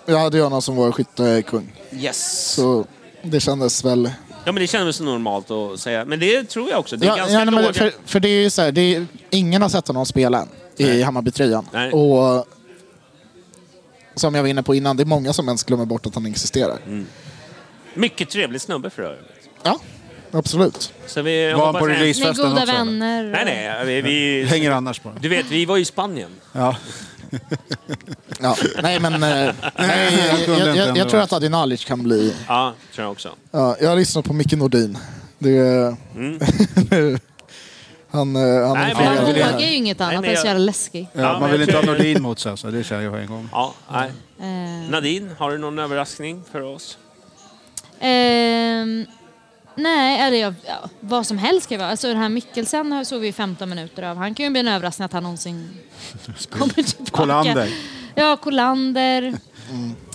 Speaker 7: Jag hade ju honom som vår skyttekung.
Speaker 3: Yes.
Speaker 7: Så det kändes väl...
Speaker 3: Ja, men det kändes så normalt att säga. Men det tror jag också. Det är
Speaker 7: Ja,
Speaker 3: ganska
Speaker 7: ja, nej,
Speaker 3: låga...
Speaker 7: men för, för det är ju så här, det är, ingen har sett honom spela än i Hammarbytröjan.
Speaker 3: Nej.
Speaker 7: Och som jag var inne på innan, det är många som ens glömmer bort att han existerar.
Speaker 3: Mm. Mycket trevlig snubbe för övrigt.
Speaker 7: Ja, absolut.
Speaker 3: Så vi
Speaker 6: Var han
Speaker 3: hoppas-
Speaker 6: på
Speaker 5: Ni är
Speaker 6: releasefesten
Speaker 5: goda
Speaker 6: också? eller?
Speaker 5: vänner. och-
Speaker 3: Nej, nej. Vi, vi...
Speaker 6: Hänger annars på
Speaker 3: Du vet, vi var i Spanien.
Speaker 6: Ja.
Speaker 7: Ja. Nej, men... eh, nej,
Speaker 6: han kunde
Speaker 7: jag, jag,
Speaker 6: inte
Speaker 7: jag,
Speaker 6: ändå.
Speaker 7: jag tror att Adinalic kan bli...
Speaker 3: Ja, tror jag också.
Speaker 7: Ja, jag har lyssnat på Micke Nordin. Det är... han, eh, han
Speaker 3: Mm. Nej,
Speaker 7: är
Speaker 3: men
Speaker 5: Men
Speaker 7: influerad
Speaker 5: han
Speaker 7: i det
Speaker 5: vågar
Speaker 7: här.
Speaker 5: ju inget annat.
Speaker 3: men
Speaker 5: Han är
Speaker 3: jag-
Speaker 5: så jävla läskig.
Speaker 6: Ja,
Speaker 3: Ja, men
Speaker 6: man vill
Speaker 3: jag
Speaker 6: inte ha
Speaker 3: tror-
Speaker 6: Nordin mot sig, alltså. det känner jag på en gång.
Speaker 3: Ja, nej.
Speaker 5: Eh,
Speaker 3: Nadine, har du någon överraskning för oss?
Speaker 5: ehm, nej, eller jag, ja, vad som helst ska det vara. Alltså den här Mikkelsen har- såg vi ju 15 minuter av. Han kan ju bli en överraskning att han någonsin kommer tillbaka.
Speaker 6: Kolander.
Speaker 5: Ja, Kolander.
Speaker 7: Mm.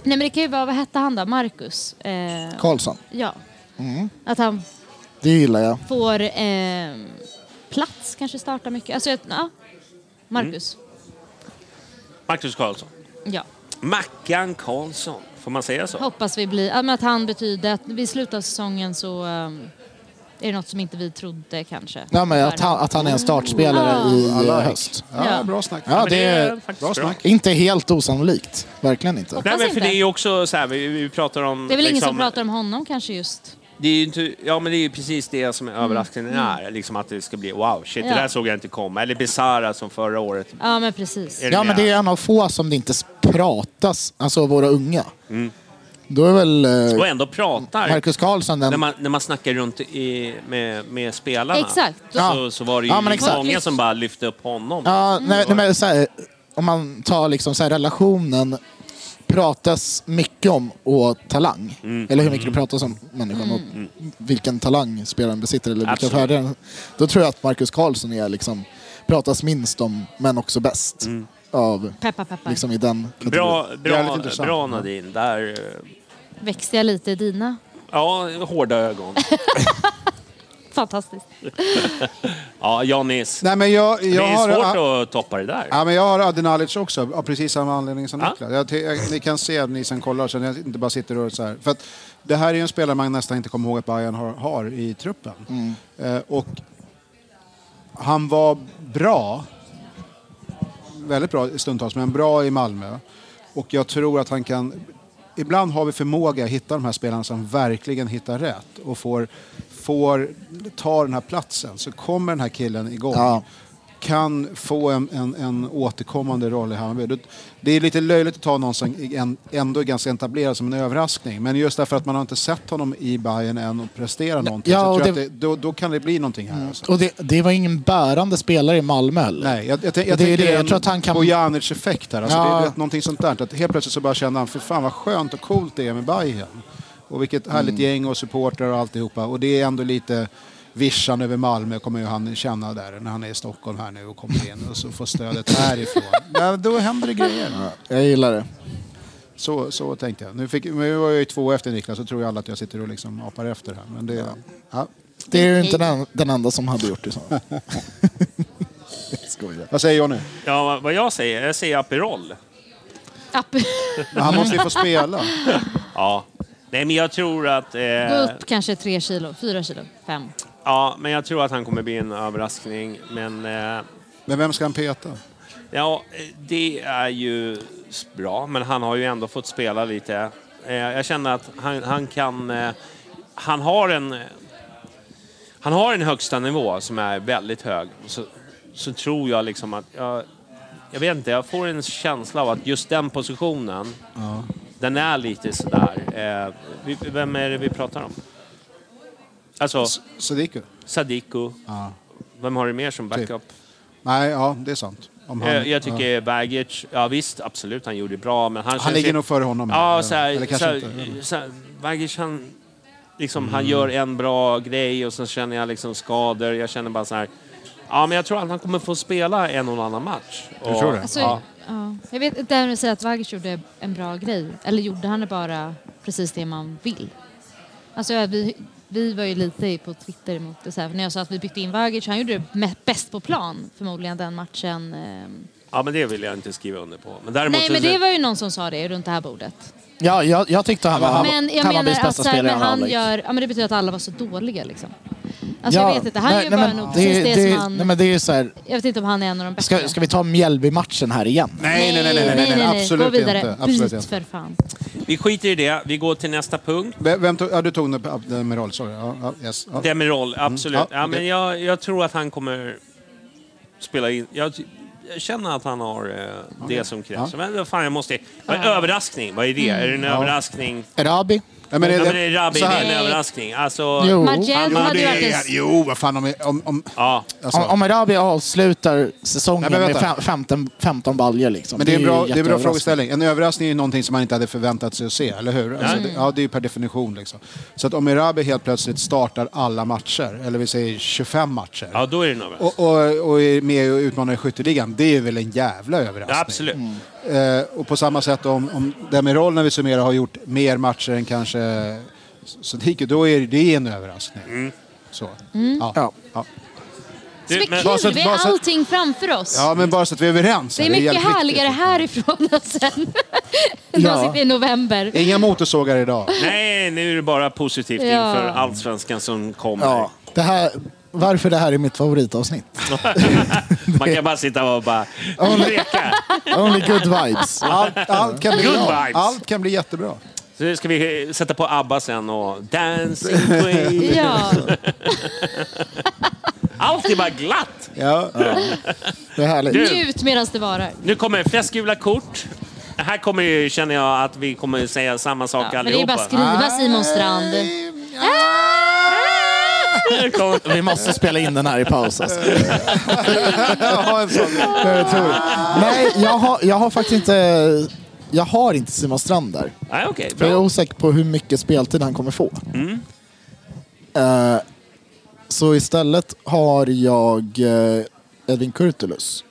Speaker 5: Nej men det kan ju vara, vad hette han då? Marcus? Eh,
Speaker 7: Karlsson.
Speaker 5: ja.
Speaker 7: Mm.
Speaker 5: Att han
Speaker 7: Det gillar jag.
Speaker 5: får eh, plats, kanske starta mycket. Alltså, jag- ja. Marcus.
Speaker 3: Marcus Karlsson.
Speaker 7: Mm.
Speaker 5: Ja.
Speaker 3: Mackan Karlsson. Får man säga så?
Speaker 5: Hoppas vi blir, ja, men att han betyder att vid slutet av säsongen så ehm, är det något som inte vi trodde kanske.
Speaker 7: Nej, men att, han, att han är en startspelare i eh, höst.
Speaker 6: Ja,
Speaker 5: Ja.
Speaker 6: bra snack.
Speaker 7: Ja, det är
Speaker 3: faktiskt
Speaker 6: Bra snack.
Speaker 7: inte helt osannolikt. Verkligen inte.
Speaker 3: Nej,
Speaker 5: Hoppas
Speaker 3: men för
Speaker 5: inte.
Speaker 3: det är ju också så här, vi, vi pratar om...
Speaker 5: Det är väl ingen
Speaker 3: liksom-
Speaker 5: som pratar om honom kanske just.
Speaker 3: Det är ju inte, ja, men det är ju precis det som är överraskningen är. Liksom att det ska bli wow, shit, det
Speaker 5: Mm. Ja.
Speaker 3: där såg jag inte komma. Eller Besara som förra året.
Speaker 5: Ja men precis.
Speaker 3: Är
Speaker 7: Ja, men
Speaker 3: med?
Speaker 7: det är en av få som det inte pratas, alltså våra unga.
Speaker 3: Mm.
Speaker 7: Då är väl eh,
Speaker 3: Och ändå pratar.
Speaker 7: Marcus Karlsson
Speaker 3: När
Speaker 7: den...
Speaker 3: man, när man snackar runt i, med, med spelarna
Speaker 5: Exakt.
Speaker 3: så, så var det ju
Speaker 7: Ja, men exakt.
Speaker 3: många som bara lyfte upp honom.
Speaker 7: Ja, nej, nej, men så här, om man tar liksom så här, relationen pratas mycket om och talang.
Speaker 3: Mm.
Speaker 7: Eller hur mycket det pratas om människan och vilken talang spelaren besitter eller vilka
Speaker 3: Absolut.
Speaker 7: färdigheter. den- Då tror jag att Marcus Karlsson är liksom, pratas minst om, men också bäst. Av,
Speaker 5: Peppa peppa.
Speaker 7: liksom i den kategorin.
Speaker 3: Mm. Bra,
Speaker 6: Det är lite
Speaker 3: bra,
Speaker 6: intressant.
Speaker 3: bra Nadine. Där, eh,
Speaker 5: Växte jag lite i dina
Speaker 3: Ja, hårda ögon.
Speaker 5: Fantastiskt.
Speaker 3: Ja, Janis.
Speaker 6: Nej, men jag,
Speaker 3: Det
Speaker 6: jag
Speaker 3: är
Speaker 6: har,
Speaker 3: svårt att toppa det där.
Speaker 6: Ja, men jag har Adi Nalic också, av precis samma anledning som
Speaker 3: Ja.
Speaker 6: Niklas. Jag, ty- jag, ni kan se, ni som kollar, så jag inte bara sitter och så här. För att det här är ju en spelare man nästan inte kommer ihåg att Bayern har, har i truppen. Eh, och han var bra, väldigt bra stundtals, men bra i Malmö. Och jag tror att han kan... Ibland har vi förmåga att hitta de här spelarna som verkligen hittar rätt och får, får ta den här platsen. Så kommer den här killen igång
Speaker 8: Ja.
Speaker 6: kan få en, en, en återkommande roll i Hammarby. Det- Det är lite löjligt att ta någon som en- ändå är ganska etablerad som en överraskning. Men just därför att man har inte sett honom i Bayern än och prestera någonting.
Speaker 7: Ja,
Speaker 6: så
Speaker 7: och
Speaker 6: tror jag
Speaker 7: det-
Speaker 6: att det, då, då kan det bli någonting här. Alltså.
Speaker 7: Och det, det var ingen bärande spelare i Malmö heller.
Speaker 6: Nej, jag, jag, jag,
Speaker 7: är
Speaker 6: jag, tänker
Speaker 7: det,
Speaker 6: det är
Speaker 7: jag
Speaker 6: en
Speaker 7: tror att han kan-
Speaker 6: Bojanic-effekt här. Alltså,
Speaker 7: Ja.
Speaker 6: det är, vet, någonting sånt där. Att helt plötsligt så bara kände han, för fan vad skönt och coolt det är med Bayern. Och vilket härligt
Speaker 7: Mm.
Speaker 6: gäng och supportrar och alltihopa. Och det är ändå lite vischan över Malmö kommer ju han känna där när han är i Stockholm här nu och kommer in och så får stödet härifrån. Ja, då händer det grejer.
Speaker 8: Jag gillar det.
Speaker 6: Så, så tänkte jag. Nu, fick, nu var jag ju två efter Niklas så tror ju alla att jag sitter och liksom apar efter här. Men det, ja.
Speaker 8: Det är ju inte den, den enda som hade gjort det så. Jag skojar.
Speaker 6: Vad säger Johnny?
Speaker 3: Ja, vad jag säger? Jag säger Aperol.
Speaker 5: App.
Speaker 6: Men Han måste ju få spela.
Speaker 3: Ja. Nej, men jag tror att...
Speaker 5: Gå
Speaker 3: Eh,
Speaker 5: upp kanske tre kilo, fyra kilo, fem.
Speaker 3: ja, men jag tror att han kommer bli en överraskning. Men eh,
Speaker 6: Men vem ska han peta?
Speaker 3: ja, det är ju s- bra. Men han har ju ändå fått spela lite. Eh, jag känner att han, han kan... Eh, han har en... eh, Han har en högsta nivå som är väldigt hög. Så, så tror jag liksom att... Jag, jag vet inte, jag får en känsla av att just den positionen, den är lite sådär... Eh, vi, vem är det vi pratar om? Alltså,
Speaker 6: Sadiku?
Speaker 3: Sadiku.
Speaker 6: Ja.
Speaker 3: Vem har du mer som backup?
Speaker 6: Nej, ja, det är sant. Om
Speaker 3: jag, Eh, jag tycker Bagic, ja visst absolut han gjorde bra men han,
Speaker 6: Han
Speaker 3: känns
Speaker 6: ligger
Speaker 3: ju-
Speaker 6: nog före honom. här.
Speaker 3: Ja, så
Speaker 6: Eller
Speaker 3: här, så
Speaker 6: kanske
Speaker 3: här,
Speaker 6: inte. Mm.
Speaker 3: så här, Bagic han, liksom, han gör en bra grej och sen känner jag liksom skador. Jag känner bara så här, ja men jag tror att han kommer få spela en och annan match. Du
Speaker 6: tror det?
Speaker 5: Alltså,
Speaker 3: ja.
Speaker 5: ja. Jag vet inte om du säger att Vagic gjorde en bra grej. Eller gjorde han det bara precis det man vill? Alltså, ja, vi, vi var ju lite på Twitter emot det. Så här, för när jag sa att vi bytte in Vagic, han gjorde det me- bäst på plan förmodligen den matchen. ehm.
Speaker 3: ja men det vill jag inte skriva under på. Men däremot,
Speaker 5: Nej, men det var ju någon som sa det runt det här bordet.
Speaker 7: Ja, jag, jag tyckte han var
Speaker 5: Men jag menar
Speaker 7: Hammarbys
Speaker 5: att
Speaker 7: bästa
Speaker 5: så här,
Speaker 7: spelare i andra
Speaker 5: men han
Speaker 7: halvlek.
Speaker 5: gör, ja, men det betyder att alla var så dåliga liksom. Alltså jag
Speaker 7: Ja,
Speaker 5: vet inte, han
Speaker 7: nej,
Speaker 5: gör
Speaker 7: nej,
Speaker 5: bara
Speaker 7: men
Speaker 5: nog precis det,
Speaker 7: är-
Speaker 5: som han...
Speaker 7: Nej, men det är ju så här,
Speaker 5: jag vet inte om han är en av de bästa.
Speaker 7: ska, ska vi ta Mjällby-matchen här igen?
Speaker 6: Nej, nej, nej, nej, nej, nej, absolut
Speaker 5: Gå vidare.
Speaker 6: inte. Absolut
Speaker 5: Byt
Speaker 6: inte.
Speaker 5: för fan.
Speaker 3: vi skiter i det. Vi går till nästa punkt.
Speaker 6: Vem, vem tog, ja, du tog den- den med roll, sorry. Ja, ja, yes, ja. Mm.
Speaker 3: Demirol, absolut.
Speaker 6: Ja,
Speaker 3: Ja,
Speaker 6: okej.
Speaker 3: men jag, jag tror att han kommer spela in. Jag, jag känner att han har eh, det som krävs. Men vad fan, jag måste... Vad är överraskning? Vad är det? Är det en överraskning?
Speaker 7: Rabi?
Speaker 6: Ja, Mm. men
Speaker 3: Ja,
Speaker 6: det-
Speaker 3: men det är Rabi,
Speaker 6: så
Speaker 3: det
Speaker 6: här.
Speaker 3: är en överraskning. Alltså...
Speaker 7: Jo.
Speaker 5: Majem
Speaker 3: han
Speaker 5: hade
Speaker 3: gjorde-
Speaker 5: varit en...
Speaker 6: Jo, vad fan om... om, om
Speaker 3: Ja.
Speaker 6: alltså.
Speaker 7: Om, om Rabi avslutar säsongen
Speaker 6: Nej, men
Speaker 7: med
Speaker 6: vänta.
Speaker 7: fem, 15, 15 baljer liksom.
Speaker 6: men det är en
Speaker 7: ju
Speaker 6: bra, det är en bra
Speaker 7: jätteöverraskning.
Speaker 6: frågeställning. En överraskning är ju någonting som man inte hade förväntat sig att se, eller hur? Alltså, det, ja, det är ju per definition. Liksom. Så att om Erabi helt plötsligt startar alla matcher, eller vi säger 25 matcher,
Speaker 3: ja, då är det en överraskning.
Speaker 6: och, och, och är med och utmanar i skytteligan, det är väl en jävla överraskning?
Speaker 3: Absolut.
Speaker 6: Eh, och på samma sätt om, om Demirol när vi summerar har gjort mer matcher än kanske Sadiku, då är det en överraskning. Så.
Speaker 5: Mm.
Speaker 6: Ja. Ja.
Speaker 8: Ja.
Speaker 6: Ja.
Speaker 3: Du,
Speaker 5: Men
Speaker 3: men,
Speaker 6: Vad-
Speaker 5: kul,
Speaker 6: så att-
Speaker 5: vi
Speaker 6: bara
Speaker 5: har
Speaker 6: så att-
Speaker 5: allting framför oss.
Speaker 6: men bara så att vi är överens.
Speaker 5: det
Speaker 6: här,
Speaker 5: är mycket
Speaker 6: jävligt
Speaker 5: härligare
Speaker 6: viktigt.
Speaker 7: liksom.
Speaker 5: härifrån än sen. När man
Speaker 7: Ja.
Speaker 5: sitter i november.
Speaker 6: Inga motorsågar idag.
Speaker 3: nej, nu är det bara positivt
Speaker 5: Ja.
Speaker 3: inför allsvenskan som kommer.
Speaker 8: Ja, det här, varför det här är mitt favoritavsnitt.
Speaker 3: Man kan bara sitta och bara leka.
Speaker 8: Only good vibes.
Speaker 6: Allt, allt, kan bli
Speaker 3: Good
Speaker 6: bra.
Speaker 3: vibes.
Speaker 6: allt kan bli jättebra.
Speaker 3: Så ska vi eh, sätta på ABBA sen och Dancing Queen.
Speaker 5: Ja,
Speaker 3: Allt är bara glatt.
Speaker 6: Ja.
Speaker 8: Det är härligt.
Speaker 3: Du.
Speaker 5: njut medan det varar.
Speaker 3: Nu kommer fläskgula kort. Här kommer ju, känner jag att vi kommer säga samma sak
Speaker 5: Ja, men det är
Speaker 3: allihopa.
Speaker 5: bara att skriva Simon Strand.
Speaker 6: Eh,
Speaker 3: Nu kommer-
Speaker 7: Vi måste spela in den här i paus alltså.
Speaker 6: Ja, en sån.
Speaker 8: Jag tror. Nej, jag har, jag har faktiskt inte... Jag har inte Simon Strand där.
Speaker 3: Nej, okej.
Speaker 7: Bra.
Speaker 8: Jag är osäker på hur mycket speltid han kommer få.
Speaker 7: Mm.
Speaker 8: Eh, så istället har jag eh, Edvin Kurtulus.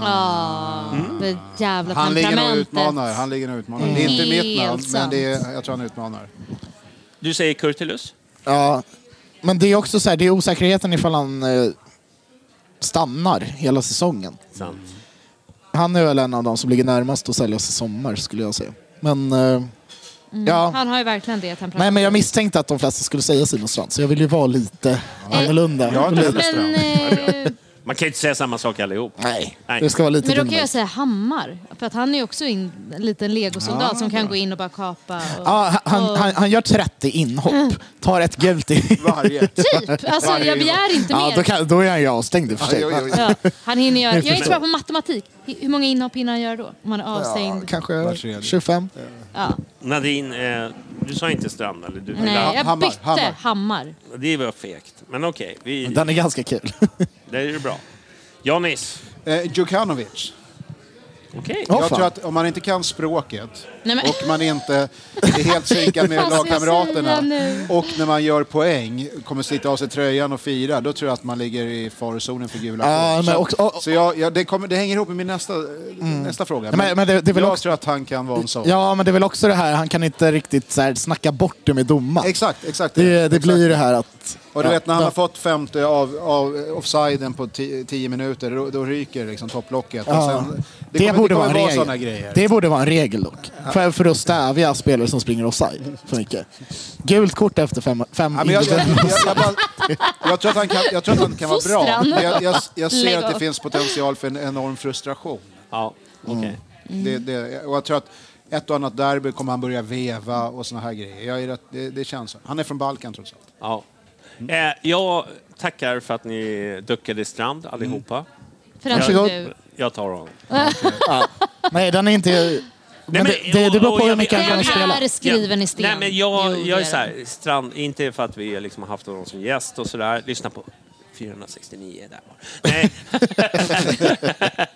Speaker 5: Ja, det jävla
Speaker 6: Han ligger nog och
Speaker 5: temperamentet.
Speaker 6: utmanar. Han ligger nog och utmanar. Det är inte mitt namn,
Speaker 5: Mm. Helt
Speaker 6: men det är, jag tror han utmanar.
Speaker 3: Du säger Kurtulus?
Speaker 7: Ja, men det är också så här, det är osäkerheten ifall han eh, stannar hela säsongen.
Speaker 3: Sant.
Speaker 7: Han är väl en av de som ligger närmast att säljas i sommar skulle jag säga. Men eh, ja,
Speaker 5: Han har ju verkligen det att han pratar
Speaker 7: nej men jag misstänkte att de flesta skulle säga Sinostrand så jag vill ju vara lite annorlunda.
Speaker 6: Eh, Jag har inte heller ström.
Speaker 5: Men, eh,
Speaker 3: Man kan ju inte säga samma sak allihop.
Speaker 7: Nej,
Speaker 3: Nej.
Speaker 7: det ska vara lite
Speaker 5: men då kan
Speaker 7: dumt.
Speaker 5: jag säga Hammar. För att han är ju också in, en liten legosoldat som kan gå in och bara kapa. Och,
Speaker 7: Ah. Ja, han,
Speaker 5: och,
Speaker 7: han, han gör 30
Speaker 5: Mm.
Speaker 7: inhopp, tar ett gult i...
Speaker 6: Varje.
Speaker 5: typ! Alltså jag begär inte
Speaker 7: Ja,
Speaker 5: mer.
Speaker 7: då, kan, då är han ju avstängd i och för sig.
Speaker 8: Oj, oj, oj.
Speaker 5: Ja, han hinner göra. Jag är inte
Speaker 7: förstår.
Speaker 5: bra på matematik. H- Hur många inhopp hinner han göra då? Om han är
Speaker 8: Ja,
Speaker 5: avstängd?
Speaker 8: kanske
Speaker 6: Var tredje.
Speaker 7: 25.
Speaker 5: Ja.
Speaker 3: Nadine, eh, du sa inte Strand, eller? Du,
Speaker 5: Nej, jag
Speaker 6: Hammar,
Speaker 5: bytte
Speaker 6: Hammar.
Speaker 5: Hammar.
Speaker 3: Det var fegt. Men okej, vi,
Speaker 7: Den är ganska kul.
Speaker 3: det är ju bra. Janis?
Speaker 6: Eh, Djukanovic.
Speaker 3: Okej.
Speaker 7: Åh,
Speaker 6: jag
Speaker 7: fan.
Speaker 6: tror att om man inte kan språket
Speaker 5: Nej, men-
Speaker 6: och man inte är helt synkad med
Speaker 5: Vad ska jag
Speaker 6: lagkamraterna
Speaker 5: säga nu?
Speaker 6: och när man gör poäng kommer slita av sig tröjan och fira, då tror jag att man ligger i farozonen för gula
Speaker 7: Ja,
Speaker 6: kort.
Speaker 7: men
Speaker 6: Så-
Speaker 7: också- och- och-
Speaker 6: Så jag, jag, det, kommer, det hänger ihop med min nästa, nästa fråga.
Speaker 7: Nej, men- men det- det är väl
Speaker 6: jag
Speaker 7: också-
Speaker 6: tror att han kan vara en sån.
Speaker 7: Ja, men det är väl också det här, han kan inte riktigt så här, snacka bort det med domaren.
Speaker 6: Exakt, exakt.
Speaker 7: Det, det
Speaker 6: exakt.
Speaker 7: blir det här att...
Speaker 6: Och du
Speaker 7: ja,
Speaker 6: vet när han
Speaker 7: ja.
Speaker 6: har fått femte av, av eh, offsiden på ti- tio minuter, då, då ryker liksom topplocket. Och
Speaker 7: Ja.
Speaker 6: sen,
Speaker 7: Det,
Speaker 6: kommer-
Speaker 7: borde vara
Speaker 6: kommer
Speaker 7: en
Speaker 6: vara
Speaker 7: regel.
Speaker 6: såna grejer.
Speaker 7: Det borde vara en regel dock. För, för att stävja spelare som springer offside för mycket. Gult kort efter fem, fem
Speaker 6: Ja, men jag, jag,
Speaker 7: individuella
Speaker 6: jag, jag, bara, jag tror att han kan, jag tror att han kan vara bra.
Speaker 5: Uppfostran.
Speaker 6: Men jag, jag, jag
Speaker 5: Lägg
Speaker 6: ser att
Speaker 5: av.
Speaker 6: det finns potential för en enorm frustration.
Speaker 3: Ja, okej.
Speaker 5: Mm.
Speaker 6: Det, det, och jag tror att ett och annat derby kommer han börja veva och såna här grejer. Jag är rätt, det, det känns så. Han är från Balkan trots allt.
Speaker 3: Ja. Eh, jag tackar för att ni duckade Strand allihopa.
Speaker 5: För han
Speaker 7: Varsågod.
Speaker 5: tog du.
Speaker 3: Jag tar honom.
Speaker 7: Nej, den är inte... Men
Speaker 3: men-
Speaker 7: det, det, det beror
Speaker 3: och-
Speaker 7: på
Speaker 3: och
Speaker 7: hur
Speaker 3: jag-
Speaker 7: mycket han
Speaker 3: jag-
Speaker 7: kan
Speaker 3: jag-
Speaker 7: spela.
Speaker 5: är skriven i sten.
Speaker 3: Nej, men jag,
Speaker 5: Jo,
Speaker 3: jag är
Speaker 5: det
Speaker 3: så här, Strand, inte för att vi liksom har haft honom som gäst och sådär. Lyssna på 469 där var det. Nej.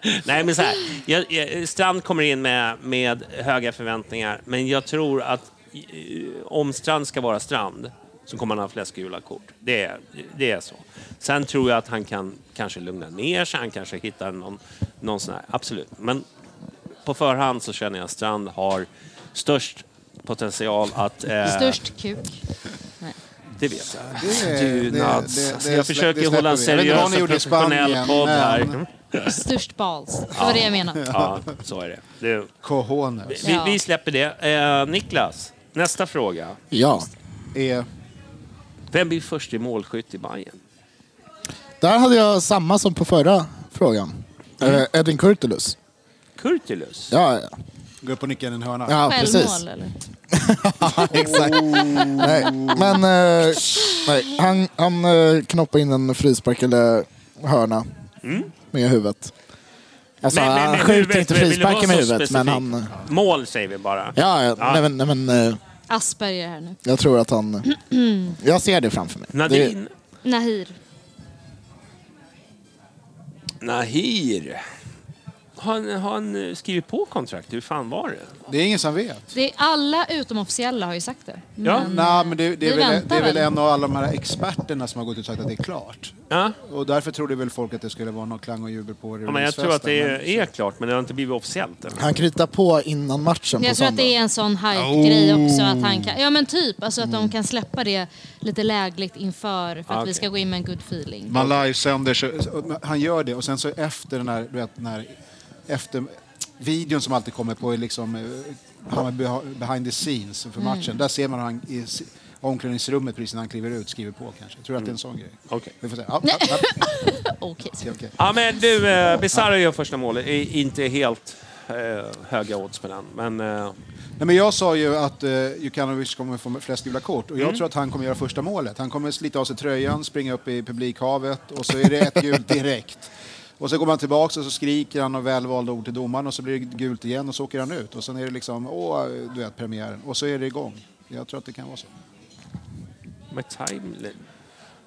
Speaker 3: Nej, men så här. Jag, jag, Strand kommer in med, med höga förväntningar, men jag tror att eh, om Strand ska vara Strand så kommer han ha flest gula kort. Det är, det är så. Sen tror jag att han kan kanske lugna ner sig, han kanske hittar någon, någon sån här, absolut. Men på förhand så känner jag att Strand har störst potential att... Eh,
Speaker 5: Störst kuk.
Speaker 3: Det vet jag.
Speaker 6: Det är-
Speaker 3: du
Speaker 6: det-
Speaker 3: Nads.
Speaker 6: det-
Speaker 3: alltså,
Speaker 6: det
Speaker 3: jag
Speaker 6: slä-
Speaker 3: försöker
Speaker 6: det släpper
Speaker 3: hålla en
Speaker 6: vi. Jag vet inte
Speaker 3: seriös
Speaker 6: vad ni
Speaker 3: och
Speaker 6: gjorde i
Speaker 3: professionell
Speaker 6: Spanien,
Speaker 3: podd här.
Speaker 6: men-
Speaker 5: Störst bals. Det var det jag menade.
Speaker 3: Ja, så är det. det
Speaker 6: Cojones
Speaker 3: vi,
Speaker 5: Ja.
Speaker 3: vi släpper det. Eh, Niklas, nästa fråga.
Speaker 7: Ja.
Speaker 6: är...
Speaker 3: Vem blir först i målskytt i Bayern?
Speaker 7: Där hade jag samma som på förra frågan.
Speaker 6: Mm.
Speaker 7: Eh, Edvin Kurtulus.
Speaker 3: Kurtulus?
Speaker 7: Ja, ja.
Speaker 6: Gå upp och nicka in en hörna.
Speaker 7: ja precis.
Speaker 5: Självmål eller?
Speaker 7: Exakt. Nej, men eh, nej, han, han eh, knoppade in en frispark eller hörna med huvudet. Alltså,
Speaker 3: Men- men-
Speaker 7: han
Speaker 3: men
Speaker 7: skjuter
Speaker 3: huvudet,
Speaker 7: inte
Speaker 3: vill du
Speaker 7: frisparken
Speaker 3: vara
Speaker 7: med
Speaker 3: så
Speaker 7: huvudet, men
Speaker 3: specifik?
Speaker 7: han...
Speaker 3: Mål säger vi bara.
Speaker 7: Ja, ja, Nej, men, nej, men eh,
Speaker 5: Asperger här nu.
Speaker 7: jag tror att han... Jag ser det framför mig.
Speaker 3: Nadine?
Speaker 5: Nahir.
Speaker 3: Nahir? Har han, har han eh, skrivit på kontrakt? Hur fan var det?
Speaker 6: Det är ingen som vet.
Speaker 5: Det är alla utom officiella har ju sagt det. Mm.
Speaker 3: Ja.
Speaker 6: Nej, men det, det, är
Speaker 5: Vi
Speaker 6: väl,
Speaker 5: väntar
Speaker 6: det är väl
Speaker 5: väl.
Speaker 6: en av alla de här experterna som har gått ut och sagt att det är klart.
Speaker 3: Ja.
Speaker 6: Och därför trodde väl folk att det skulle vara någon klang och jubel på
Speaker 3: Ja, men jag tror att det är,
Speaker 6: releasefesten,
Speaker 3: är klart, men det har inte blivit officiellt än.
Speaker 7: Han kritar på innan matchen på
Speaker 5: Jag tror att
Speaker 7: söndag.
Speaker 5: det är en sån hype-grej också. Att han kan, ja men typ, alltså att de kan släppa det lite lägligt inför för att
Speaker 3: Ah, okej.
Speaker 5: vi ska gå in med en good feeling.
Speaker 6: Man livesänder, så- så- han gör det och sen så efter den här, du vet, den här efter videon som alltid kommer på är liksom eh, Hammarby har- behind the scenes för matchen. Där ser man hur han i s- omklädningsrummet precis när han kliver ut skriver på kanske. Tror du att det är en sån grej?
Speaker 3: Okej.
Speaker 6: Vi får se. Ja, ja, ja,
Speaker 5: Okej.
Speaker 6: okej, okej.
Speaker 3: Ja, men du, eh, Bizarro gör första målet. I- Inte helt eh, höga odds på den, men... Eh,
Speaker 6: Nej, men jag sa ju att eh, Jukanovic kommer få flest gula kort
Speaker 5: Mm.
Speaker 6: och jag tror att han kommer göra första målet. Han kommer slita av sig tröjan, springa upp i publikhavet och så är det ett gult direkt. Och så går man tillbaks och så skriker han och välvalda ord till domaren och så blir det gult igen och så åker han ut. Och sen är det liksom, åh, du vet, premiären. Och så är det igång. Jag tror att det kan vara så.
Speaker 3: My time...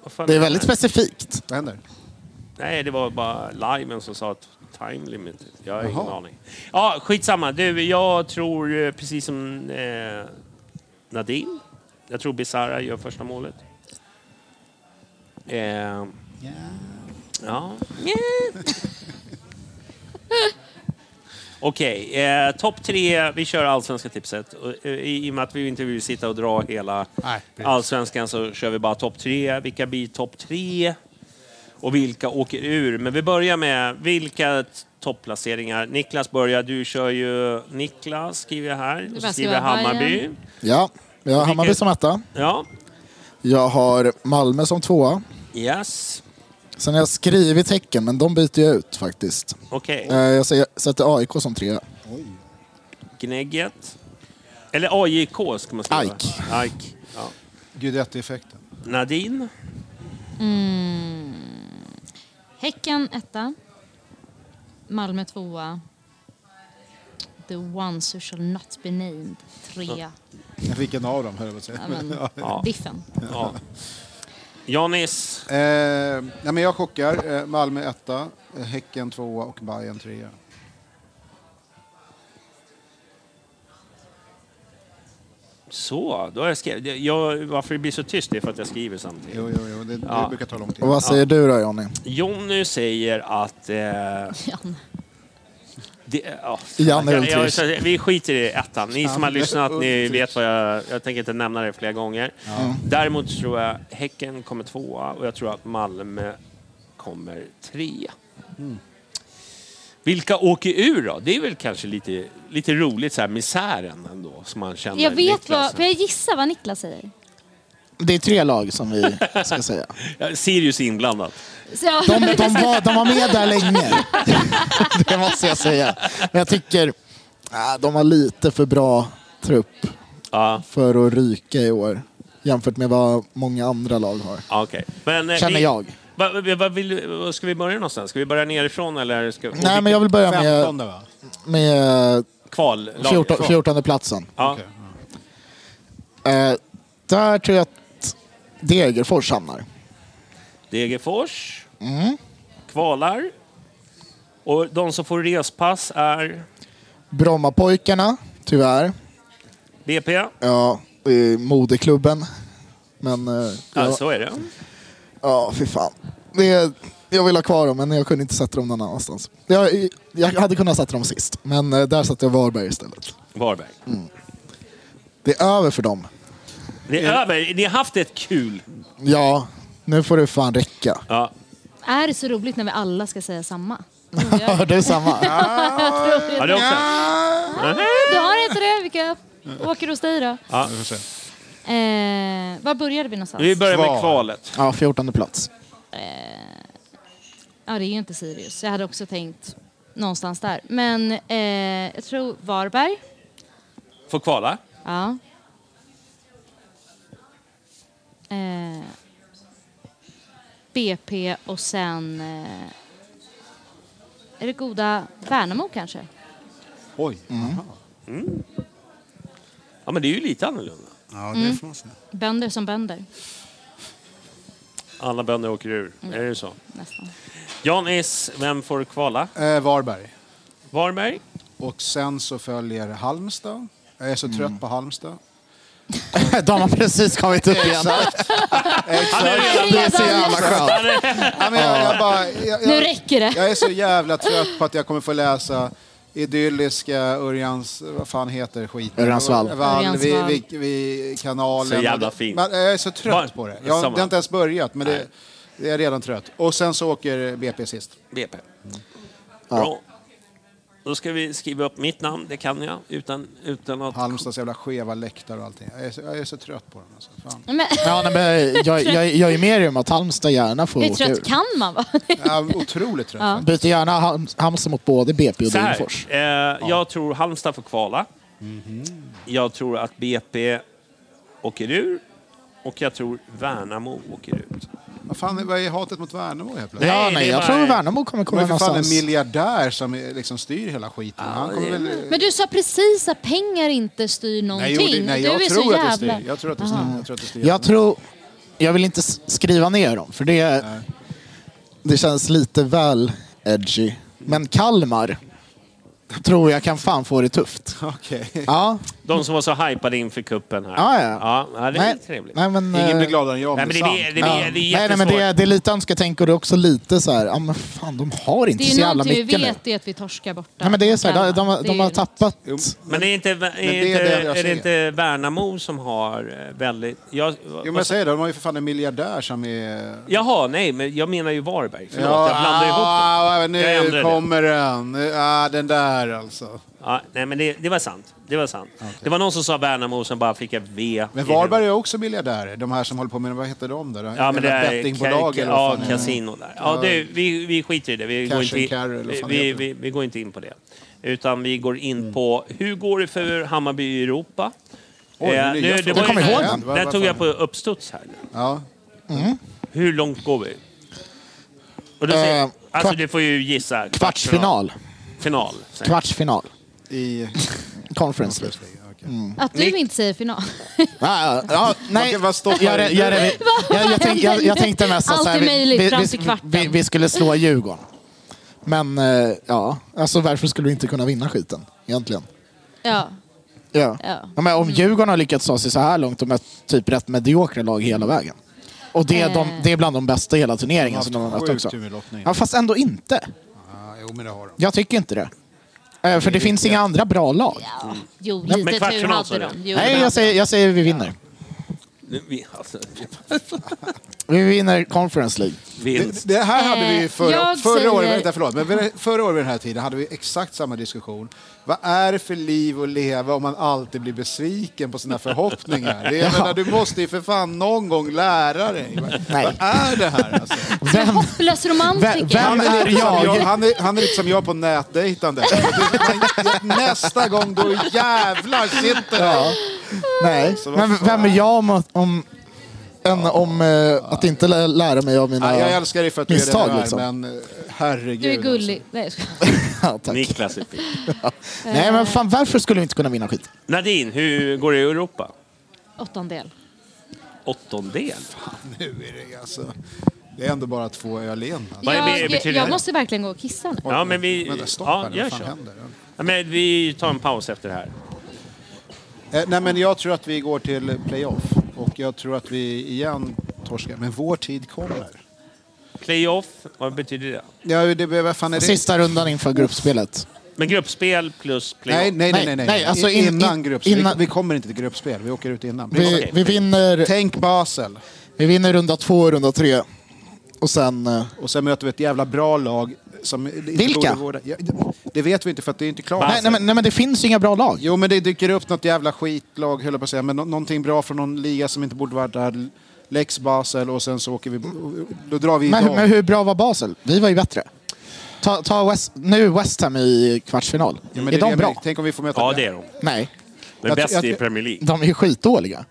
Speaker 3: Vad fan
Speaker 7: Det är
Speaker 3: det
Speaker 7: väldigt
Speaker 3: här?
Speaker 7: specifikt.
Speaker 6: Vad händer?
Speaker 3: Nej, det var bara liven som sa att time limit. Jag har ingen
Speaker 6: Jaha.
Speaker 3: aning. Ja, skitsamma. Du, jag tror eh, precis som eh, Nadine. Jag tror Bizarra gör första målet. Eh, Ja. Nja. Okej, eh, topp tre. Vi kör allsvenska tipset. Och, eh, I i och med att vi inte vill sitta och dra hela
Speaker 6: Nej, precis.
Speaker 3: allsvenskan så kör vi bara topp tre. Vilka blir topp tre? Och vilka åker ur? Men vi börjar med vilka t- topplaceringar. Niklas börjar. Du kör ju Niklas, skriver jag här. Och så
Speaker 5: bara
Speaker 3: skriver jag
Speaker 5: skriva
Speaker 3: Hammarby.
Speaker 5: Bayern.
Speaker 7: Ja, jag har Hammarby som etta.
Speaker 3: Ja.
Speaker 7: Jag har Malmö som tvåa.
Speaker 3: Yes.
Speaker 7: Sen har jag skrivit Häcken, men de byter jag ut faktiskt.
Speaker 3: Okej.
Speaker 7: Eh, Jag säger- sätter AIK som trea.
Speaker 3: Gnägget. Eller AJK ska man skriva.
Speaker 7: Aik.
Speaker 3: AIK. Ja.
Speaker 6: Guidetti-effekten.
Speaker 3: Nadine.
Speaker 5: Häcken etta. Malmö tvåa. The ones who shall not be named trea.
Speaker 6: Vilken av dem, höll jag på att säga.
Speaker 5: Ja, men,
Speaker 3: Ja.
Speaker 5: Diffen.
Speaker 3: Ja. Janis.
Speaker 6: Eh, nej, men jag chockar. Eh, Malmö etta, eh, Häcken tvåa och Bayern trea.
Speaker 3: Så, då har jag skrivit. Det- Jag, varför det blir så tyst det är för att jag skriver samtidigt.
Speaker 6: Jo, jo, jo, det,
Speaker 3: Ja.
Speaker 6: det brukar ta lång tid.
Speaker 7: Och vad säger du då Johnny?
Speaker 3: Jonny säger att... Eh,
Speaker 5: Jan.
Speaker 3: det, ja.
Speaker 7: Jan är
Speaker 3: jag, jag,
Speaker 7: Hultqvist.
Speaker 3: jag, vi skiter i ettan. Ni som har lyssnat ni vet vad jag... Jag tänker inte nämna det flera gånger. Däremot tror jag Häcken kommer tvåa och jag tror att Malmö kommer trea. Vilka åker ur då? Det är väl kanske lite, lite roligt så här misären ändå som man känner.
Speaker 5: Jag vet
Speaker 3: Niklas.
Speaker 5: vad, för jag gissar vad Niklas säger.
Speaker 7: Det är tre lag som vi ska säga.
Speaker 3: Ja, Sirius är inblandat.
Speaker 5: Så jag,
Speaker 7: De, de, var, de var med där länge. Det måste jag säga. Men jag tycker ah, de har lite för bra trupp
Speaker 3: Ja,
Speaker 7: för att ryka i år. Jämfört med vad många andra lag har.
Speaker 3: ja, okej. Men, eh,
Speaker 7: Känner
Speaker 3: vi-
Speaker 7: jag.
Speaker 3: Va, va, va, vill, du- va, ska vi börja någonstans? Ska vi börja nerifrån eller ska, och
Speaker 7: Nej,
Speaker 3: vilka-
Speaker 7: men jag vill börja med,
Speaker 6: 15 va?
Speaker 7: med eh,
Speaker 3: kval? lag-
Speaker 7: 14,
Speaker 3: kval.
Speaker 7: 14 platsen.
Speaker 3: Ja.
Speaker 6: Okej.
Speaker 7: Eh, där tror jag att Degerfors hamnar.
Speaker 3: Degerfors
Speaker 7: Mm.
Speaker 3: kvalar. Och de som får respass är
Speaker 7: Brommapojkarna, tyvärr.
Speaker 3: BP. Ja,
Speaker 7: Ja, det är modeklubben. Men... eh, jag-
Speaker 3: så är det.
Speaker 7: Ja, fy fan. Det, jag vill ha kvar dem, men jag kunde inte sätta dem någon annanstans. Jag, jag hade kunnat sätta dem sist, men eh, där satte jag Varberg istället.
Speaker 3: Varberg.
Speaker 7: Mm. Det är över för dem.
Speaker 3: Det är över. Ni har haft ett kul.
Speaker 7: Ja, nu får det fan räcka.
Speaker 3: Ja.
Speaker 5: är det så roligt när vi alla ska säga samma?
Speaker 7: Hör du samma?
Speaker 3: Ja, det är också.
Speaker 5: Du har inte det? Vilka åker hos dig då?
Speaker 3: Ja.
Speaker 6: Vi får se.
Speaker 5: Eh, var började vi någonstans?
Speaker 3: Vi börjar med
Speaker 6: Kval.
Speaker 3: kvalet.
Speaker 7: Ja, 14 plats.
Speaker 5: Ja, det är ju inte Sirius. Jag hade också tänkt någonstans där. Men eh, jag tror Varberg.
Speaker 3: Får kvala.
Speaker 5: Ja. Eh, BP och sen... Eh, är det goda Värnamo kanske?
Speaker 6: Oj. Jaha.
Speaker 3: Ja, men det är ju lite annorlunda.
Speaker 6: Ja, det får man se.
Speaker 5: Bönder som bönder,
Speaker 3: Alla bönder åker ur.
Speaker 7: Mm.
Speaker 3: Är det så?
Speaker 5: nästan.
Speaker 3: Janis, vem får kvala?
Speaker 6: Eh, Varberg.
Speaker 3: Varberg?
Speaker 6: Och sen så följer Halmstad. Jag är så trött på Halmstad.
Speaker 7: De har precis kommit upp
Speaker 3: Han
Speaker 7: igen.
Speaker 3: är redan...
Speaker 7: Det är så jävla skönt.
Speaker 3: Han är...
Speaker 6: Nej, men jag, jag, bara, jag,
Speaker 5: Nu
Speaker 6: jag,
Speaker 5: räcker det!
Speaker 6: jag är så jävla trött på att jag kommer få läsa idylliska Örjans... Vad fan heter skiten?
Speaker 7: Örjansvall.
Speaker 6: Vall, vid,
Speaker 5: Örjansvall.
Speaker 6: vid, vid kanalen.
Speaker 3: Så jävla fint.
Speaker 6: Men jag är så
Speaker 3: Var-
Speaker 6: trött på det. Jag, det
Speaker 3: samma.
Speaker 6: har inte ens börjat, men det, det är redan trött. Och sen så åker BP sist.
Speaker 3: BP. Bra. Då ska vi skriva upp mitt namn, det kan jag, utan, utan att...
Speaker 6: Halmstads jävla skeva läktare och allting. Jag är så, jag är så trött på dem. Alltså. Fan.
Speaker 5: Men,
Speaker 7: Ja, nej, men jag, jag, jag är med dig om att Halmstad gärna får
Speaker 5: hur
Speaker 7: åka
Speaker 5: trött
Speaker 7: ur.
Speaker 5: kan man vara?
Speaker 6: Jag är otroligt trött. faktiskt.
Speaker 7: Byter gärna Hal- Halmstad mot både BP och
Speaker 3: Så här,
Speaker 7: Degerfors.
Speaker 3: eh, Jag tror Halmstad får kvala.
Speaker 6: Mhm.
Speaker 3: Jag tror att BP åker ur. Och jag tror Värnamo åker ut.
Speaker 6: Vad fan är, vad är hatet mot Värnamo helt plötsligt?
Speaker 7: Ja,
Speaker 3: Nej,
Speaker 7: nej,
Speaker 3: det
Speaker 7: jag
Speaker 3: var-
Speaker 7: tror Värnamo kommer
Speaker 6: De är
Speaker 7: komma
Speaker 6: ju för fan en
Speaker 7: någonstans.
Speaker 6: miljardär som är- liksom styr hela skiten. Han kommer väl...
Speaker 5: Men du sa precis att pengar inte styr någonting.
Speaker 6: Nej, jo, det, nej
Speaker 5: du
Speaker 6: jag,
Speaker 5: är
Speaker 6: tror
Speaker 5: så
Speaker 6: att det
Speaker 5: jävla...
Speaker 6: styr. jag tror att det styr. Jag tror att det styr.
Speaker 7: Jag tror... Jag vill inte s- skriva ner dem, för det, det känns lite väl edgy. Men Kalmar tror jag kan fan få det tufft.
Speaker 6: Okej.
Speaker 7: Ja,
Speaker 3: De som var så hypade inför kuppen här.
Speaker 7: Ja, ja.
Speaker 3: ja det är
Speaker 7: nej,
Speaker 3: trevligt.
Speaker 7: nej men...
Speaker 6: Ingen
Speaker 7: eh,
Speaker 6: blir gladare än jag om
Speaker 3: Nej, men det
Speaker 6: är sant.
Speaker 3: blir, det blir,
Speaker 7: ja.
Speaker 3: det är
Speaker 7: nej, nej, men det, det är lite önsketänk och det är också lite så här, ja men fan de har inte
Speaker 5: Det är
Speaker 7: så
Speaker 5: ju
Speaker 7: jävla
Speaker 5: någonting vi
Speaker 7: mycket nu.
Speaker 5: vet, det är att vi torskar borta.
Speaker 7: Nej men det är så här, de,
Speaker 5: Kalmar.
Speaker 7: de,
Speaker 5: Det är
Speaker 7: de har
Speaker 5: ju-
Speaker 7: tappat...
Speaker 6: Jo,
Speaker 3: Men är det inte, är
Speaker 6: det
Speaker 3: inte,
Speaker 6: är det jag
Speaker 3: är det
Speaker 6: säger.
Speaker 3: inte Värnamo som har eh, väldigt... Jag,
Speaker 6: Jo, men jag säger det, de har ju för fan en miljardär som är...
Speaker 3: Jaha, nej, men jag menar ju Varberg. Förlåt, jag blandar ihop det.
Speaker 6: ah,
Speaker 3: Jag ändrar
Speaker 6: Nu
Speaker 3: det.
Speaker 6: kommer den. Nu- Ah, den där alltså.
Speaker 3: Ja, nej, men det, det var sant. Det var sant. Det var någon som sa Värnamo och sen bara fick jag V.
Speaker 6: Men Varberg är också miljardärer. De här som håller på med, vad heter de där?
Speaker 3: Ja, men det
Speaker 6: Jävla
Speaker 3: är
Speaker 6: bettingbolag
Speaker 3: ka-
Speaker 6: eller
Speaker 3: ja,
Speaker 6: vad fan det är.
Speaker 3: kasino där. Ja, det, vi, vi skiter i det. Vi
Speaker 6: Cash
Speaker 3: går,
Speaker 6: and
Speaker 3: inte in,
Speaker 6: carry eller vad fan det Mm.
Speaker 3: vi,
Speaker 6: heter.
Speaker 3: vi, vi går inte in på det. Utan vi går in på hur går det för Hammarby i Europa? Eh,
Speaker 6: Oj, det är nya
Speaker 3: det var
Speaker 6: frågor.
Speaker 3: ju-
Speaker 7: Jag kommer ihåg
Speaker 6: den.
Speaker 3: Den tog jag på uppstuds här. nu.
Speaker 6: Ja.
Speaker 3: Hur långt går vi? Och då säger,
Speaker 7: Eh,
Speaker 3: alltså
Speaker 7: kvart-
Speaker 3: du får ju gissa.
Speaker 7: Kvartsfinal.
Speaker 3: Final. säger jag.
Speaker 7: Kvartsfinal.
Speaker 6: I...
Speaker 7: Conference League.
Speaker 5: Att du inte säger final.
Speaker 7: Ja, ja, ja, nej,
Speaker 6: Okej, vad stoppar
Speaker 7: jag, jag, jag, jag, jag, tänk, jag, jag tänkte mest att
Speaker 5: Allt
Speaker 7: så här,
Speaker 5: är möjligt fram till
Speaker 7: vi,
Speaker 5: kvarten.
Speaker 7: vi, vi skulle slå Djurgården. Men eh, ja, alltså varför skulle vi inte kunna vinna skiten egentligen?
Speaker 5: Ja.
Speaker 7: Ja.
Speaker 5: Ja. Mm.
Speaker 7: Ja, men om Djurgården har lyckats ta sig så här långt och mött typ rätt mediokra lag hela vägen. Och det är, de,
Speaker 5: Eh.
Speaker 7: det är bland de bästa i hela turneringen som
Speaker 6: haft
Speaker 7: de har mött
Speaker 6: sjukt
Speaker 7: också.
Speaker 6: tur med lottningen.
Speaker 7: Ja, fast ändå inte.
Speaker 6: Ah, jo, men det har de.
Speaker 7: Jag tycker inte det. Eh, För det finns inga andra bra lag.
Speaker 5: Jo, lite
Speaker 3: men
Speaker 5: tur
Speaker 3: kvartsfinal sa
Speaker 5: hade
Speaker 3: du.
Speaker 5: de. Jo,
Speaker 7: Nej,
Speaker 5: men-
Speaker 7: jag säger, jag säger vi vinner.
Speaker 3: Nu- vi- alltså, vi-
Speaker 7: Vi vinner Conference League.
Speaker 3: Vinst.
Speaker 6: Det, det här hade vi ju
Speaker 5: Eh,
Speaker 6: förra,
Speaker 5: jag
Speaker 6: förra
Speaker 5: säger-
Speaker 6: året, vänta, förlåt, men vid- förra året vid den här tiden hade vi exakt samma diskussion. Vad är det för liv att leva om man alltid blir besviken på sina förhoppningar? Det är, jag menar, du måste ju för fan någon gång lära dig. Vad,
Speaker 7: Nej.
Speaker 6: vad är det här alltså?
Speaker 7: Vem,
Speaker 5: Hopplös
Speaker 7: vem,
Speaker 5: romantiker.
Speaker 7: vem är
Speaker 6: Som jag,
Speaker 7: jag?
Speaker 6: han, är, han är lite som jag på nätdejtande. Men Nästa gång då jävlar sitter det.
Speaker 7: Nej,
Speaker 6: Så vad
Speaker 7: men
Speaker 6: fan.
Speaker 7: vem är jag om, att- om, än om eh, att inte lä- lära mig av mina...
Speaker 6: Ja, jag älskar dig för att du är
Speaker 7: Misstag,
Speaker 6: den du är,
Speaker 7: liksom.
Speaker 6: men eh, herregud.
Speaker 5: Du är
Speaker 6: alltså.
Speaker 5: gullig. Nej, jag skojar.
Speaker 7: Ja, tack.
Speaker 3: Niklas är fin.
Speaker 7: Nej, men fan varför skulle vi inte kunna vinna skit?
Speaker 3: Nadine, hur går det i Europa?
Speaker 5: Åttondel.
Speaker 3: Åttondel?
Speaker 6: Nu är det alltså. Det är ändå bara två öl in. Alltså.
Speaker 3: Vad är-
Speaker 5: Jag,
Speaker 3: betyder
Speaker 5: jag,
Speaker 3: det?
Speaker 5: jag måste verkligen gå och kissa nu.
Speaker 3: Ja, men vi...
Speaker 6: Vänta, stopp
Speaker 3: ja,
Speaker 6: här nu.
Speaker 3: gör
Speaker 6: Vad fan
Speaker 3: så.
Speaker 6: händer?
Speaker 3: Ja, men vi tar en paus efter det här.
Speaker 6: Eh, nej, men jag tror att vi går till playoff. Och jag tror att vi igen torskar. Men vår tid kommer.
Speaker 3: Playoff, vad betyder det?
Speaker 6: Ja, det, vad fan är det?
Speaker 7: Sista rundan inför gruppspelet.
Speaker 3: Men gruppspel plus playoff?
Speaker 6: Nej, nej, nej. nej, nej.
Speaker 7: Nej, alltså
Speaker 6: I-
Speaker 7: in-
Speaker 6: innan
Speaker 7: in-
Speaker 6: gruppspel.
Speaker 7: innan-
Speaker 6: Vi, vi kommer inte till gruppspel. Vi åker ut innan.
Speaker 7: Vi, vi, vinner,
Speaker 6: Tänk Basel.
Speaker 7: vi vinner runda två och runda tre. Och sen... eh,
Speaker 6: Och sen möter vi ett jävla bra lag. Som inte
Speaker 7: Vilka?
Speaker 6: borde gå där. Ja, det- det vet vi inte för att det är inte klart.
Speaker 7: Nej, nej, men, nej, men det finns ju inga bra lag.
Speaker 6: Jo, men det dyker upp något jävla skitlag, höll jag på att säga. Men nå- någonting bra från någon liga som inte borde vara där. Lex Basel och sen så åker vi... Då drar vi
Speaker 7: Men,
Speaker 6: igång.
Speaker 7: men hur bra var Basel? Vi var ju bättre. Ta, ta West, nu West Ham i kvartsfinal.
Speaker 6: Ja, men det
Speaker 7: är de
Speaker 6: det-
Speaker 7: bra?
Speaker 6: Tänk om vi får möta...
Speaker 3: Ja, det är de.
Speaker 7: Nej,
Speaker 3: Men
Speaker 6: Jag-
Speaker 3: bäst
Speaker 6: jag-
Speaker 3: i Premier League.
Speaker 7: de är ju skitdåliga.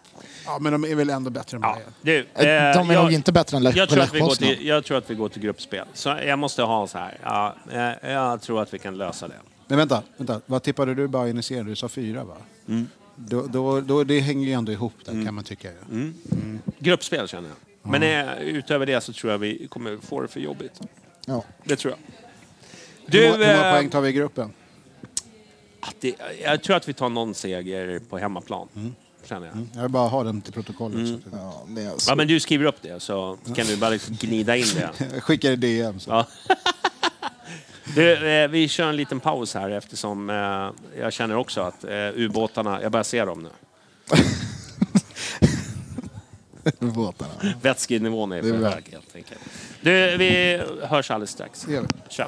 Speaker 6: Ja, men de är väl ändå bättre än
Speaker 3: Ja,
Speaker 6: Bayern.
Speaker 3: du, eh,
Speaker 7: De är nog inte bättre än Lech
Speaker 3: jag tror, att vi går
Speaker 7: Poznan.
Speaker 3: till, jag tror att vi går till gruppspel. Så jag måste ha så här. Ja, eh, jag tror att vi kan lösa det.
Speaker 6: Men vänta, vänta. Vad tippade du Bayern i serien? Du sa fyra, va?
Speaker 3: Mm.
Speaker 6: Då, då, då, det hänger ju ändå ihop där, kan man tycka. ju.
Speaker 3: Mm. Gruppspel känner jag. Men eh, utöver det så tror jag vi kommer få det för jobbigt.
Speaker 7: Ja.
Speaker 3: Det tror jag.
Speaker 6: hur,
Speaker 3: Du,
Speaker 6: många- hur många
Speaker 3: eh,
Speaker 6: poäng tar vi i gruppen?
Speaker 3: att det, jag tror att vi tar någon seger på hemmaplan.
Speaker 6: Mm.
Speaker 3: Känner jag.
Speaker 6: Jag vill bara ha den till protokollet.
Speaker 3: Mm.
Speaker 6: Så. att-
Speaker 7: Ja, det är
Speaker 3: Ja,
Speaker 7: så.
Speaker 3: men du skriver upp det så kan du bara liksom gnida in det.
Speaker 6: Jag skickar i DM. Så.
Speaker 3: Ja. Du, eh, vi kör en liten paus här eftersom eh, jag känner också att eh, ubåtarna, jag börjar se dem nu.
Speaker 7: Båtarna.
Speaker 3: Vätskenivån är
Speaker 6: är
Speaker 3: för
Speaker 6: bra.
Speaker 3: hög helt enkelt. Du, vi hörs alldeles strax.
Speaker 6: Det gör vi.
Speaker 3: Kör.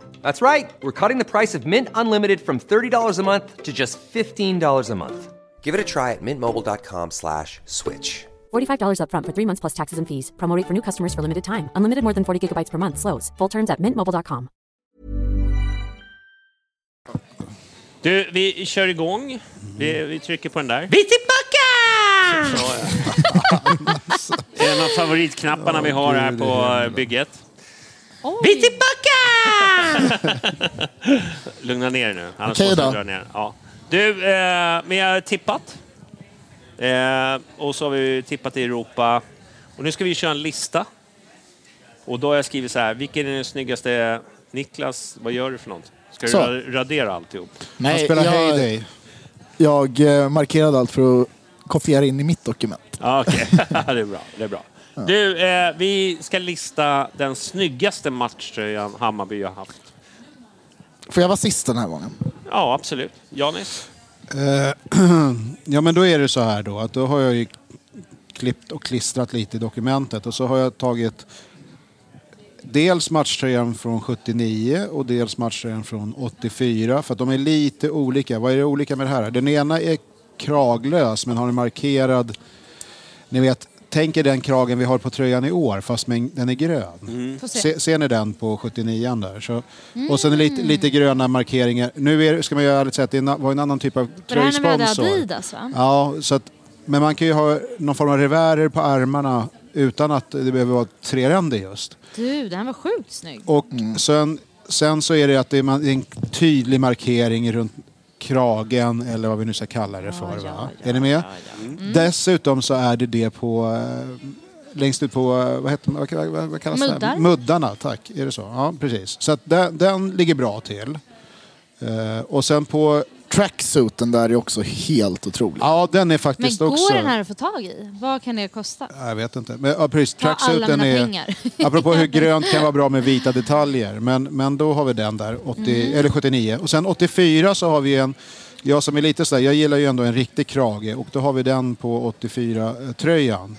Speaker 2: That's right. We're cutting the price of Mint Unlimited from $30 a month to just $15 a month. Give it a try at mintmobile.com slash switch.
Speaker 10: $45 upfront for three months plus taxes and fees. Promo rate for new customers for limited time. Unlimited more than 40 gigabytes per month. Slows. Full terms at mintmobile.com.
Speaker 3: Du, vi kör igång. Vi, vi trycker på den där. Vi är tillbaka! Det är en av favoritknapparna vi har här på bygget.
Speaker 5: Oj!
Speaker 3: Vi är tillbaka! Lugna ner dig nu. annars
Speaker 7: Okej
Speaker 3: måste jag
Speaker 7: då.
Speaker 3: dra ner. Ja. Du, eh, men jag har tippat. Eh, och så har vi tippat i Europa. Och nu ska vi köra en lista. Och då har jag skrivit så här, vilken är den snyggaste... Niklas, vad gör du för något? Ska du
Speaker 7: Så.
Speaker 3: ra- radera alltihop?
Speaker 6: Han
Speaker 7: Nej,
Speaker 6: spelar
Speaker 7: jag-
Speaker 6: Heyday.
Speaker 7: Jag eh, markerade allt för att kopiera in i mitt dokument.
Speaker 3: Ja, Okej, det är bra. Det är bra. Du, eh, vi ska lista den snyggaste matchtröjan Hammarby har haft.
Speaker 7: För jag var sist den här gången.
Speaker 3: Ja, absolut. Janis?
Speaker 6: Eh, ja, men då är det så här då att då har jag ju klippt och klistrat lite i dokumentet och så har jag tagit dels matchtröjan från 79 och dels matchtröjan från 84 för att de är lite olika. Vad är det olika med det här? Den ena är kraglös men har en markerad, ni vet, tänk er den kragen vi har på tröjan i år fast med, en- den är grön.
Speaker 5: Får se.
Speaker 6: Se, ser ni den på 79 där? Så, och sen
Speaker 5: Mm.
Speaker 6: lite, lite gröna markeringar. Nu är, det- ska man göra ärligt säga att det är en- var en annan typ av
Speaker 5: För det här när vi hade
Speaker 6: tröjsponsor.
Speaker 5: Adidas va?
Speaker 6: Ja, så att, men man kan ju ha någon form av revärer på ärmarna utan att det behöver vara treränder just.
Speaker 5: Du, den här var sjukt snygg.
Speaker 6: Och sen, sen så är det att det är man- det är en tydlig markering runt kragen eller vad vi nu ska kalla det för. va?
Speaker 5: ja, Mm.
Speaker 6: är ni med? Dessutom så är det det på eh, längst ut på, eh, vad, heter, vad, vad, vad kallas
Speaker 5: Muddar.
Speaker 6: det? Muddarna, tack. Är det så? Ja, precis. Så att den, den ligger bra till. Eh, och sen på,
Speaker 7: Tracksuiten där är också helt otrolig.
Speaker 6: ja den är
Speaker 5: Men
Speaker 6: faktiskt
Speaker 5: går
Speaker 6: också...
Speaker 5: den här att få tag i? Vad kan det kosta?
Speaker 6: Jag vet inte. Men, ja, precis.
Speaker 5: Ta alla
Speaker 6: Tracksuiten
Speaker 5: mina
Speaker 6: är...
Speaker 5: pengar.
Speaker 6: Apropå hur grönt kan vara bra med vita detaljer. Men, men då har vi den där, 80,
Speaker 5: Mm.
Speaker 6: eller 79. Och sen 84 så har vi en... Jag som är lite sådär, jag gillar ju ändå en riktig krage och då har vi den på 84-tröjan.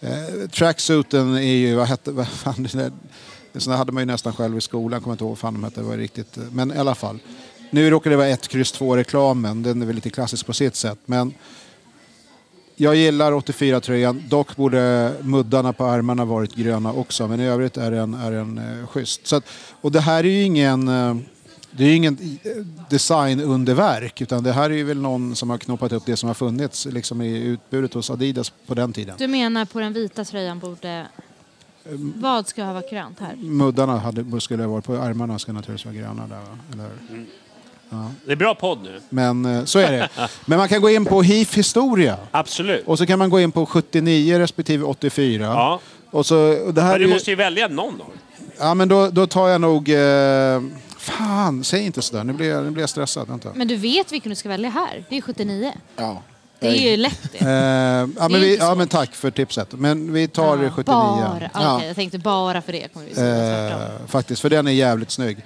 Speaker 6: Eh, tracksuiten är ju, vad hette, vad fan det där, en sån där hade man ju nästan själv i skolan, kommer inte ihåg vad fan de hette, det var riktigt, eh, men i alla fall. Nu råkar det vara 1, kryss 2-reklamen, den är väl lite klassisk på sitt sätt, men jag gillar 84-tröjan, dock borde muddarna på armarna varit gröna också, men i övrigt är den, är den eh, schysst. Så att, och det här är ju ingen, eh, det är ju ingen eh, designunderverk, utan det här är ju väl någon som har knoppat upp det som har funnits liksom i utbudet hos Adidas på den tiden.
Speaker 5: Du menar på den vita tröjan borde...
Speaker 6: Mm.
Speaker 5: Vad ska ha varit grönt här?
Speaker 6: Muddarna hade, skulle ha varit på armarna ska naturligtvis vara gröna där, va? eller hur?
Speaker 3: Det är bra podd nu.
Speaker 6: Men eh, så är det. Men man kan gå in på HIF historia.
Speaker 3: Absolut.
Speaker 6: Och så kan man gå in på 79 respektive 84.
Speaker 3: Ja.
Speaker 6: Och så, och det här är
Speaker 3: Men du
Speaker 6: ju-
Speaker 3: måste ju välja någon då.
Speaker 6: Ja, men då, då tar jag nog... Eh, fan, säg inte sådär. Nu blir jag, nu blir jag stressad. Vänta.
Speaker 5: Men du vet vilken du ska välja här. Det är 79.
Speaker 7: Ja.
Speaker 5: Det är ju lätt det.
Speaker 6: Eh, ja, men vi,
Speaker 5: inte
Speaker 6: ja,
Speaker 5: svårt.
Speaker 6: men tack för tipset. Men vi tar eh, 79.
Speaker 5: Bara. Okej,
Speaker 6: Ja,
Speaker 5: jag tänkte bara för det kommer vi säga tvärtom. Mm.
Speaker 6: eh, faktiskt, för den är jävligt snygg.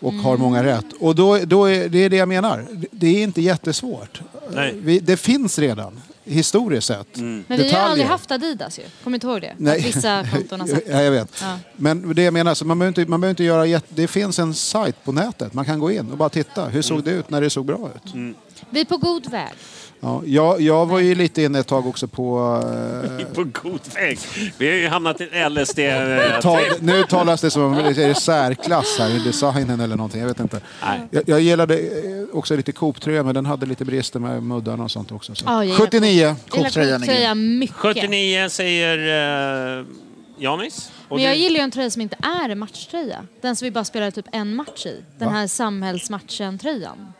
Speaker 6: Och har många rätt. Och då, då är, det är det jag menar. Det är inte jättesvårt.
Speaker 3: Nej.
Speaker 6: Vi, det finns redan, historiskt sett.
Speaker 5: Men vi har ju aldrig
Speaker 6: detaljer.
Speaker 5: haft Adidas ju. Kommer inte ihåg det?
Speaker 6: Nej.
Speaker 5: Att vissa konton har sagt
Speaker 6: Ja, jag vet.
Speaker 5: Ja.
Speaker 6: Men det jag menar, så man, behöver inte, man behöver inte göra jätte... Det finns en sajt på nätet. Man kan gå in och bara titta. Hur
Speaker 7: Mm.
Speaker 6: såg det ut när det såg bra ut?
Speaker 5: Vi är på god väg.
Speaker 6: Ja, jag, jag var ju lite inne ett tag också på... eh,
Speaker 3: På god väg. Vi har ju hamnat i en LSD... eh,
Speaker 6: tal, nu talas det som om det är särklass här i designen eller någonting. Jag vet inte.
Speaker 3: Nej.
Speaker 6: Jag, jag gillade eh, också lite Coop-tröja men den hade lite brister med muddarna och sånt också. Så.
Speaker 5: Ja, jag gillar
Speaker 6: 79.
Speaker 5: Jag gillar
Speaker 7: Coop-tröjan är grym.
Speaker 5: tröja mycket.
Speaker 3: 79 säger eh, Janis. Och
Speaker 5: Men jag
Speaker 3: du-
Speaker 5: gillar ju en tröja som inte är en matchtröja. Den som vi bara spelar typ en match i. Den här samhällsmatchen-tröjan.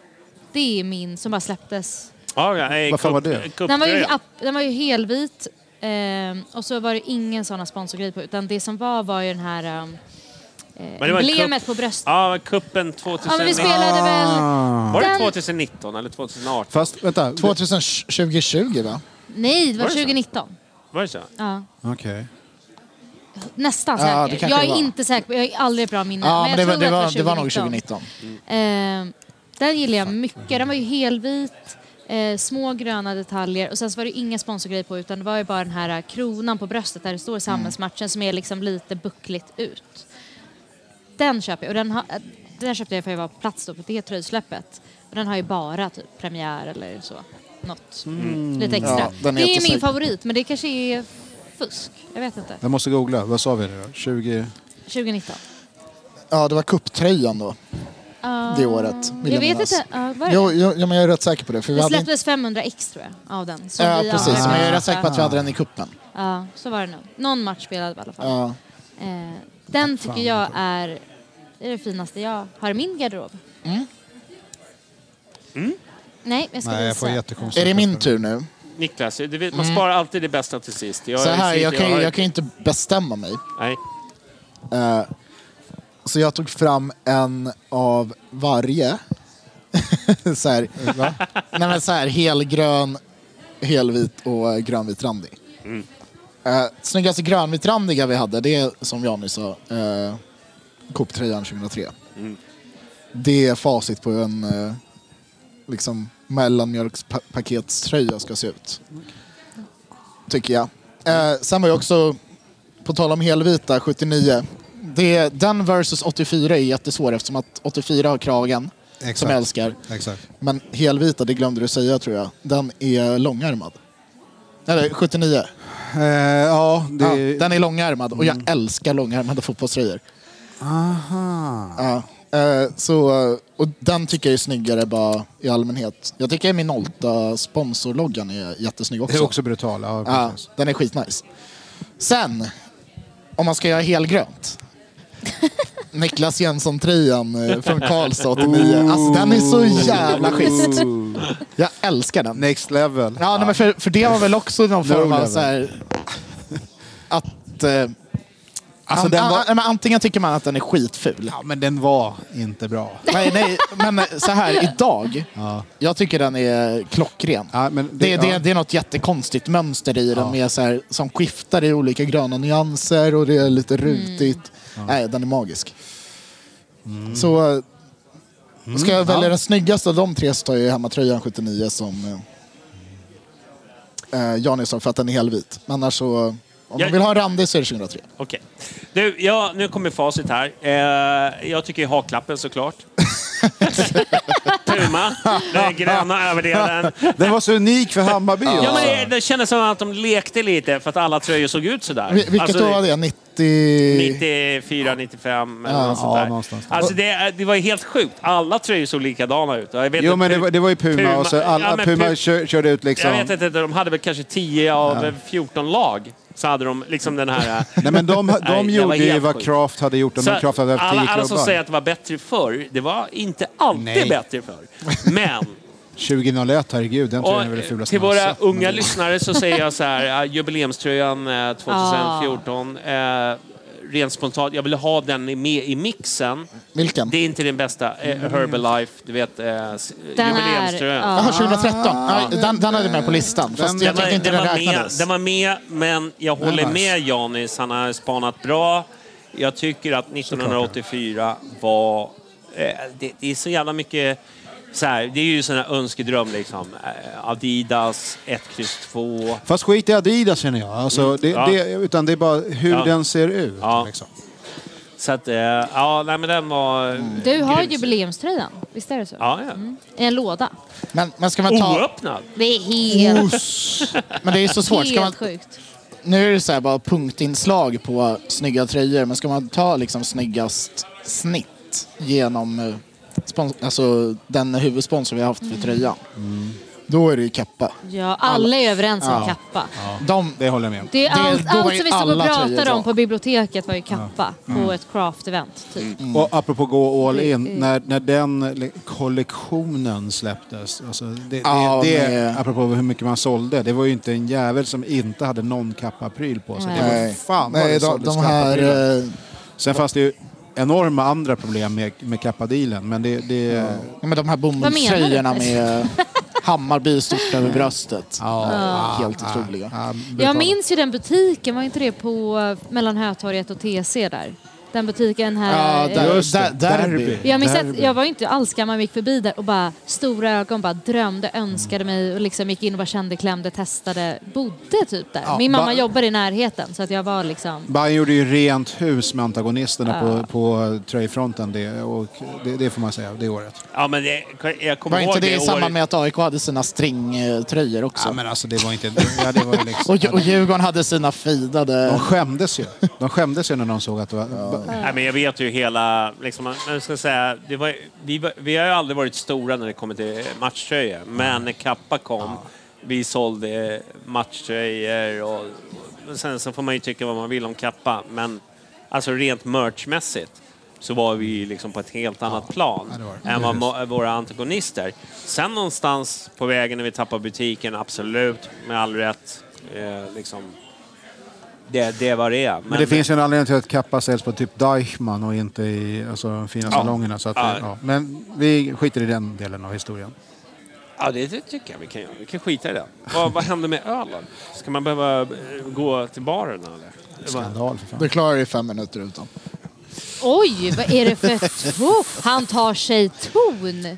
Speaker 5: Det är min som bara släpptes.
Speaker 3: Ja, ja, eh,
Speaker 6: Vad fan var
Speaker 3: cup- eh,
Speaker 6: det?
Speaker 3: cuptröja.
Speaker 5: Den var ju, app- den var ju helvit. ehm, och så var det ingen såna sponsorgrej på. Utan det som var var ju den här ehm, eh,
Speaker 3: Men det var en
Speaker 5: emblemet
Speaker 3: cup-
Speaker 5: på bröstet.
Speaker 3: Ja, kuppen 2019.
Speaker 5: Ja men vi spelade väl...
Speaker 7: Ah.
Speaker 3: Var det
Speaker 5: den-
Speaker 3: 2019 eller 2018?
Speaker 6: Fast vänta.
Speaker 7: 2020 va?
Speaker 5: Nej, det var
Speaker 3: Var det så?
Speaker 5: 2019.
Speaker 3: Var det så?
Speaker 5: Ja.
Speaker 6: Okej.
Speaker 5: Nästan
Speaker 7: Ja, det
Speaker 5: säker.
Speaker 7: kanske
Speaker 5: jag
Speaker 7: det
Speaker 5: är
Speaker 7: var.
Speaker 5: inte säker. på- Jag är aldrig bra minne.
Speaker 7: Ja, men
Speaker 5: jag
Speaker 7: det var,
Speaker 5: tror
Speaker 7: det,
Speaker 5: att
Speaker 7: var, det var nog 2019.
Speaker 5: Ehm, den gillar jag mycket. Den var ju helvit. Eh, små gröna detaljer och sen så var det inga sponsorgrejer på utan det var ju bara den här eh, kronan på bröstet där det
Speaker 7: Mm.
Speaker 5: står samhällsmatchen som är liksom lite buckligt ut. Den köper jag och den, har- eh, den köpte jag för jag var på plats då på det tröjsläppet. Och den har ju bara typ premiär eller så. Något lite extra.
Speaker 7: Mm. Ja, den är
Speaker 5: det är ju
Speaker 7: jättesnygg.
Speaker 5: min favorit men det kanske är fusk. Jag vet inte.
Speaker 6: Jag måste googla. Vad sa vi nu då? 20...
Speaker 5: 2019.
Speaker 7: Ja, det var kupptröjan då.
Speaker 5: Ah,
Speaker 7: Det året, vill
Speaker 5: Jag
Speaker 7: jag
Speaker 5: vet
Speaker 7: minnas.
Speaker 5: inte. ah, var det?
Speaker 7: Jo, jo, ja, men jag är rätt säker på det. För vi
Speaker 5: det
Speaker 7: hade inte,
Speaker 5: släpptes 500 ex tror jag av den. som
Speaker 7: ja,
Speaker 5: vi
Speaker 7: precis.
Speaker 5: använde.
Speaker 7: Men jag är rätt säker på att vi hade den i kuppen.
Speaker 5: Ja, så var det nog. Någon match spelade vi i alla fall.
Speaker 7: Ja.
Speaker 5: Eh, den tycker jag är det, är det finaste jag har i min garderob.
Speaker 7: Mm.
Speaker 5: Nej, jag ska
Speaker 6: Nej, jag
Speaker 5: visa.
Speaker 6: får jättekonstiga
Speaker 7: Är det min tur nu?
Speaker 3: Niklas, du vet, man
Speaker 5: Mm.
Speaker 3: sparar alltid det bästa till sist. Jag,
Speaker 7: Så här,
Speaker 3: sitter-
Speaker 7: jag kan ju
Speaker 3: har-
Speaker 7: jag kan ju inte bestämma mig.
Speaker 3: Nej.
Speaker 7: Så jag tog fram en av varje. så här, nej men så här, helgrön, helvit och eh, grönvit randig. Eh, snyggaste grönvitrandiga vi hade, det är som jag nyss sa, eh, Coop-tröjan 2003. Det är facit på hur en eh, liksom, mellanmjölkspaketströja ska se ut. Tycker jag. Eh, sen var jag också, på tal om helvita, 79. Det, den versus 84 är jättesvår eftersom att 84 har kragen, som
Speaker 6: Exakt.
Speaker 7: jag älskar.
Speaker 6: Exakt.
Speaker 7: Men helvita, det glömde du säga tror jag. Den är långärmad. Eller 79.
Speaker 6: Eh, ja, det
Speaker 7: Ja,
Speaker 6: är... Mm.
Speaker 7: den är långärmad och jag älskar långärmade fotbollströjor.
Speaker 6: Aha.
Speaker 7: Ja. Eh, så, och den tycker jag är snyggare bara i allmänhet. Jag tycker min Olta sponsorloggan är jättesnygg
Speaker 6: Det är
Speaker 7: också.
Speaker 6: också brutal. Ja,
Speaker 7: Ja,
Speaker 6: precis.
Speaker 7: den är skitnice. Sen, om man ska göra helgrönt. Niklas Jönsson-tröjan eh, från Karlstad 89. Alltså den är så jävla schysst. Jag älskar den.
Speaker 6: Next level.
Speaker 7: Ja, nej, men för, för det var väl också någon form av
Speaker 6: level.
Speaker 7: så här, att... Eh,
Speaker 6: Alltså,
Speaker 7: an,
Speaker 6: den var-
Speaker 7: an, men antingen tycker man att den är skitful.
Speaker 6: Ja, men den var inte bra.
Speaker 7: Nej, nej, men eh, så här idag. Jag tycker den är klockren.
Speaker 6: Ja, men det-
Speaker 7: det, det,
Speaker 6: ja.
Speaker 7: det är något jättekonstigt mönster i den med så här, som skiftar i olika gröna nyanser och det är lite rutigt. Nej, den är magisk.
Speaker 6: Mm.
Speaker 7: Så eh, ska jag välja den snyggaste av de tre så tar jag hemmatröjan 79 som eh, eh, Johnny sa för att den är helvit. Men annars så, om
Speaker 3: Jag-
Speaker 7: man vill ha en randig så är det 2003.
Speaker 3: Okej. Du, ja, nu kommer facit här. Eh, jag tycker haklappen såklart. Puma, den gröna överdelen.
Speaker 6: Den var så unik för Hammarby. alltså.
Speaker 3: Ja,
Speaker 6: också.
Speaker 3: men det, det kändes som att de lekte lite för att alla tröjor såg ut sådär.
Speaker 7: Vil- Vilket
Speaker 3: Alltså,
Speaker 7: då var det? 90...
Speaker 3: 94, 95 eller något sånt
Speaker 6: ja,
Speaker 3: där.
Speaker 6: någonstans där.
Speaker 3: alltså det, det var helt sjukt. Alla tröjor såg likadana ut. Jag vet
Speaker 6: Jo,
Speaker 3: inte
Speaker 6: men det
Speaker 3: hur-
Speaker 6: var, det var ju Puma,
Speaker 3: Puma-
Speaker 6: och så alla,
Speaker 3: ja, men
Speaker 6: Puma
Speaker 3: Pu-
Speaker 6: kör, körde ut liksom...
Speaker 3: Jag vet inte, de hade väl kanske 10 av 14 lag. Så hade de liksom den här...
Speaker 6: Nej, men de de
Speaker 3: Nej, det var
Speaker 6: gjorde ju
Speaker 3: helt
Speaker 6: vad
Speaker 3: sjukt.
Speaker 6: Kraft hade gjort om
Speaker 3: Så
Speaker 6: de Kraft hade haft
Speaker 3: alla,
Speaker 6: 10
Speaker 3: alla som säger
Speaker 6: klubbar.
Speaker 3: att det var bättre förr, det var inte alltid
Speaker 6: Nej.
Speaker 3: bättre förr. Men,
Speaker 6: 2001, herregud, den tröjan är väl
Speaker 3: och,
Speaker 6: det
Speaker 3: eh,
Speaker 6: fulaste
Speaker 3: till
Speaker 6: Mm. man har
Speaker 3: våra
Speaker 6: sett.
Speaker 3: unga lyssnare så säger jag så här, eh, jubileumströjan
Speaker 6: Ah.
Speaker 3: eh, 2014, eh, rent spontant, jag vill ha den i- med i mixen.
Speaker 7: Vilken?
Speaker 3: Det är inte den bästa, eh,
Speaker 6: Mm.
Speaker 3: Herbalife, du vet, eh, s-
Speaker 5: Den här,
Speaker 3: jubileumströjan.
Speaker 5: ja.
Speaker 7: Jaha, 2013.
Speaker 5: Ah.
Speaker 7: Ja, den, den hade jag med på listan. Fast jag
Speaker 3: Den var,
Speaker 7: tyckte inte
Speaker 3: den,
Speaker 7: den
Speaker 3: var med,
Speaker 7: räknades.
Speaker 3: den var med, men jag håller med Janis. Han har spanat bra. Jag tycker att 1984 var... Eh, det, det är så jävla mycket... Så här, det är ju sån här önskedröm liksom. Eh, Adidas, 1, kryss 2.
Speaker 6: Fast skit i Adidas känner jag. Alltså, det,
Speaker 3: Mm. Ja.
Speaker 6: det, utan det är bara hur
Speaker 3: Ja.
Speaker 6: den ser ut.
Speaker 3: Ja.
Speaker 6: Liksom.
Speaker 3: Så att, eh, ja, nej men den var...
Speaker 7: Mm.
Speaker 5: Du har
Speaker 3: grym.
Speaker 5: jubileumströjan, visst är det så?
Speaker 3: Ja, ja.
Speaker 5: I en låda.
Speaker 7: Men, men ska man ta...
Speaker 3: Oöppnad.
Speaker 5: Det är helt,
Speaker 7: Men det är så Oh, svårt. Ska man,
Speaker 5: helt sjukt.
Speaker 7: nu är det så här bara punktinslag på snygga tröjor. Men ska man ta liksom snyggast snitt genom eh, spons- alltså, den huvudsponsor vi har haft
Speaker 5: Mm.
Speaker 7: för tröjan.
Speaker 6: Mm.
Speaker 7: Då är det ju kappa.
Speaker 5: Ja, alla är överens om kappa.
Speaker 7: De,
Speaker 6: Det håller jag med om.
Speaker 5: Det är
Speaker 7: Det-
Speaker 5: allt,
Speaker 7: då var
Speaker 5: allt
Speaker 7: ju
Speaker 5: som vi stod och
Speaker 7: alla
Speaker 5: pratade
Speaker 7: tröjor
Speaker 5: om
Speaker 7: bra. Mm.
Speaker 5: på biblioteket var ju kappa på ett craft-event. Typ.
Speaker 6: Och apropå gå all in,
Speaker 5: Det är-
Speaker 6: när, när den li- kollektionen släpptes, alltså det,
Speaker 7: Ja,
Speaker 6: det, det,
Speaker 7: med-
Speaker 6: apropå hur mycket man sålde, det var ju inte en jävel som inte hade någon kappapryl på sig. Det var,
Speaker 7: nej,
Speaker 6: fan vad
Speaker 7: nej
Speaker 6: det
Speaker 7: de,
Speaker 6: såldes
Speaker 7: de här...
Speaker 6: kappaprylar.
Speaker 7: eh,
Speaker 6: Sen fanns det ju enorma andra problem med, med kappadealen, men det... det
Speaker 7: Ja, men de här bomullströjorna
Speaker 5: Vad menar
Speaker 7: med Hammarby stort över bröstet. Ja, Helt otroliga.
Speaker 6: ja, brutalt.
Speaker 5: Jag minns ju den butiken, var inte det på eh, mellan Hötorget och TC där? Den butiken här.
Speaker 7: Ja,
Speaker 5: eh,
Speaker 7: där,
Speaker 6: Just det,
Speaker 7: där, derby.
Speaker 6: derby.
Speaker 5: Jag minns att
Speaker 6: Derby.
Speaker 5: jag var inte alls gammal, men gick förbi där och bara stora ögon, bara drömde, önskade mig och liksom gick in och bara kände, klämde, testade, bodde typ där.
Speaker 6: Ja,
Speaker 5: Min mamma
Speaker 6: ba-
Speaker 5: jobbar i närheten så att jag var liksom,
Speaker 6: Bayern gjorde ju rent hus med antagonisterna på, på tröjfronten det, och det, det får man säga, det året.
Speaker 3: Ja, men det, jag kommer
Speaker 7: Var
Speaker 3: ihåg
Speaker 7: inte det i
Speaker 3: året.
Speaker 7: samband med att AIK hade sina stringtröjor också?
Speaker 6: Ja, men alltså det var inte... Ja, det var ju liksom,
Speaker 7: och, och Djurgården hade sina
Speaker 6: de
Speaker 7: fidade...
Speaker 6: skämdes ju. De skämdes ju när de såg att det var... Ja.
Speaker 3: Nej, men jag vet ju hela... Liksom, man- man ska säga, det var, vi, var- vi har ju aldrig varit stora när det kommer till matchtröjor, men när Kappa kom, vi sålde matchtröjor och, och sen så får man ju tycka vad man vill om Kappa, men alltså rent merchmässigt så var vi ju liksom på ett helt annat plan
Speaker 6: det var det.
Speaker 3: än vad mo- våra antagonister. Sen någonstans på vägen när vi tappade butiken, absolut, med all rätt, eh, liksom, det, det var det.
Speaker 6: Men det finns ju en anledning till att kappa säljs på typ Deichmann och inte i alltså, de fina salongerna. Så att,
Speaker 3: Ja.
Speaker 6: det- ja. Men vi skiter i den delen av historien.
Speaker 3: Ja, det, det tycker jag vi kan göra. Vi kan skita i det. Vad, vad händer med ölen? Ska man behöva eh, gå till baren eller? Det var-
Speaker 6: Skandal för fan.
Speaker 7: Du klarar dig fem minuter utan.
Speaker 5: oj vad är det för ton? Han tar sig ton!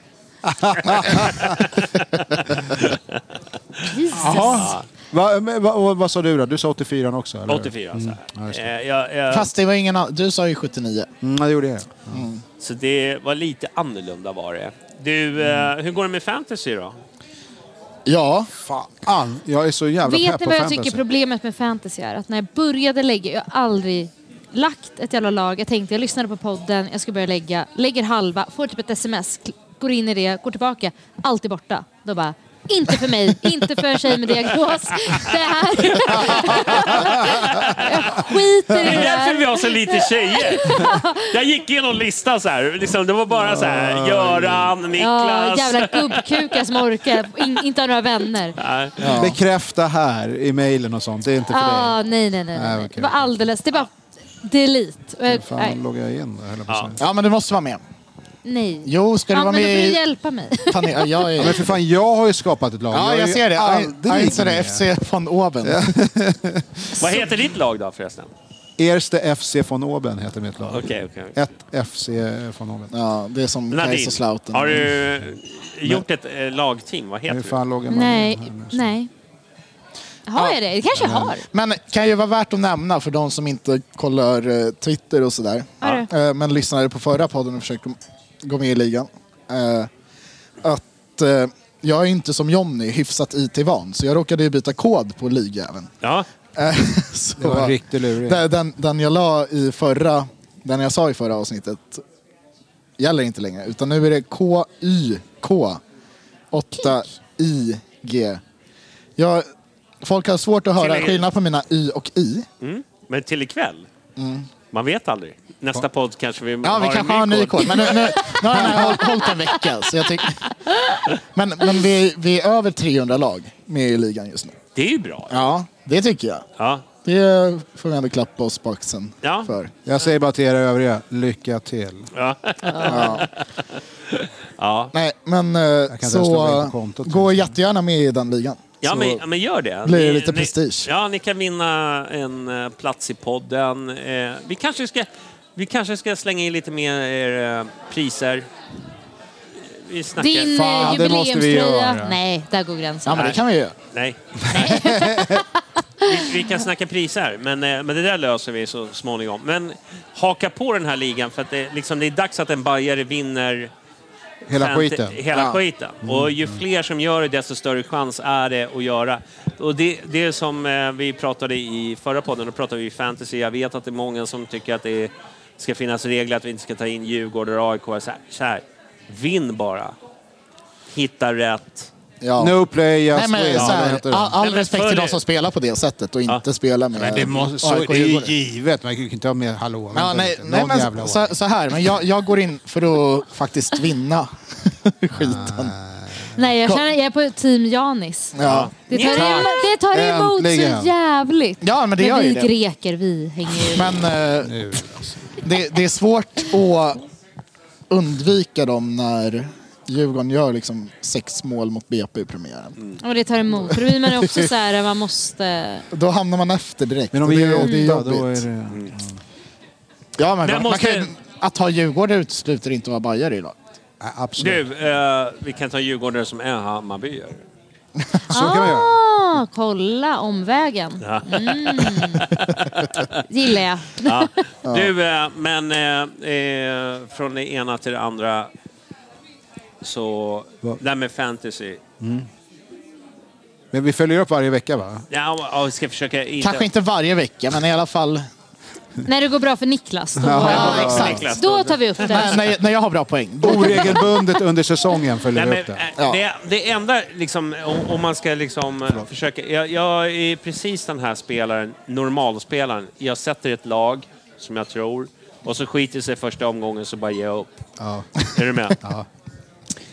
Speaker 5: Jesus!
Speaker 6: Jaha. Va, men, va, och vad sa du då? Du sa 84 också? Eller?
Speaker 3: 84 alltså.
Speaker 6: Ja, just det.
Speaker 3: Eh, jag, jag,
Speaker 7: Fast det var ingen annan. Du sa ju 79.
Speaker 6: Mm, det gjorde jag.
Speaker 3: Så det var lite annorlunda var det. Du, eh, hur går det med fantasy då?
Speaker 7: Ja,
Speaker 6: Fan, jag är så jävla
Speaker 5: Vet
Speaker 6: pepp
Speaker 5: ni
Speaker 6: Alltså, på
Speaker 5: vad jag
Speaker 6: fantasy.
Speaker 5: tycker problemet med fantasy är? Att när jag började lägga, jag har aldrig lagt ett jävla lag. Jag tänkte, jag lyssnade på podden, jag ska börja lägga, lägger halva, får typ ett sms, kl- går in i det, går tillbaka, allt är borta. Då bara, inte för mig, inte för en tjej med diagnos. Det här... jag skiter i
Speaker 3: Det
Speaker 5: det
Speaker 3: är därför vi
Speaker 5: här.
Speaker 3: har så lite tjejer. Jag gick igenom listan så här. Liksom, det var bara så här, Göran,
Speaker 5: Ja,
Speaker 3: Niklas.
Speaker 5: jävla gubbkukar som orkar, in, inte har några vänner.
Speaker 3: Nej.
Speaker 6: Bekräfta här i mejlen och sånt. Det är inte för
Speaker 5: Ah,
Speaker 6: dig.
Speaker 5: nej, nej, nej. nej.
Speaker 6: Nej,
Speaker 5: nej.
Speaker 6: okej,
Speaker 5: Det var alldeles, det var delete. Och jag-
Speaker 6: Fan,
Speaker 5: nej,
Speaker 6: loggar jag in då, höll jag på att
Speaker 3: Ja.
Speaker 6: säga.
Speaker 7: ja men du måste vara med.
Speaker 5: nej.
Speaker 7: Jo, ska du
Speaker 5: ja,
Speaker 7: vara
Speaker 5: men då får
Speaker 7: med
Speaker 5: du
Speaker 7: i...
Speaker 5: hjälpa mig.
Speaker 7: Fan, ja, jag
Speaker 6: Ja, men
Speaker 7: är...
Speaker 6: för fan, jag har ju skapat ett lag.
Speaker 7: Ja,
Speaker 6: är
Speaker 7: jag
Speaker 6: ju
Speaker 7: ser det.
Speaker 6: aldrig
Speaker 7: Einzelne
Speaker 6: med.
Speaker 7: FC von Oben.
Speaker 3: Vad heter ditt lag då förresten?
Speaker 6: Erste FC von Oben heter mitt lag.
Speaker 3: Okej, okej. okej.
Speaker 6: Ett FC von Oben.
Speaker 7: Ja, det är som
Speaker 3: Nadine,
Speaker 7: Kaiserslautern.
Speaker 3: har du gjort ett eh, lagteam? Vad heter
Speaker 6: Hur
Speaker 3: du?
Speaker 6: fan loggar man in
Speaker 5: Nej,
Speaker 6: här nu?
Speaker 5: nej. Har jag det? Det kanske jag har.
Speaker 7: Men kan ju vara värt att nämna för de som inte kollar eh, Twitter och sådär.
Speaker 5: Ja.
Speaker 7: Eh, men lyssnade på förra podden och försökte gå med i ligan. Eh, att eh, jag är inte som Jonny hyfsat IT-van så jag råkade ju byta kod på ligjäveln.
Speaker 3: Ja.
Speaker 7: Eh, så-
Speaker 6: Det var en riktig luring.
Speaker 7: Den, den, den jag la i förra, den jag sa i förra avsnittet gäller inte längre. Utan nu är det KYK8IG. Jag, folk har svårt att höra
Speaker 3: Till-
Speaker 7: skillnad på mina Y och I.
Speaker 3: Men till ikväll? Man vet aldrig. Nästa podd kanske vi
Speaker 7: Ja,
Speaker 3: har
Speaker 7: vi kanske har en ny kod. Men nu, nu, nu har den här håll- hållit en vecka. Så jag tyck... Men, men vi, vi är över 300 lag med i ligan just nu.
Speaker 3: Det är ju bra.
Speaker 7: Ja, det tycker jag.
Speaker 3: Ja.
Speaker 7: Det får vi ändå klappa oss på axeln
Speaker 3: Ja.
Speaker 7: för.
Speaker 6: Jag säger bara till er övriga, lycka till.
Speaker 3: Ja.
Speaker 7: Nej, men eh,
Speaker 6: inte ens logga in
Speaker 7: så
Speaker 6: på kontot.
Speaker 7: gå jättegärna med i den ligan.
Speaker 3: Ja,
Speaker 7: så,
Speaker 3: men, ja, men gör det.
Speaker 7: blir det lite prestige.
Speaker 3: Ni, ja, ni kan vinna en eh, plats i podden. Eh, vi, kanske ska, vi kanske ska slänga in lite mer eh, priser. Eh, Vi snackar...
Speaker 5: Din
Speaker 6: Fan,
Speaker 5: Fan,
Speaker 6: det måste vi
Speaker 5: jubileumströja.
Speaker 6: göra.
Speaker 5: Nej, där går
Speaker 7: ja,
Speaker 5: gränsen.
Speaker 7: men det kan vi ju.
Speaker 3: Nej. vi, vi kan snacka priser, men, eh, men det där löser vi så småningom. Men haka på den här ligan, för att det, liksom, det är dags att en bajare vinner
Speaker 6: Hela
Speaker 3: Fant-
Speaker 6: skiten. Mm.
Speaker 3: Hela skiten. Och ju fler som gör det, desto större chans är det att göra. Och det, det är som eh, vi pratade i förra podden, då pratade vi fantasy. Jag vet att det är många som tycker att det ska finnas regler att vi inte ska ta in Djurgården och AIK. Så här, så här. Vinn bara. Hitta rätt.
Speaker 7: Ja.
Speaker 6: No play, just
Speaker 7: Nej, men,
Speaker 6: win.
Speaker 7: så här, all all
Speaker 3: Nej, men
Speaker 7: respekt till
Speaker 3: följ-
Speaker 7: de som spelar på det sättet och inte spelar med
Speaker 6: Men det, måste, så,
Speaker 7: AIK
Speaker 6: det är ju
Speaker 7: Djurgården.
Speaker 6: givet. Man kan ju inte ha med hallå.
Speaker 7: Ja,
Speaker 6: vänta
Speaker 7: nej,
Speaker 6: lite.
Speaker 7: nej,
Speaker 6: Någon jävla
Speaker 7: men så,
Speaker 6: ordning.
Speaker 7: så här, men jag, jag går in för att faktiskt vinna skiten.
Speaker 5: Nej, jag, känner, jag är på team Janis.
Speaker 7: Ja.
Speaker 5: Det tar, emot, det tar emot
Speaker 6: Äntligen.
Speaker 5: så jävligt.
Speaker 7: Ja, men det gör
Speaker 5: vi
Speaker 7: ju det.
Speaker 5: greker, vi hänger ju...
Speaker 7: Men eh,
Speaker 6: alltså.
Speaker 7: det, det är svårt att undvika dem när Djurgården gör liksom sex mål mot BP i premiären.
Speaker 5: Och det tar emot. För då blir man ju också så här, man måste...
Speaker 7: Då hamnar man efter direkt.
Speaker 6: Men om
Speaker 7: och
Speaker 6: vi
Speaker 7: det,
Speaker 6: gör
Speaker 7: det är
Speaker 6: åtta, då är
Speaker 7: jobbigt.
Speaker 6: det...
Speaker 7: Ja, men man
Speaker 3: måste-
Speaker 7: kan, ju- att ha Djurgården utesluter inte att vara bajare i laget.
Speaker 6: Nej, absolut.
Speaker 3: Du,
Speaker 6: Mm.
Speaker 3: eh, vi kan ta Djurgårdare som är Hammarbyare.
Speaker 6: Så kan vi göra.
Speaker 5: Ah, kolla omvägen. Mm. Gillar jag.
Speaker 3: Ja. Du, eh, men eh, eh, från det ena till det andra så...
Speaker 6: Va?
Speaker 3: Det här med fantasy.
Speaker 6: Men vi följer upp varje vecka va?
Speaker 3: Ja, ja, vi ska försöka... Inte...
Speaker 7: Kanske inte varje vecka, men i alla fall
Speaker 5: När det går bra för Niklas, då,
Speaker 7: Ja, exakt.
Speaker 3: Niklas,
Speaker 5: då tar vi upp
Speaker 7: när,
Speaker 5: det.
Speaker 7: när, när jag har bra poäng. Då,
Speaker 6: Oregelbundet under säsongen följer
Speaker 3: Nej,
Speaker 6: vi
Speaker 3: men,
Speaker 6: upp det.
Speaker 3: eh, det, det enda, liksom, om, om man ska liksom, eh, försöka... Jag, jag är precis den här spelaren, normalspelaren. Jag sätter ett lag, som jag tror, och så skiter sig första omgången så bara ger jag upp.
Speaker 6: Ja.
Speaker 3: Är du med?
Speaker 5: Jag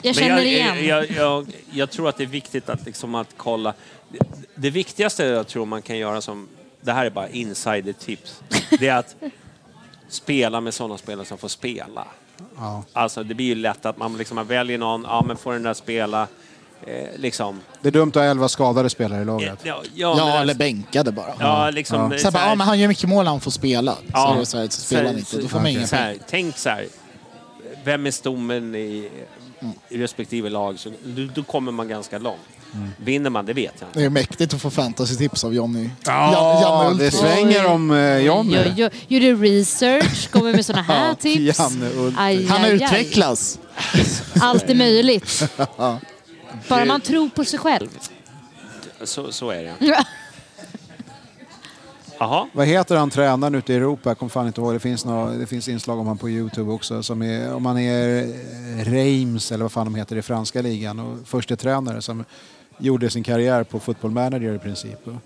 Speaker 3: Men
Speaker 5: känner
Speaker 3: jag,
Speaker 5: igen.
Speaker 3: jag, jag, jag tror att det är viktigt att, liksom att kolla. Det, det viktigaste jag tror man kan göra som, det här är bara insidertips, det är att spela med sådana spelare som får spela.
Speaker 6: Ja.
Speaker 3: Alltså det blir ju lätt att man liksom man väljer någon, ja men får den där spela, eh, liksom.
Speaker 6: Det är dumt att ha elva skadade spelare i
Speaker 3: Ja,
Speaker 6: laget.
Speaker 3: ja,
Speaker 7: ja,
Speaker 3: men- alltså,
Speaker 7: eller bänkade bara.
Speaker 3: Ja, liksom.
Speaker 7: Så här, bara,
Speaker 3: så här-
Speaker 7: ja, men han gör mycket mål han får spela.
Speaker 3: Ja.
Speaker 7: Så, är det så, här, så spelar han inte, då får man inga
Speaker 3: så
Speaker 7: poäng.
Speaker 3: här, Tänk så här, vem är stommen i, i respektive lag? Så, då, då kommer man ganska långt. Vinner man, det vet jag inte.
Speaker 7: Det är mäktigt att få fantasy-tips av Johnny.
Speaker 6: Ja,
Speaker 7: Jan- Janne
Speaker 6: det
Speaker 7: Ulf.
Speaker 6: svänger om eh, Johnny.
Speaker 5: Oj, oj, oj. Gjorde research, kommer med såna här
Speaker 6: Ja,
Speaker 5: tips.
Speaker 6: Janne Ulf.
Speaker 5: Aj,
Speaker 7: Han
Speaker 5: aj, aj.
Speaker 7: utvecklas.
Speaker 5: Allt är möjligt. Bara man tror på sig själv.
Speaker 3: Så, så är det. Jaha.
Speaker 6: Vad heter han tränaren ute i Europa? Jag kommer fan inte ihåg. Det finns, några, det finns inslag om han på Youtube också. Som är, om han är eh, Reims eller vad fan de heter i franska ligan och första tränare som gjorde sin karriär på football manager i princip. Vi-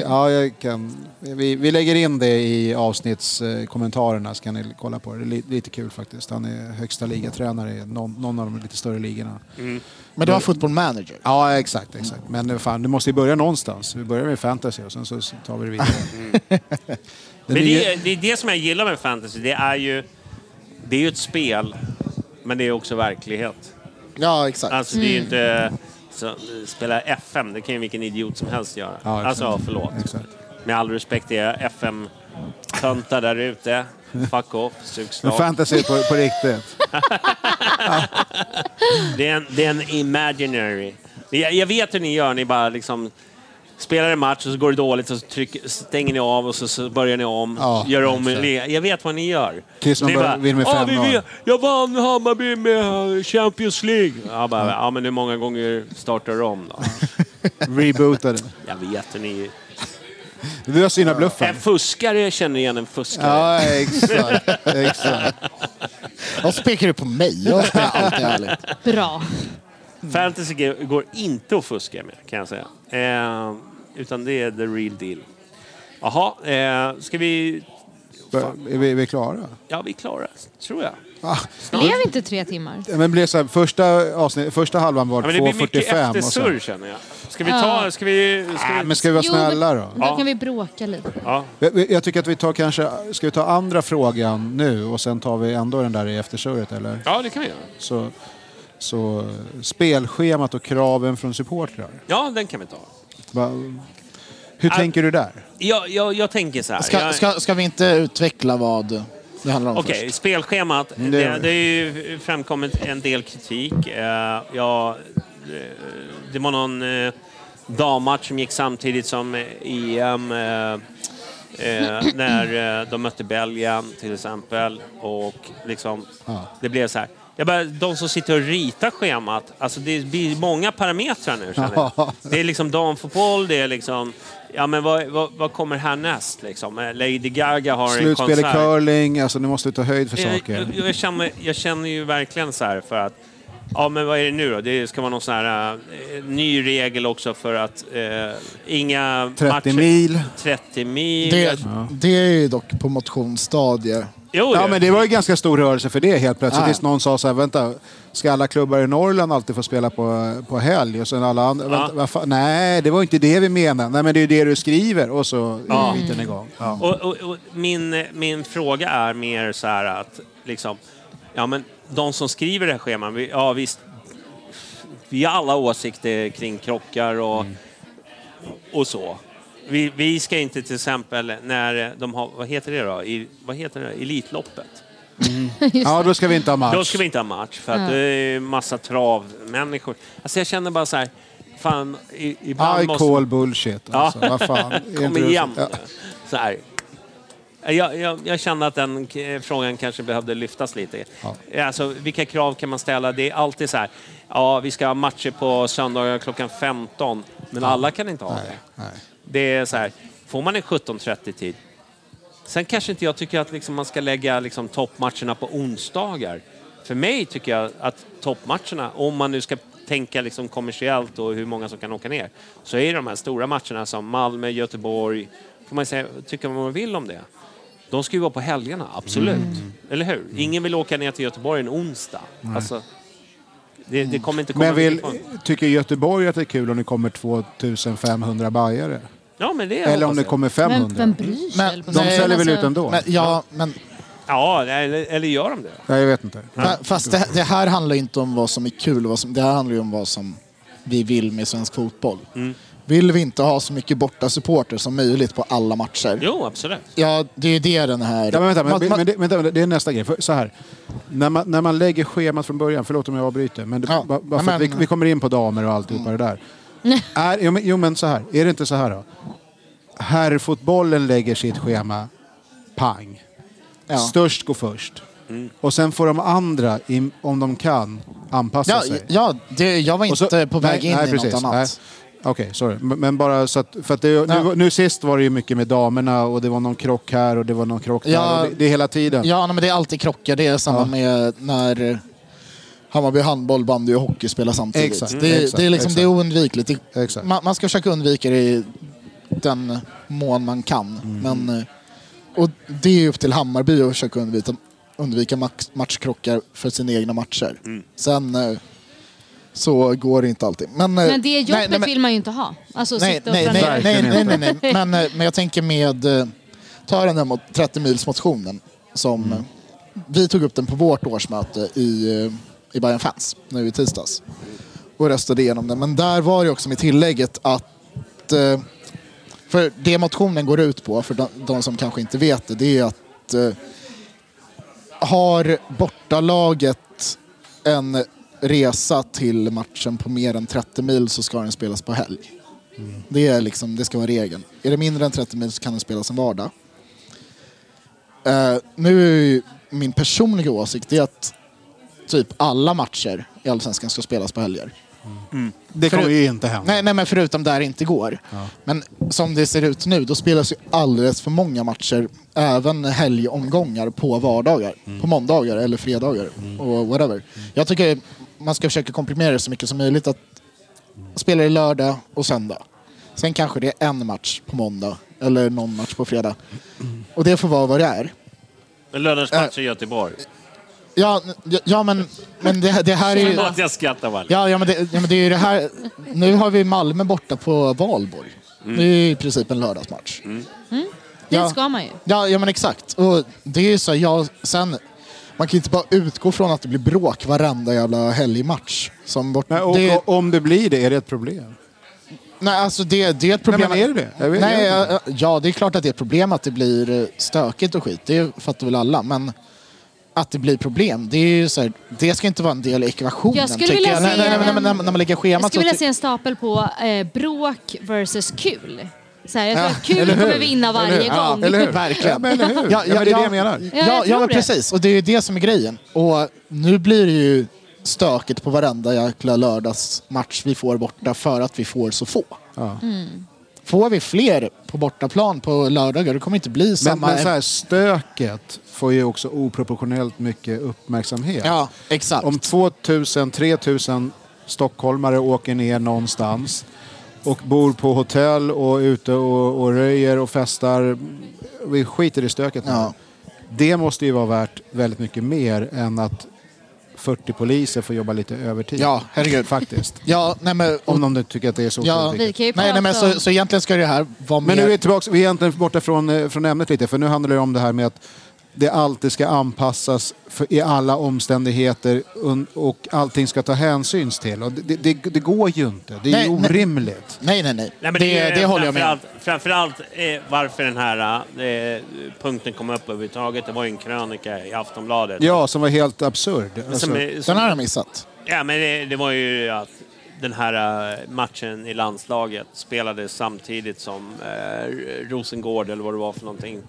Speaker 6: Ja, jag kan, vi, vi lägger in det i avsnittskommentarerna så kan ni kolla på det. Det är li- lite kul faktiskt. Han är högsta ligatränare i någon, någon av de lite större ligorna.
Speaker 3: Mm.
Speaker 7: Men det var football manager.
Speaker 6: Ja, exakt. exakt. Men eh, fan, du måste ju börja någonstans. Vi börjar med fantasy och sen så tar vi det vidare. Den
Speaker 3: Mm. Men
Speaker 6: nya-
Speaker 3: det, är, det är det som jag gillar med fantasy. Det är ju, det är ju ett spel, men det är också verklighet.
Speaker 7: Ja, exakt.
Speaker 3: Alltså det är ju inte... Så, spela FM, det kan ju vilken idiot som helst göra.
Speaker 6: Ja, exakt.
Speaker 3: alltså förlåt.
Speaker 6: Exakt.
Speaker 3: Med all respekt till er FM-töntar där ute. Fuck off, sug
Speaker 6: Men
Speaker 3: snart.
Speaker 6: fantasy på, på riktigt.
Speaker 3: Det är en, det är en imaginary. Jag, jag vet hur ni gör. Ni bara liksom spelar en match och så går det dåligt och så tryck, stänger ni av och så, så börjar ni om.
Speaker 6: Ja,
Speaker 3: gör om
Speaker 6: exakt.
Speaker 3: le- Jag vet vad ni gör.
Speaker 6: Tills man
Speaker 3: Ni
Speaker 6: börjar- vinner med
Speaker 3: "Ja, "Ah, vi
Speaker 6: 5-0."
Speaker 3: vet. Jag vann Hammarby med eh, Champions League. Ja, bara, ja, men hur många gånger startar du om då?
Speaker 6: Rebootade.
Speaker 3: Jag vet hur ni...
Speaker 6: Du har sina bluffar.
Speaker 3: En fuskare känner igen en fuskare.
Speaker 6: Ja, exakt. exakt.
Speaker 7: Och så pekar du på mig. Jag spelar alltid ärligt.
Speaker 5: Bra.
Speaker 3: Fantasy g- går inte att fuska med, kan jag säga. Eh, utan det är the real deal. Jaha, eh, ska vi...
Speaker 6: Bör- Är vi, är vi klara?
Speaker 3: Ja, vi är klara, tror jag.
Speaker 6: Ah,
Speaker 5: Blev vi inte tre timmar?
Speaker 6: Men det blev så här, första, avsnitt, första halvan var
Speaker 3: Ja, men det blir mycket
Speaker 6: 2.45. och
Speaker 3: eftersurr
Speaker 6: sen-
Speaker 3: känner jag. Ska vi ta... Ska vi... Ska
Speaker 6: Nej,
Speaker 3: vi
Speaker 6: Äh, Men ska vi vara
Speaker 5: Jo, men-
Speaker 6: snälla då?
Speaker 5: Då kan vi bråka lite.
Speaker 3: ja.
Speaker 6: Jag, jag tycker att vi tar kanske... Ska vi ta andra frågan nu och sen tar vi ändå den där i eftersurret eller?
Speaker 3: ja, det kan vi göra.
Speaker 6: Så, så spelschemat och kraven från supportrar.
Speaker 3: Ja, den kan vi ta.
Speaker 6: Va, hur
Speaker 3: Äh,
Speaker 6: tänker du där?
Speaker 3: Jag, jag, jag tänker så här.
Speaker 7: Ska,
Speaker 3: Jag-
Speaker 7: ska, ska vi inte utveckla vad det handlar om
Speaker 3: Okej,
Speaker 7: först?
Speaker 3: spelschemat.
Speaker 6: Mm, det
Speaker 3: Det,
Speaker 6: gör vi.
Speaker 3: det har ju framkommit en del kritik. Eh, ja, det, det var någon eh, dammatch som gick samtidigt som eh, EM eh, eh, när eh, de mötte Belgien till exempel. Och liksom, det blev så här. Jag bara, de som sitter och ritar schemat, alltså det blir många parametrar nu känner jag.
Speaker 6: Ja.
Speaker 3: Det är liksom damfotboll, det är liksom... Ja men vad, vad, vad kommer härnäst liksom? Eh, Lady Gaga har en
Speaker 6: Slutspel i
Speaker 3: konsert. Eh,
Speaker 6: curling, alltså nu måste du ta höjd för
Speaker 3: Jag,
Speaker 6: saker.
Speaker 3: jag, jag, känner, jag känner ju verkligen så här för att Ja, men vad är det nu då? Det ska vara någon sån här eh, ny regel också för att eh, inga
Speaker 6: 30
Speaker 3: matcher...
Speaker 6: mil.
Speaker 3: 30 mil.
Speaker 7: Det, det är ju dock på motionsstadie.
Speaker 3: jo,
Speaker 6: Ja, men det var ju ganska stor rörelse för det helt plötsligt.
Speaker 7: Ja.
Speaker 6: Tills någon sa så här, vänta, ska alla klubbar i Norrland alltid få spela på, på helg? Och sen alla andra, vänta, vad fan, nej, det var inte det vi menade. Nej, men det är ju det du skriver. Och så är biten igång. Ja.
Speaker 3: Och, och, och min, min fråga är mer så här att liksom, ja men de som skriver det här scheman, vi, ja visst, vi har alla åsikter kring krockar och, och så. Vi, vi ska inte till exempel när de har, vad heter det då, I, vad heter det, Elitloppet.
Speaker 6: Ja, då ska vi inte ha match.
Speaker 3: Då ska vi inte ha match för att det är massa travmänniskor. Alltså jag känner bara så här, fan, i, ibland
Speaker 6: I
Speaker 3: måste...
Speaker 6: call bullshit. Alltså.
Speaker 3: Ja.
Speaker 6: Vad fan. Är
Speaker 3: Kom
Speaker 6: inte det-
Speaker 3: igen.
Speaker 6: Ja.
Speaker 3: Så här. Jag, jag, jag kände att den k- frågan kanske behövde lyftas lite. Alltså, vilka krav kan man ställa? Det är alltid så här, ja, vi ska ha matcher på söndagar klockan 15, men alla kan inte ha det.
Speaker 6: Nej.
Speaker 3: Det är så här, får man en 17.30-tid, sen kanske inte jag tycker att liksom man ska lägga liksom toppmatcherna på onsdagar. För mig tycker jag att toppmatcherna, om man nu ska tänka liksom kommersiellt och hur många som kan åka ner, så är de här stora matcherna som Malmö, Göteborg, får man säga, tycka vad man vill om det. De ska ju vara på helgerna, absolut.
Speaker 6: Mm.
Speaker 3: Eller hur? Ingen vill åka ner till Göteborg en onsdag. Alltså, det, det kommer inte komma
Speaker 6: Men vill,
Speaker 3: ifrån.
Speaker 6: tycker Göteborg att det är kul om det kommer 2500 bajare?
Speaker 3: Ja, men det
Speaker 6: Eller om
Speaker 3: hoppas
Speaker 6: det
Speaker 3: jag.
Speaker 6: kommer
Speaker 5: Vem,
Speaker 6: 500?
Speaker 5: vem bryr sig?
Speaker 7: Men
Speaker 5: eller på
Speaker 6: De
Speaker 7: Nej,
Speaker 5: något sätt?
Speaker 6: säljer väl
Speaker 5: Alltså,
Speaker 6: ut ändå?
Speaker 7: Men, ja, men
Speaker 3: Ja, eller, eller gör de det?
Speaker 6: Nej, jag vet inte.
Speaker 7: fa- fast det, det här handlar ju inte om vad som är kul. Vad som, det här handlar ju om vad som vi vill med svensk fotboll.
Speaker 3: Mm.
Speaker 7: Vill vi inte ha så mycket borta supporter som möjligt på alla matcher?
Speaker 3: Jo, absolut.
Speaker 7: Ja, det är ju det den här...
Speaker 6: Ja, men vänta, men,
Speaker 7: Man- man-
Speaker 6: men, det, vänta, det är nästa grej. För, så här. När, man, när man lägger schemat från början, förlåt om jag avbryter, men, det,
Speaker 7: Ja,
Speaker 6: bara, bara för
Speaker 7: men- Mm.
Speaker 6: att vi, vi kommer in på damer och alltihopa det där. Är, jo, men, jo men så här, är det inte så här då? Herrfotbollen lägger sitt schema, pang.
Speaker 7: Ja. Mm.
Speaker 6: Störst går först. Och sen får de andra, i- om de kan, anpassa
Speaker 7: ja,
Speaker 6: sig.
Speaker 7: ja det, jag var
Speaker 6: Alltså, Och så-
Speaker 7: inte på väg
Speaker 6: nej,
Speaker 7: in
Speaker 6: nej,
Speaker 7: i
Speaker 6: precis,
Speaker 7: något annat.
Speaker 6: nej. Okej, sorry. Men men bara så att, för att det, nu,
Speaker 7: Ja.
Speaker 6: nu sist var det ju mycket med damerna och det var någon krock här och det var någon krock
Speaker 7: Ja.
Speaker 6: där. Och det, det är hela tiden.
Speaker 7: Ja, nej, men det är alltid krockar. Det är samma med när eh, Hammarby handboll, bandy och hockey spelar samtidigt.
Speaker 6: Exakt,
Speaker 7: det,
Speaker 6: exakt,
Speaker 7: det, är liksom,
Speaker 6: exakt.
Speaker 7: det är oundvikligt. Det,
Speaker 6: Exakt.
Speaker 7: Man, man ska försöka undvika det i den mån man kan.
Speaker 6: Mm.
Speaker 7: Men, eh, och det är upp till Hammarby att försöka undvika, undvika max, matchkrockar för sina egna matcher.
Speaker 6: Mm.
Speaker 7: Sen eh, så går det inte alltid. Men, eh,
Speaker 5: Men det jobbet
Speaker 7: nej, nej, men-
Speaker 5: vill man ju inte ha. Alltså
Speaker 7: Nej,
Speaker 5: sitta och
Speaker 7: nej, nej,
Speaker 5: planera.
Speaker 7: nej, nej,
Speaker 6: Verkligen
Speaker 7: nej, nej. Men, eh, men jag tänker med, eh, ta den där mot 30 milsmotionen som eh, vi tog upp den på vårt årsmöte i, eh, i Bayern Fans nu i tisdags och röstade igenom den. Men där var det också med tillägget att, eh, för det motionen går ut på, för de, de som kanske inte vet det, det är att eh, har bortalaget en resa till matchen på mer än 30 mil så ska den spelas på helg. Det, är liksom, det ska vara regeln. Är det mindre än 30 mil så kan den spelas en vardag. Eh, nu är ju min personliga åsikt det är att typ alla matcher i Allsvenskan ska spelas på helger.
Speaker 6: det kommer ju inte hända.
Speaker 7: Nej, nej, men förutom där det inte går. Men som det ser ut nu, då spelas ju alldeles för många matcher, även helgomgångar, på vardagar. På måndagar eller fredagar och whatever. Jag tycker man ska försöka komprimera det så mycket som möjligt. Att spela i lördag och söndag. Sen kanske det är en match på måndag eller någon match på fredag. Och det får vara vad det är.
Speaker 3: En lördagsmatch i Göteborg.
Speaker 7: Ja, n- ja men, men det, det här är
Speaker 6: Eh.
Speaker 7: ju...
Speaker 3: Förlåt att jag skrattar bara.
Speaker 7: Ja, ja, men det, ja, men det är ju det här. Nu har vi Malmö borta på Valborg.
Speaker 6: Mm.
Speaker 7: Det är ju i princip en lördagsmatch.
Speaker 5: Dit
Speaker 7: Ja.
Speaker 5: ska man ju.
Speaker 7: Ja, ja, men exakt. Och det är ju så, ja, sen, man kan ju inte bara utgå från att det blir bråk varenda jävla helgmatch. Som bort,
Speaker 6: Men, och,
Speaker 7: det,
Speaker 6: och, om det blir det, är det ett problem?
Speaker 7: nej, alltså det, det är ett problem.
Speaker 6: Nej, men är det det? Jag vet
Speaker 7: Nej,
Speaker 6: inte.
Speaker 7: ja, ja, det är klart att det är ett problem att det blir eh, stökigt och skit. Det fattar väl alla. Men att det blir problem, det är ju så här, det ska inte vara en del i ekvationen.
Speaker 5: Jag skulle
Speaker 7: tycker
Speaker 5: vilja
Speaker 7: jag. Nej,
Speaker 5: se
Speaker 7: nej, nej, men
Speaker 5: en-
Speaker 7: när, man- när man lägger schemat
Speaker 5: Jag skulle vilja
Speaker 7: så...
Speaker 5: se en stapel på eh, bråk versus kul. Så här, jag tror att kul kommer vinna varje gång.
Speaker 6: Eller hur?
Speaker 7: Verkligen.
Speaker 6: Ja, men, eller hur? Ja, men det är det jag menar.
Speaker 5: Ja, jag
Speaker 7: Ja, ja
Speaker 5: tror
Speaker 7: men
Speaker 5: det.
Speaker 7: precis. Och det är ju det som är grejen. Och nu blir det ju stökigt på varenda jäkla lördagsmatch vi får borta för att vi får så få. Mm. Får vi fler på bortaplan på lördagar, det kommer inte bli
Speaker 6: Men,
Speaker 7: samma...
Speaker 6: men så här, stöket får ju också oproportionellt mycket uppmärksamhet.
Speaker 7: ja, exakt.
Speaker 6: Om 2000-3000 stockholmare åker ner någonstans och bor på hotell och är ute och, och röjer och festar. Vi skiter i stöket nu.
Speaker 7: Ja.
Speaker 6: Det måste ju vara värt väldigt mycket mer än att 40 poliser får jobba lite övertid.
Speaker 7: Ja, herregud.
Speaker 6: Faktiskt.
Speaker 7: Ja, nej men...
Speaker 6: Om de nu tycker att det är så
Speaker 7: Ja,
Speaker 6: otroligt
Speaker 5: Vi
Speaker 6: viktigt.
Speaker 5: kan ju
Speaker 7: Nej, nej, men
Speaker 5: prata om-
Speaker 7: så, så egentligen ska det här vara
Speaker 6: Men
Speaker 7: mer...
Speaker 6: nu är vi tillbaka, vi är egentligen borta från, eh, från ämnet lite, för nu handlar det om det här med att det alltid ska anpassas för, i alla omständigheter un, och allting ska ta hänsyns till. Och det, det, det går ju inte. Det är
Speaker 7: Nej,
Speaker 6: ju
Speaker 7: nej.
Speaker 6: orimligt.
Speaker 7: Nej, nej, nej.
Speaker 3: Nej, men
Speaker 7: det, det,
Speaker 3: är ju
Speaker 7: håller jag med om.
Speaker 3: framförallt- Framförallt eh, varför den här eh, punkten kom upp överhuvudtaget. Det var ju en krönika i Aftonbladet.
Speaker 6: Ja, som var helt absurd. Alltså,
Speaker 3: Som, eh,
Speaker 7: Den
Speaker 3: som,
Speaker 7: har jag missat.
Speaker 3: ja, men det, det var ju att den här eh, matchen i landslaget spelades samtidigt som eh, Rosengård, eller vad det var för någonting,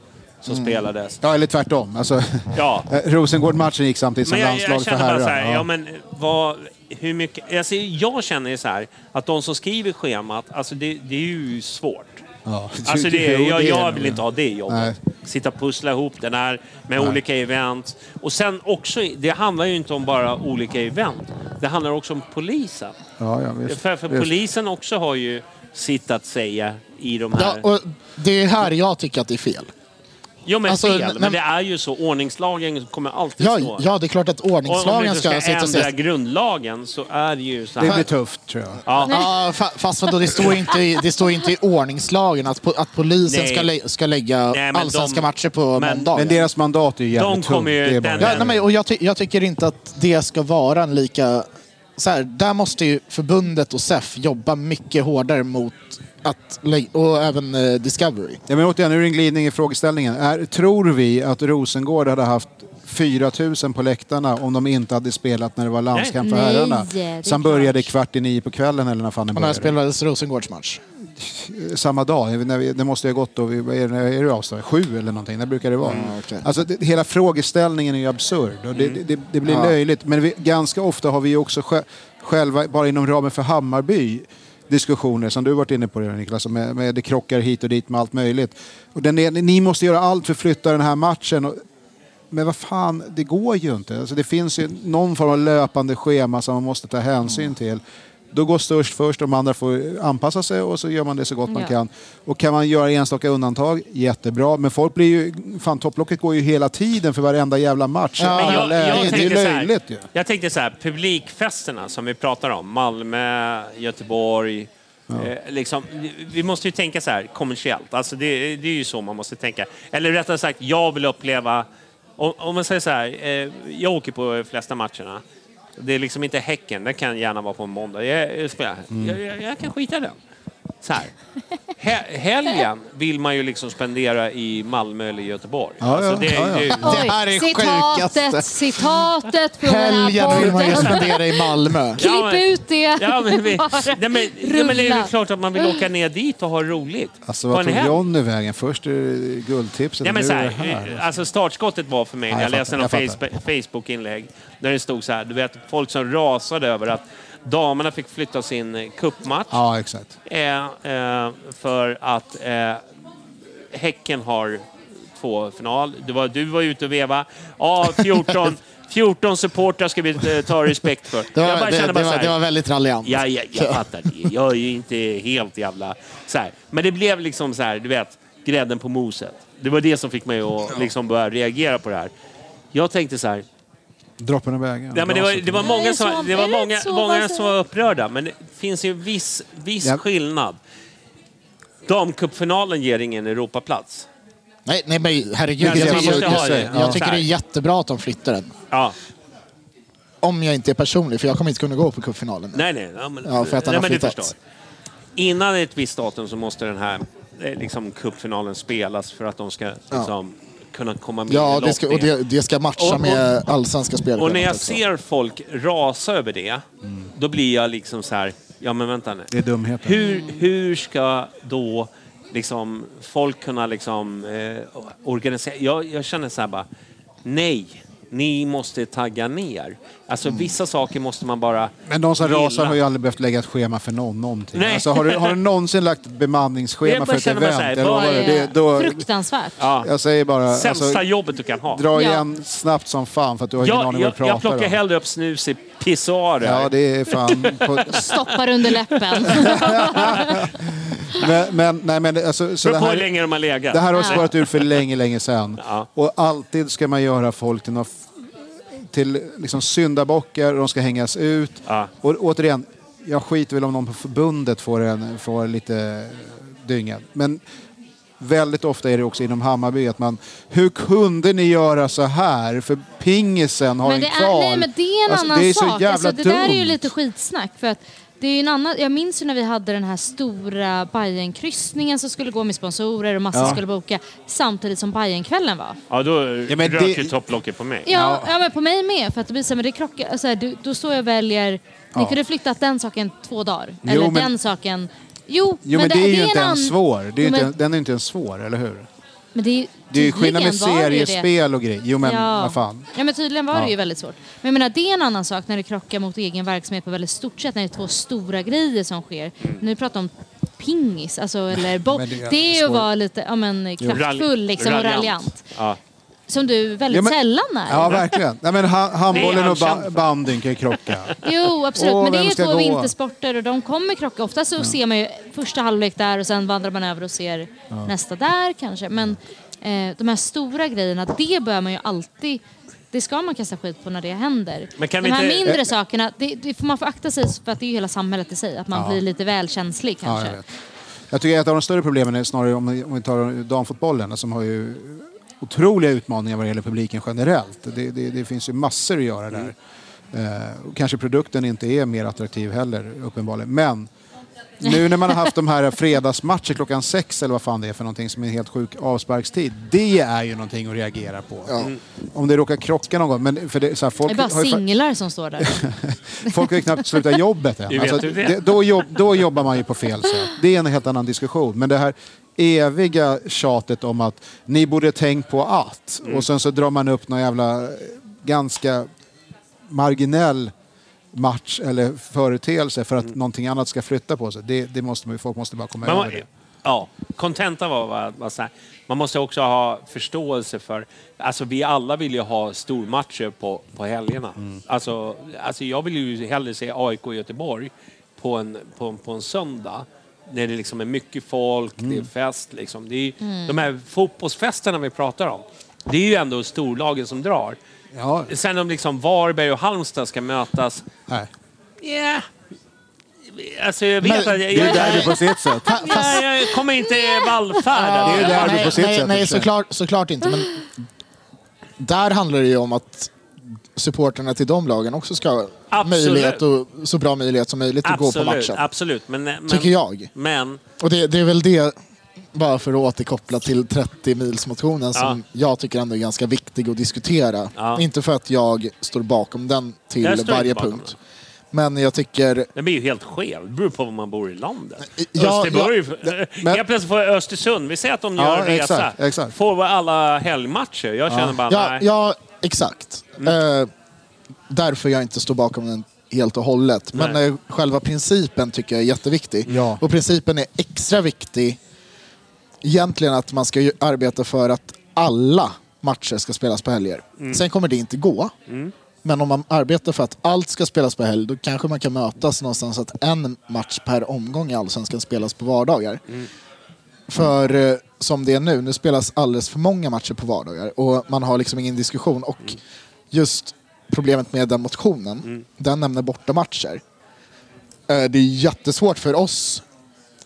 Speaker 3: som
Speaker 7: Mm.
Speaker 3: spelades.
Speaker 6: ja, eller tvärtom. Alltså,
Speaker 3: Ja.
Speaker 6: eh, Rosengård-matchen gick samtidigt som
Speaker 3: Men jag, jag
Speaker 6: landslaget för
Speaker 3: känner bara så
Speaker 6: herrar.
Speaker 3: här,
Speaker 6: Ja.
Speaker 3: ja men vad, hur mycket, alltså jag känner ju så här att de som skriver schemat, alltså det, det är ju svårt.
Speaker 6: Ja.
Speaker 3: Alltså det,
Speaker 6: Jo,
Speaker 3: jag,
Speaker 6: det är
Speaker 3: jag
Speaker 6: det.
Speaker 3: vill inte ha det jobbet.
Speaker 6: Nej.
Speaker 3: Sitta och pussla ihop den här med olika event. Och sen också, det handlar ju inte om bara olika event. Det handlar också om polisen.
Speaker 6: Ja, ja, visst,
Speaker 3: för för
Speaker 6: visst.
Speaker 3: polisen också har ju sitt att säga i de
Speaker 7: Ja,
Speaker 3: här...
Speaker 7: och det är här jag tycker att det är fel.
Speaker 3: jo men
Speaker 7: alltså,
Speaker 3: fel,
Speaker 7: när-
Speaker 3: men det är ju så. Ordningslagen kommer alltid
Speaker 7: Ja,
Speaker 3: stå.
Speaker 7: ja, det är klart att
Speaker 3: Och om du
Speaker 7: ordningslagen
Speaker 3: inte ska
Speaker 7: ska sitta och
Speaker 3: ändra
Speaker 7: säga...
Speaker 3: grundlagen så är det ju så här.
Speaker 6: Det blir tufft, tror jag.
Speaker 3: ja.
Speaker 7: Ja, fa- fast vadå, det står ju inte i, det står ju inte i ordningslagen att, po- att polisen
Speaker 3: Nej.
Speaker 7: ska, lä- ska lägga
Speaker 3: Nej, men
Speaker 7: allsvenska
Speaker 3: de-
Speaker 7: matcher på
Speaker 3: men-
Speaker 7: måndagar.
Speaker 6: Men deras mandat är ju jävligt
Speaker 3: De kommer ju-
Speaker 6: tungt. Det är
Speaker 3: den-
Speaker 6: bara-
Speaker 7: Ja, nej, men, och jag, ty- jag tycker inte att det ska vara en lika... Så här, där måste ju förbundet och SEF jobba mycket hårdare mot att... lä- Och även eh, Discovery.
Speaker 6: Ja, men återigen, nu är det en glidning i frågeställningen. Är, tror vi att Rosengård hade haft 4 000 på läktarna om de inte hade spelat när det var landskamp för
Speaker 5: Nej,
Speaker 6: herrarna?
Speaker 5: det är
Speaker 6: Som
Speaker 5: klart.
Speaker 6: började kvart i nio på kvällen eller när fan den
Speaker 7: Och när
Speaker 6: började.
Speaker 7: spelades Rosengårds match?
Speaker 6: Samma dag, när vi, det måste ju ha gått då, vi, vad är, det, är det avstånd? Sju eller någonting, det brukar det vara.
Speaker 7: okej.
Speaker 6: Alltså det, hela frågeställningen är ju absurd och det, det, det, det blir löjligt. Men vi, ganska ofta har vi ju också sj- själva, bara inom ramen för Hammarby, diskussioner som du varit inne på redan Niklas, med, med det krockar hit och dit med allt möjligt. Och den är, ni måste göra allt för att flytta den här matchen. Och, men vad fan, det går ju inte. Alltså det finns ju någon form av löpande schema som man måste ta hänsyn till. Då går störst först, de andra får anpassa sig och så gör man det så gott man
Speaker 5: Ja.
Speaker 6: kan. Och kan man göra enstaka undantag, jättebra. Men folk blir ju... Fan, topplocket går ju hela tiden för varenda jävla match.
Speaker 7: Ja,
Speaker 6: Alla
Speaker 3: Men jag,
Speaker 6: lägen.
Speaker 3: jag
Speaker 6: det är ju
Speaker 3: tänker så här,
Speaker 6: löjligt ju.
Speaker 3: jag tänkte så här, publikfesterna som vi pratar om, Malmö, Göteborg. Eh, liksom, vi måste ju tänka så här kommersiellt, alltså det, det är ju så man måste tänka. Eller rättare sagt, jag vill uppleva, om, om man säger så här, eh, jag åker på de flesta matcherna. Det är liksom inte Häcken, den kan gärna vara på en måndag. Jag, jag, spelar-
Speaker 6: Mm.
Speaker 3: jag, jag, jag kan skita i den. Så här. He, helgen vill man ju liksom spendera i Malmö eller Göteborg. Alltså
Speaker 6: Ja, ja,
Speaker 3: det,
Speaker 6: ja, ja.
Speaker 3: det-
Speaker 5: Oj,
Speaker 7: här är sjukaste.
Speaker 5: citatet, citatet från den
Speaker 7: Helgen
Speaker 5: här
Speaker 7: vill man ju
Speaker 5: podden.
Speaker 7: spendera i Malmö.
Speaker 5: Klipp
Speaker 3: Ja, men-
Speaker 5: ut det.
Speaker 3: Ja, men, vi,
Speaker 5: Bara
Speaker 3: nej, men, ja, men det är
Speaker 5: rulla.
Speaker 3: ju klart att man vill åka ner dit och ha roligt.
Speaker 6: Alltså
Speaker 3: På
Speaker 6: vad
Speaker 3: en
Speaker 6: tog
Speaker 3: helg.
Speaker 6: Johnny vägen? Först är det guldtipset
Speaker 3: Ja,
Speaker 6: och
Speaker 3: men
Speaker 6: nu
Speaker 3: så
Speaker 6: är det
Speaker 3: här,
Speaker 6: här.
Speaker 3: alltså startskottet var för mig
Speaker 6: Ja,
Speaker 3: när
Speaker 6: jag
Speaker 3: jag läste något
Speaker 6: fattar, jag fattar.
Speaker 3: Facebook- Facebook-inlägg där det stod så här, du vet folk som rasade över att damerna fick flytta sin eh, cupmatch
Speaker 6: Ja, exakt.
Speaker 3: eh, eh, för att eh, Häcken har två final. Du var, du var ute och veva. Ja, 14, 14 supportrar ska vi eh, ta respekt för.
Speaker 7: Det
Speaker 3: jag
Speaker 7: var,
Speaker 3: bara
Speaker 7: det,
Speaker 3: känner
Speaker 7: det,
Speaker 3: bara så
Speaker 7: var,
Speaker 3: här,
Speaker 7: det var väldigt raljant.
Speaker 3: Ja, ja, jag fattar det. Jag är ju inte helt jävla... Så här. Men det blev liksom så här, du vet, grädden på moset. Det var det som fick mig att liksom börja reagera på det här. Jag tänkte så här,
Speaker 6: Droppen och vägen.
Speaker 3: nej, men det, var, det var
Speaker 5: Nej,
Speaker 3: många
Speaker 5: så-
Speaker 3: som, det var
Speaker 5: är alltså. det
Speaker 3: många,
Speaker 5: så?
Speaker 3: många
Speaker 5: Vad
Speaker 3: som
Speaker 5: säger-
Speaker 3: var upprörda, men det finns ju en viss, viss
Speaker 6: Ja.
Speaker 3: skillnad. Damcupfinalen ger ingen Europaplats.
Speaker 7: Nej, nej, men herregud.
Speaker 3: Men
Speaker 7: Jag,
Speaker 3: vi måste ha det.
Speaker 7: tycker,
Speaker 3: Ja.
Speaker 7: jag tycker det är jättebra att de flyttar den.
Speaker 3: Ja.
Speaker 7: Om jag inte är personlig, för jag kommer inte kunna gå på cupfinalen.
Speaker 3: Nej, nej. Ja, men,
Speaker 7: Ja, för att han
Speaker 3: nej, men
Speaker 7: har
Speaker 3: du
Speaker 7: flyttat.
Speaker 3: förstår. Innan ett visst datum så måste den här eh, liksom, cupfinalen spelas för att de ska liksom, kunna komma med
Speaker 7: Ja,
Speaker 3: i
Speaker 7: det ska, och
Speaker 3: lottningen.
Speaker 7: det, det ska matcha
Speaker 3: Och- och-
Speaker 7: med allsvenska spel.
Speaker 3: Och när jag ser folk rasa över det, då blir jag liksom så här, ja men vänta nu.
Speaker 6: Mm. Det är dumheten.
Speaker 3: Hur, hur ska då liksom folk kunna liksom eh, organisera? Jag, jag känner så här bara, nej, ni måste tagga ner. Alltså vissa saker måste man bara
Speaker 6: Mm. Men de som
Speaker 3: gilla.
Speaker 6: rasar har ju aldrig behövt lägga ett schema för någon, någonting.
Speaker 3: Nej.
Speaker 6: Alltså, har, du, har du någonsin lagt
Speaker 3: Jag
Speaker 6: bemanningsschema
Speaker 3: bara
Speaker 6: för ett
Speaker 3: känner mig
Speaker 6: event?
Speaker 3: så här,
Speaker 6: eller vad
Speaker 3: vad
Speaker 6: var det?
Speaker 3: är-
Speaker 6: Det, då,
Speaker 5: Fruktansvärt.
Speaker 3: Ja.
Speaker 6: jag säger bara,
Speaker 3: Sämsta
Speaker 6: alltså,
Speaker 3: jobbet du kan ha.
Speaker 6: dra
Speaker 5: Ja.
Speaker 6: igen snabbt som fan för att du har ingen
Speaker 3: Jag,
Speaker 6: aning vad
Speaker 3: jag,
Speaker 6: du pratar
Speaker 3: jag plockar
Speaker 6: om.
Speaker 3: hellre upp snus i pissoarer.
Speaker 6: Ja, det är fan... På,
Speaker 5: Stoppar under läppen.
Speaker 6: men, men, nej, men alltså, så
Speaker 3: Beror
Speaker 6: det
Speaker 3: på hur
Speaker 6: här,
Speaker 3: länge de har legat.
Speaker 6: det här har
Speaker 5: Ja.
Speaker 6: spårat ur för länge, länge sedan.
Speaker 3: Ja.
Speaker 6: Och alltid ska man göra folk till något till liksom syndabockar och de ska hängas ut.
Speaker 3: Ja.
Speaker 6: Och återigen, jag skiter väl om någon på förbundet får, en, får lite dynga. Men väldigt ofta är det också inom Hammarby att man, hur kunde ni göra så här? För pingisen har
Speaker 5: Men det
Speaker 6: en kval.
Speaker 5: är, nej, men det är en
Speaker 6: Alltså,
Speaker 5: annan
Speaker 6: det är så
Speaker 5: sak.
Speaker 6: Jävla
Speaker 5: alltså, det där är ju
Speaker 6: dumt.
Speaker 5: lite skitsnack. För att det är ju en annan, jag minns ju när vi hade den här stora Bajenkryssningen som skulle gå med sponsorer och massa
Speaker 6: Ja.
Speaker 5: skulle boka samtidigt som Bajenkvällen var.
Speaker 3: Ja, då
Speaker 6: Ja, men
Speaker 3: rök
Speaker 6: det-
Speaker 3: ju topplocket på mig.
Speaker 5: Ja, ja. men på mig med. För att det blir så här, men det krockar, alltså, här, du, då står jag och väljer, ni kunde flyttat den saken två dagar.
Speaker 6: Jo,
Speaker 5: eller
Speaker 6: men-
Speaker 5: den saken. Jo,
Speaker 6: Jo men, det är ju inte
Speaker 5: en
Speaker 6: ens
Speaker 5: ann-
Speaker 6: svår. Det är ju
Speaker 5: Jo,
Speaker 6: inte,
Speaker 5: men,
Speaker 6: en- Den är inte ens svår, eller hur?
Speaker 5: men det är,
Speaker 6: Det är ju skillnad med
Speaker 5: tydligen var det ju det.
Speaker 6: seriespel och grejer. Jo men vad fan.
Speaker 5: Ja, men tydligen var
Speaker 6: Ja.
Speaker 5: det ju väldigt svårt. Men jag menar, det är en annan sak när det krockar mot egen verksamhet på väldigt stort sätt, när det är två stora grejer som sker. Nu pratar om pingis, alltså, eller bo-
Speaker 6: Mm. Men
Speaker 5: det,
Speaker 6: det är
Speaker 5: är ju att
Speaker 6: svårt.
Speaker 5: vara lite ja, men, kraftfull
Speaker 3: Ralj-
Speaker 5: liksom, och
Speaker 3: raljant.
Speaker 5: raljant.
Speaker 3: Ja.
Speaker 5: Som du väldigt
Speaker 6: Ja, men-
Speaker 5: sällan är.
Speaker 6: Ja verkligen. Nej, men ha-
Speaker 3: Det är
Speaker 6: handbollen
Speaker 3: han
Speaker 6: och ba-
Speaker 3: känd för.
Speaker 6: bandyn kan ju krocka.
Speaker 5: Jo, absolut.
Speaker 6: Åh,
Speaker 5: men det är
Speaker 6: vem
Speaker 5: ju
Speaker 6: ska
Speaker 5: två
Speaker 6: gå?
Speaker 5: vintersporter och de kommer krocka. Ofta så ser man ju första halvlek där och sen vandrar man över och ser nästa där kanske. Men eh, de här stora grejerna, det bör man ju alltid... Det ska man kasta skit på när det händer.
Speaker 3: Men kan
Speaker 5: de
Speaker 3: vi
Speaker 5: här
Speaker 3: inte- Eh,
Speaker 5: mindre sakerna, det, det får man får akta sig för att det är ju hela samhället i sig. Att man blir lite väl känslig
Speaker 6: Ja,
Speaker 5: kanske.
Speaker 6: jag, vet. jag tycker ett av de större problemen är snarare om, om vi tar damfotbollen som har ju otroliga utmaningar vad gäller publiken generellt. Det, det, det finns ju massor att göra där. Eh, och kanske produkten inte är mer attraktiv heller uppenbarligen. Men nu när man har haft de här fredagsmatcher klockan sex eller vad fan det är för någonting som är en helt sjuk avsparkstid. Det är ju någonting att reagera på. Om det råkar krocka någon gång. Men för det, så här,
Speaker 5: det är
Speaker 6: folk
Speaker 5: bara
Speaker 6: har ju fa-
Speaker 5: singlar som står där.
Speaker 6: Folk har ju knappt slutat jobbet än. Alltså,
Speaker 3: Hur vet du det?
Speaker 6: då, jobb, då jobbar man ju på fel sätt. Det är en helt annan diskussion. Men det här eviga tjatet om att ni borde tänkt på att.
Speaker 3: Mm.
Speaker 6: Och sen så drar man upp någon jävla eh, ganska marginell match eller företeelse för att någonting annat ska flytta på sig. Det, det måste man ju, folk måste bara komma
Speaker 3: Mm. Man,
Speaker 6: över det.
Speaker 3: ja, kontenta var, var, var så här. Man måste också ha förståelse för... Alltså vi alla vill ju ha stormatcher på, på helgerna.
Speaker 6: Mm.
Speaker 3: Alltså, alltså jag vill ju hellre se AIK och Göteborg på en, på, en- på en söndag. När det liksom är mycket folk, det
Speaker 6: Mm.
Speaker 3: är fest liksom. Det är, ju- De här fotbollsfesterna vi pratar om. Det är ju ändå storlagen som drar.
Speaker 6: Ja.
Speaker 3: Sen om liksom Varberg och Halmstad ska mötas.
Speaker 6: Nej.
Speaker 3: Ja. Alltså jag vet att... Jag,
Speaker 6: Det är där du på sitt sätt.
Speaker 3: Ja, jag kommer inte vallfärda.
Speaker 6: Det är där du på sitt
Speaker 7: nej,
Speaker 6: sätt.
Speaker 7: nej
Speaker 6: också.
Speaker 7: såklart, såklart inte. Men där handlar det ju om att supporterna till de lagen också ska ha
Speaker 3: Absolut.
Speaker 7: möjlighet och, så bra möjlighet som möjligt att gå på
Speaker 3: Absolut,
Speaker 7: matchen.
Speaker 3: absolut. Men, men,
Speaker 7: Tycker jag.
Speaker 3: Men,
Speaker 7: Och det, det är väl det, bara för att återkoppla till 30-milsmotionen som jag tycker ändå är ganska viktig att diskutera.
Speaker 3: Ja.
Speaker 7: Inte för att jag står bakom den
Speaker 3: Jag
Speaker 7: till
Speaker 3: står inte
Speaker 7: varje
Speaker 3: bakom
Speaker 7: punkt. Men jag tycker...
Speaker 3: den blir ju helt skev. Det beror på var man bor i landet.
Speaker 7: Ja,
Speaker 3: Österborg,
Speaker 6: men-
Speaker 3: helt plötsligt får Östersund, vi säger att de gör en
Speaker 6: Ja,
Speaker 3: resa,
Speaker 6: exakt, exakt.
Speaker 3: får väl alla helgmatcher. Jag känner bara,
Speaker 7: Ja,
Speaker 3: nej. Mm.
Speaker 7: ja exakt. Eh, därför jag inte står bakom den helt och hållet. Men
Speaker 3: Nej.
Speaker 7: eh, själva principen tycker jag är jätteviktig.
Speaker 6: Ja.
Speaker 7: Och principen är extra viktig egentligen att man ska ju arbeta för att alla matcher ska spelas på helger. Sen kommer det inte gå. Men om man arbetar för att allt ska spelas på helg, då kanske man kan mötas någonstans att en match per omgång i Allsvenskan spelas på vardagar. För eh, som det är nu, nu spelas alldeles för många matcher på vardagar och man har liksom ingen diskussion. Och just problemet med den motionen, den nämner bortamatcher. Eh, Det är jättesvårt för oss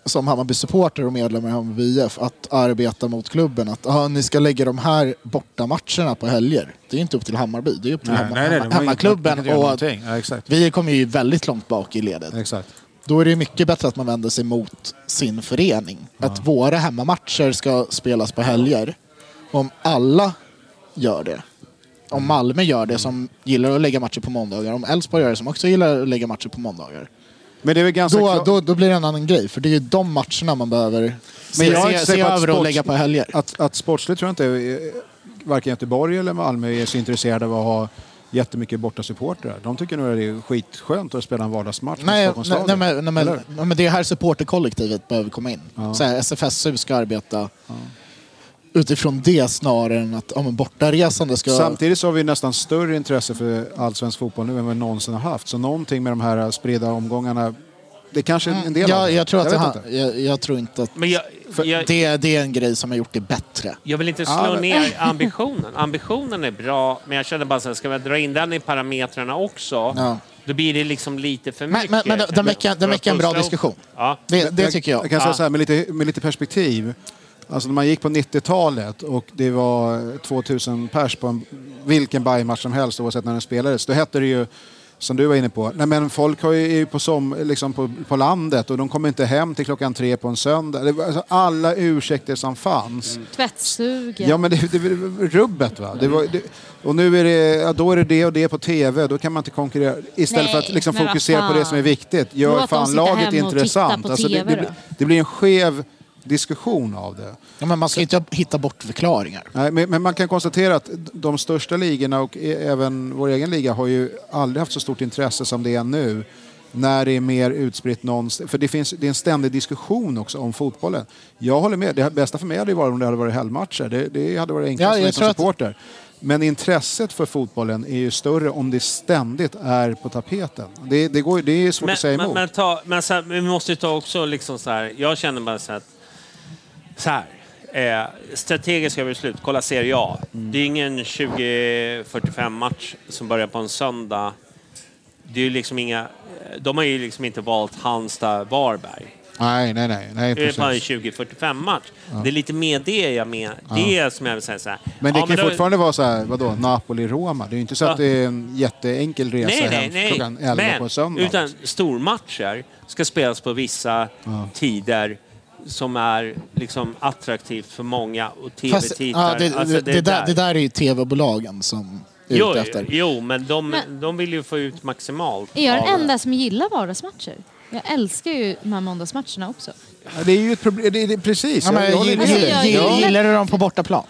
Speaker 7: som Hammarby-supporter och medlemmar i Hammarby IF att arbeta mot klubben. Att ah, ni ska lägga de här bortamatcherna på helger. Det är inte upp till Hammarby, det är upp till
Speaker 6: Nej,
Speaker 7: hemma,
Speaker 6: nej, nej, de har ju- de kan
Speaker 7: hemmaklubben.
Speaker 6: inte göra
Speaker 7: Och
Speaker 6: någonting. Ja, exakt.
Speaker 7: vi kommer ju väldigt långt bak i ledet.
Speaker 6: Exakt.
Speaker 7: Då är det ju mycket bättre att man vänder sig mot sin förening. Att våra hemmamatcher ska spelas på helger. Om alla gör det. Om
Speaker 6: Mm.
Speaker 7: Malmö gör det som gillar att lägga matcher på måndagar. Om Elfsborg gör det som också gillar att lägga matcher på måndagar.
Speaker 6: Men det är väl ganska
Speaker 7: Då,
Speaker 6: klart-
Speaker 7: då, då blir det en annan grej. För det är ju de matcherna man behöver se,
Speaker 6: Alltså, Men jag är inte
Speaker 7: se, se
Speaker 6: säker på att
Speaker 7: över och
Speaker 6: sports-
Speaker 7: lägga på helger.
Speaker 6: Att, att sportsligt tror jag inte eh, varken Göteborg eller Malmö är så intresserade av att ha jättemycket bortasupportrar. De tycker nog att det är skitskönt att spela en vardagsmatch med
Speaker 7: Nej,
Speaker 6: Stockholms
Speaker 7: nej, nej,
Speaker 6: stadion.
Speaker 7: men, nej, men,
Speaker 6: Eller?
Speaker 7: nej, men det är här supporterkollektivet behöver komma in. Så här, SFSU ska arbeta utifrån det snarare än att ja, men bortaresande ska...
Speaker 6: Samtidigt så har vi nästan större intresse för allsvensk fotboll nu än vad vi någonsin har haft. Så någonting med de här eh, spridda omgångarna, det kanske är en del av
Speaker 7: Ja,
Speaker 6: det.
Speaker 7: Mm. jag, tror att
Speaker 6: jag
Speaker 7: jag,
Speaker 6: vet
Speaker 7: han,
Speaker 6: inte.
Speaker 7: jag, jag tror inte att
Speaker 3: Men jag, jag,
Speaker 7: det, det är en grej som har gjort det bättre.
Speaker 3: jag vill inte slå
Speaker 6: Ja, men-
Speaker 3: ner ambitionen. Ambitionen är bra, men jag känner bara så här, ska man dra in den i parametrarna också,
Speaker 7: Ja.
Speaker 3: då blir det liksom lite för
Speaker 7: Men-
Speaker 3: mycket.
Speaker 7: men- men den- den väcker- den
Speaker 3: För att
Speaker 7: väcker en bra
Speaker 3: pussla ihop-
Speaker 7: diskussion.
Speaker 3: Ja.
Speaker 7: Det, det
Speaker 6: jag,
Speaker 7: tycker jag.
Speaker 6: kan säga så här, med lite, med lite perspektiv Alltså när man gick på 90-talet och det var 2000 pers på en, vilken Bayern-match som helst oavsett när den spelades. Då hette det ju, som du var inne på, nej men folk har ju, är ju på, som, liksom på, på landet och de kommer inte hem till klockan tre på en söndag. Det var, alltså, alla ursäkter som fanns.
Speaker 5: Tvättsugen.
Speaker 6: Ja, men det, det, var rubbet va. Det var, det, och nu är det, ja, då är det det och det på tv. Då kan man inte konkurrera. Istället
Speaker 5: Nej,
Speaker 6: för att liksom
Speaker 5: men vad
Speaker 6: fokusera på det
Speaker 5: fan.
Speaker 6: som är viktigt. Gör
Speaker 5: Låt dem
Speaker 6: fan
Speaker 5: sitta
Speaker 6: laget
Speaker 5: hemma och titta
Speaker 6: intressant.
Speaker 5: på
Speaker 6: Alltså, det,
Speaker 5: TV
Speaker 6: det,
Speaker 5: då.
Speaker 6: blir- det blir en skev diskussion av det.
Speaker 7: Ja, men man ska ju inte hitta bort förklaringar.
Speaker 6: Nej, men, men man kan konstatera att de största ligorna och e- även vår egen liga har ju aldrig haft så stort intresse som det är nu. När det är mer utspritt någonstans. För det, finns, det är en ständig diskussion också om fotbollen. Jag håller med. Det bästa för mig hade ju varit om det hade varit helgmatcher. Det, det hade varit enklast
Speaker 7: Ja,
Speaker 6: för mig
Speaker 7: jag
Speaker 6: som
Speaker 7: tror att-
Speaker 6: supporter. Men intresset för fotbollen är ju större om det ständigt är på tapeten. Det, det, går, ju- det är svårt att säga
Speaker 3: men,
Speaker 6: emot.
Speaker 3: men, ta, men, så här, men vi måste ju ta också liksom så här, jag känner bara så här, att, så här eh, strategiska beslut, kolla Serie A.
Speaker 6: Mm.
Speaker 3: Det är ingen 20-45 match som börjar på en söndag. Det är ju liksom inga, de har ju liksom inte valt Halmstad, Varberg.
Speaker 6: Nej, nej, nej. nej
Speaker 3: Det är bara en
Speaker 6: precis.
Speaker 3: 20-45 match. Det är lite mer det jag menar. Det är som jag vill säga så här.
Speaker 6: Men det
Speaker 3: Ja,
Speaker 6: kan ju
Speaker 3: då-
Speaker 6: fortfarande vara så här, vadå, Napoli-Roma. Det är ju inte så att
Speaker 3: Ja.
Speaker 6: det är en jätteenkel resa
Speaker 7: Alltså,
Speaker 3: Nej, nej,
Speaker 6: hem
Speaker 3: nej.
Speaker 6: klockan 11 på en söndag.
Speaker 3: utan stormatcher ska spelas på vissa tider som är liksom attraktivt för många och
Speaker 7: Fast,
Speaker 3: tv-tittare.
Speaker 7: ja, det,
Speaker 3: Alltså,
Speaker 7: det, det, där, det där är ju tv-bolagen som är
Speaker 3: Jo,
Speaker 7: ute efter.
Speaker 3: jo, men de,
Speaker 5: Men-
Speaker 3: de vill ju få ut maximalt.
Speaker 5: Är jag
Speaker 3: av
Speaker 5: den
Speaker 3: det.
Speaker 5: enda som gillar vardagsmatcher? Jag älskar ju de här måndagsmatcherna också.
Speaker 6: Ja, Det är ju ett problem. Det, det, precis.
Speaker 7: Ja, men,
Speaker 6: jag, jag håller
Speaker 7: gill,
Speaker 6: med
Speaker 5: Alltså,
Speaker 7: gill,
Speaker 6: dig.
Speaker 5: jag-
Speaker 7: gill, gillar du dem på bortaplan?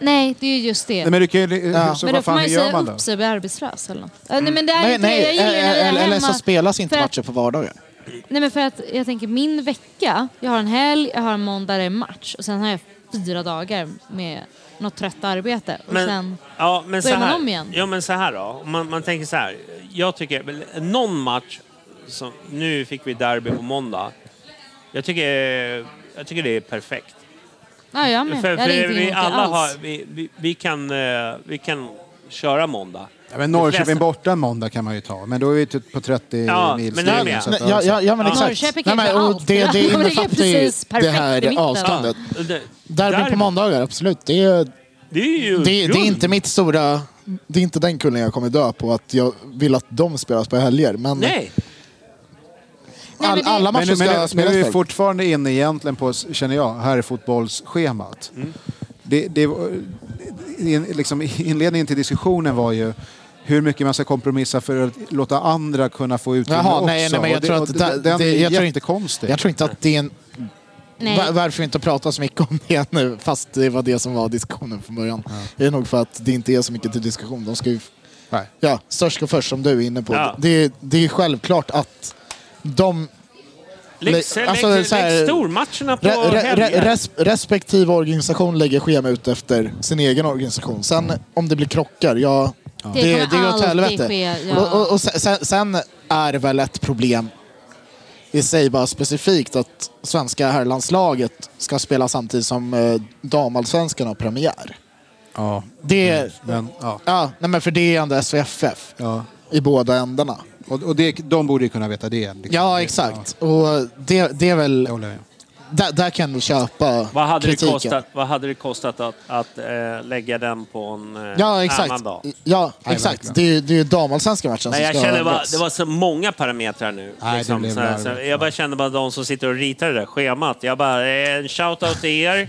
Speaker 5: Nej, det är ju just det.
Speaker 6: Nej, men du kan ju, så
Speaker 5: men då
Speaker 6: vad
Speaker 5: får man
Speaker 6: fan
Speaker 5: ju
Speaker 6: gör
Speaker 5: säga
Speaker 6: man då?
Speaker 5: upp sig och bli arbetslös eller något. Äh, Nej, men det är
Speaker 7: Nej,
Speaker 5: inte det. Jag
Speaker 7: nej,
Speaker 5: gillar ju när jag är
Speaker 7: eller, eller så
Speaker 5: hemma.
Speaker 7: spelas inte
Speaker 5: För att-
Speaker 7: matcher på vardagar.
Speaker 5: Nej men för att jag tänker min vecka, jag har en helg, jag har en måndag där det är match och sen har jag fyra dagar med något trött arbete och
Speaker 3: Men,
Speaker 5: sen...
Speaker 3: ja, men så
Speaker 5: börjar man
Speaker 3: här,
Speaker 5: om igen.
Speaker 3: Ja, men så här då. Om Man, man tänker så här. Jag tycker, väl, någon match, som, nu fick vi derby på måndag. Jag tycker, jag tycker det är perfekt.
Speaker 5: Ja, jag med.
Speaker 3: För,
Speaker 5: Mm, jag hade
Speaker 3: för
Speaker 5: ingenting
Speaker 3: vi
Speaker 5: emot det
Speaker 3: alla har,
Speaker 5: alls.
Speaker 3: vi, vi, vi, kan, eh, vi kan köra måndag.
Speaker 6: Ja, men
Speaker 3: De flesta-
Speaker 6: Norrköping borta en måndag kan man ju ta, men då är vi typ på 30
Speaker 3: Ja,
Speaker 6: mils
Speaker 3: men det är
Speaker 6: linjen,
Speaker 3: med.
Speaker 6: så att-
Speaker 7: Nej, ja, ja, ja, men
Speaker 3: Ja.
Speaker 7: exakt.
Speaker 5: Norrköping
Speaker 7: Nej,
Speaker 5: kan
Speaker 7: men,
Speaker 5: göra
Speaker 7: och
Speaker 5: allt.
Speaker 7: det,
Speaker 5: Ja,
Speaker 7: det
Speaker 5: men det är
Speaker 7: innefattar ju
Speaker 5: precis
Speaker 7: det
Speaker 5: perfekt i
Speaker 7: här
Speaker 5: mitten.
Speaker 7: avståndet.
Speaker 3: Ja, det,
Speaker 7: Derbyn på måndagar, absolut. Det är,
Speaker 3: Det är ju
Speaker 7: det, det är
Speaker 3: grund.
Speaker 7: inte mitt stora... Det är inte den kullen jag kommer dö på, att jag vill att de spelas på helger. Men
Speaker 3: Nej,
Speaker 5: Nej,
Speaker 7: all,
Speaker 5: men det-
Speaker 7: alla
Speaker 6: Men,
Speaker 7: matcher
Speaker 6: nu, men,
Speaker 7: ska
Speaker 6: nu- men nu är vi
Speaker 7: spelas på.
Speaker 6: fortfarande inne egentligen på, känner jag, herrfotbollsschemat. Det, det, var- in, liksom, inledningen till diskussionen var ju hur mycket man ska kompromissa för att låta andra kunna få utrymme
Speaker 7: Jaha,
Speaker 6: också.
Speaker 7: nej, nej, men
Speaker 6: Och
Speaker 7: jag
Speaker 6: det-
Speaker 7: tror
Speaker 6: och
Speaker 7: att... Det,
Speaker 6: den
Speaker 7: det,
Speaker 6: är
Speaker 7: jag, tror inte,
Speaker 6: jättekonstig.
Speaker 7: jag tror inte att det är en...
Speaker 5: Nej.
Speaker 7: Va- Varför vi inte pratar så mycket om det nu, fast det var det som var diskussionen från början. Det är nog för att det inte är så mycket till diskussion. De ska ju
Speaker 6: Nej.
Speaker 7: Ja, störst går först som du är inne på.
Speaker 3: Ja.
Speaker 7: Det, det är ju självklart att de
Speaker 3: lägg, lägg,
Speaker 7: alltså,
Speaker 3: lägg,
Speaker 7: så här-
Speaker 3: lägg stormatcherna på
Speaker 7: re, re, re,
Speaker 3: helger.
Speaker 7: res, respektive organisation lägger schema ut efter sin egen organisation. Sen om det blir krockar, ja, det,
Speaker 5: kommer
Speaker 7: det, går åt
Speaker 5: alltid
Speaker 7: helvete.
Speaker 5: ske, ja.
Speaker 7: Och, och, och sen- sen, sen är det väl ett problem i sig bara specifikt att svenska herrlandslaget ska spela samtidigt som eh, damallsvenskan har premiär.
Speaker 6: Ja,
Speaker 7: Det,
Speaker 6: Mm, men, ja.
Speaker 7: ja, nej men för det är ändå SVFF
Speaker 6: Ja.
Speaker 7: i båda ändarna.
Speaker 6: Och, och det, de borde ju kunna veta det. liksom.
Speaker 7: Ja, exakt. Och det, det är väl...
Speaker 6: Jag håller med.
Speaker 7: Där, där kan du köpa
Speaker 3: Vad hade, det
Speaker 7: kritiken.
Speaker 3: kostat, vad hade det kostat att, att eh, lägga den på en eh,
Speaker 7: Ja,
Speaker 3: annan
Speaker 7: exakt.
Speaker 3: dag?
Speaker 7: Ja,
Speaker 6: Nej,
Speaker 7: exakt.
Speaker 6: verkligen.
Speaker 7: Det är ju det är ju damallsvenska matchen
Speaker 6: Alltså,
Speaker 3: Nej, jag
Speaker 7: som ska
Speaker 3: känner bara,
Speaker 7: ändras.
Speaker 3: det var så många parametrar nu.
Speaker 6: Nej, det
Speaker 3: liksom,
Speaker 6: blev
Speaker 3: så här,
Speaker 6: larvigt,
Speaker 3: så här, jag bara kände bara de som sitter och ritar det där schemat. Jag bara, eh, en shout-out till er.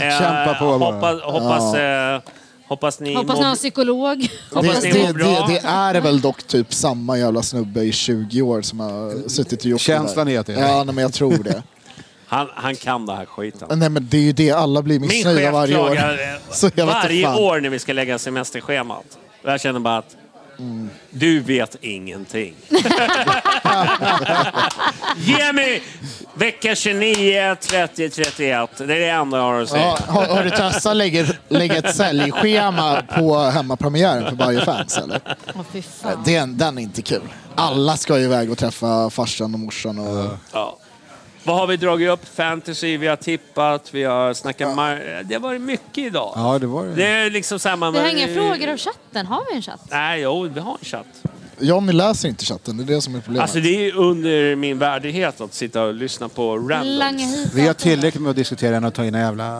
Speaker 3: Eh,
Speaker 6: Kämpa på bara.
Speaker 3: Hoppas, hoppas, eh, hoppas ni
Speaker 5: Hoppas
Speaker 3: mår-
Speaker 5: någon psykolog.
Speaker 3: hoppas
Speaker 7: det,
Speaker 3: ni mår
Speaker 7: det,
Speaker 3: bra.
Speaker 7: det, det är väl dock typ samma jävla snubbe i 20 år som har suttit och gjort
Speaker 6: Känslan
Speaker 7: det där.
Speaker 6: är att det är det.
Speaker 7: Ja, nej, men jag tror det.
Speaker 3: Han, han kan den här skiten.
Speaker 7: nej, men det är ju det. Alla blir
Speaker 3: Min
Speaker 7: missnöjda
Speaker 3: chef
Speaker 7: varje år.
Speaker 3: klagar eh,
Speaker 7: Så jag vet
Speaker 3: varje
Speaker 7: fan.
Speaker 3: år när vi ska lägga semesterschemat. Och jag känner bara att mm, du vet ingenting. Ge mig vecka 29, 30, 31. Det är det enda jag har att säga.
Speaker 7: Ja, har, har du testat lägga, lägga ett säljschema på hemmapremiären för varje fans eller?
Speaker 5: Åh, fy fan.
Speaker 7: Den, den är inte kul. Alla ska ju iväg och träffa farsan och morsan. Och...
Speaker 3: Ja. Vad har vi dragit upp? Fantasy, vi har tippat, vi har snackat mar- Det har varit mycket idag.
Speaker 6: Ja, det var det.
Speaker 3: Det är liksom samma...
Speaker 5: Vi har inga frågor av chatten. Har vi en chatt?
Speaker 3: Nej, jo, vi har en chatt.
Speaker 7: Johnny läser inte chatten, det är det som är problemet.
Speaker 3: Alltså det är ju under min värdighet att sitta och lyssna på
Speaker 5: Langa
Speaker 3: randoms.
Speaker 5: hit
Speaker 6: Vi har
Speaker 5: datorn.
Speaker 6: tillräckligt med att diskutera än att ta in jävla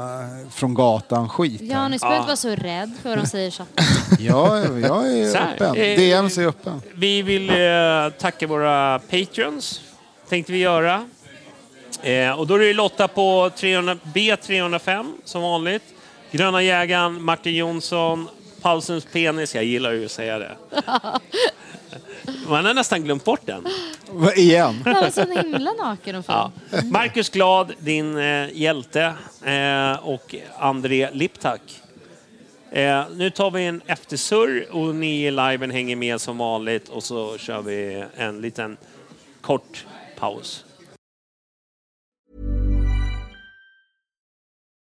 Speaker 6: från gatan-skit. här.
Speaker 5: Janis, du behöver inte vara så rädd för vad de säger så.
Speaker 6: Ja, jag är
Speaker 3: Så här,
Speaker 6: öppen.
Speaker 3: eh,
Speaker 6: DMs är öppen.
Speaker 3: Vi vill eh, tacka våra patreons, tänkte vi göra. Eh, och då är det ju Lotta på 300, B305 som vanligt. Gröna jägaren, Martin Jonsson, Paulsens penis. Jag gillar ju att säga det. Man har nästan glömt bort den.
Speaker 6: Va, Igen.
Speaker 5: Han var så himla naken och fin.
Speaker 3: Ja. Marcus Glad, din eh, hjälte, eh, och André Liptak. Eh, nu tar vi en eftersurr och ni i liven hänger med som vanligt och så kör vi en liten kort paus.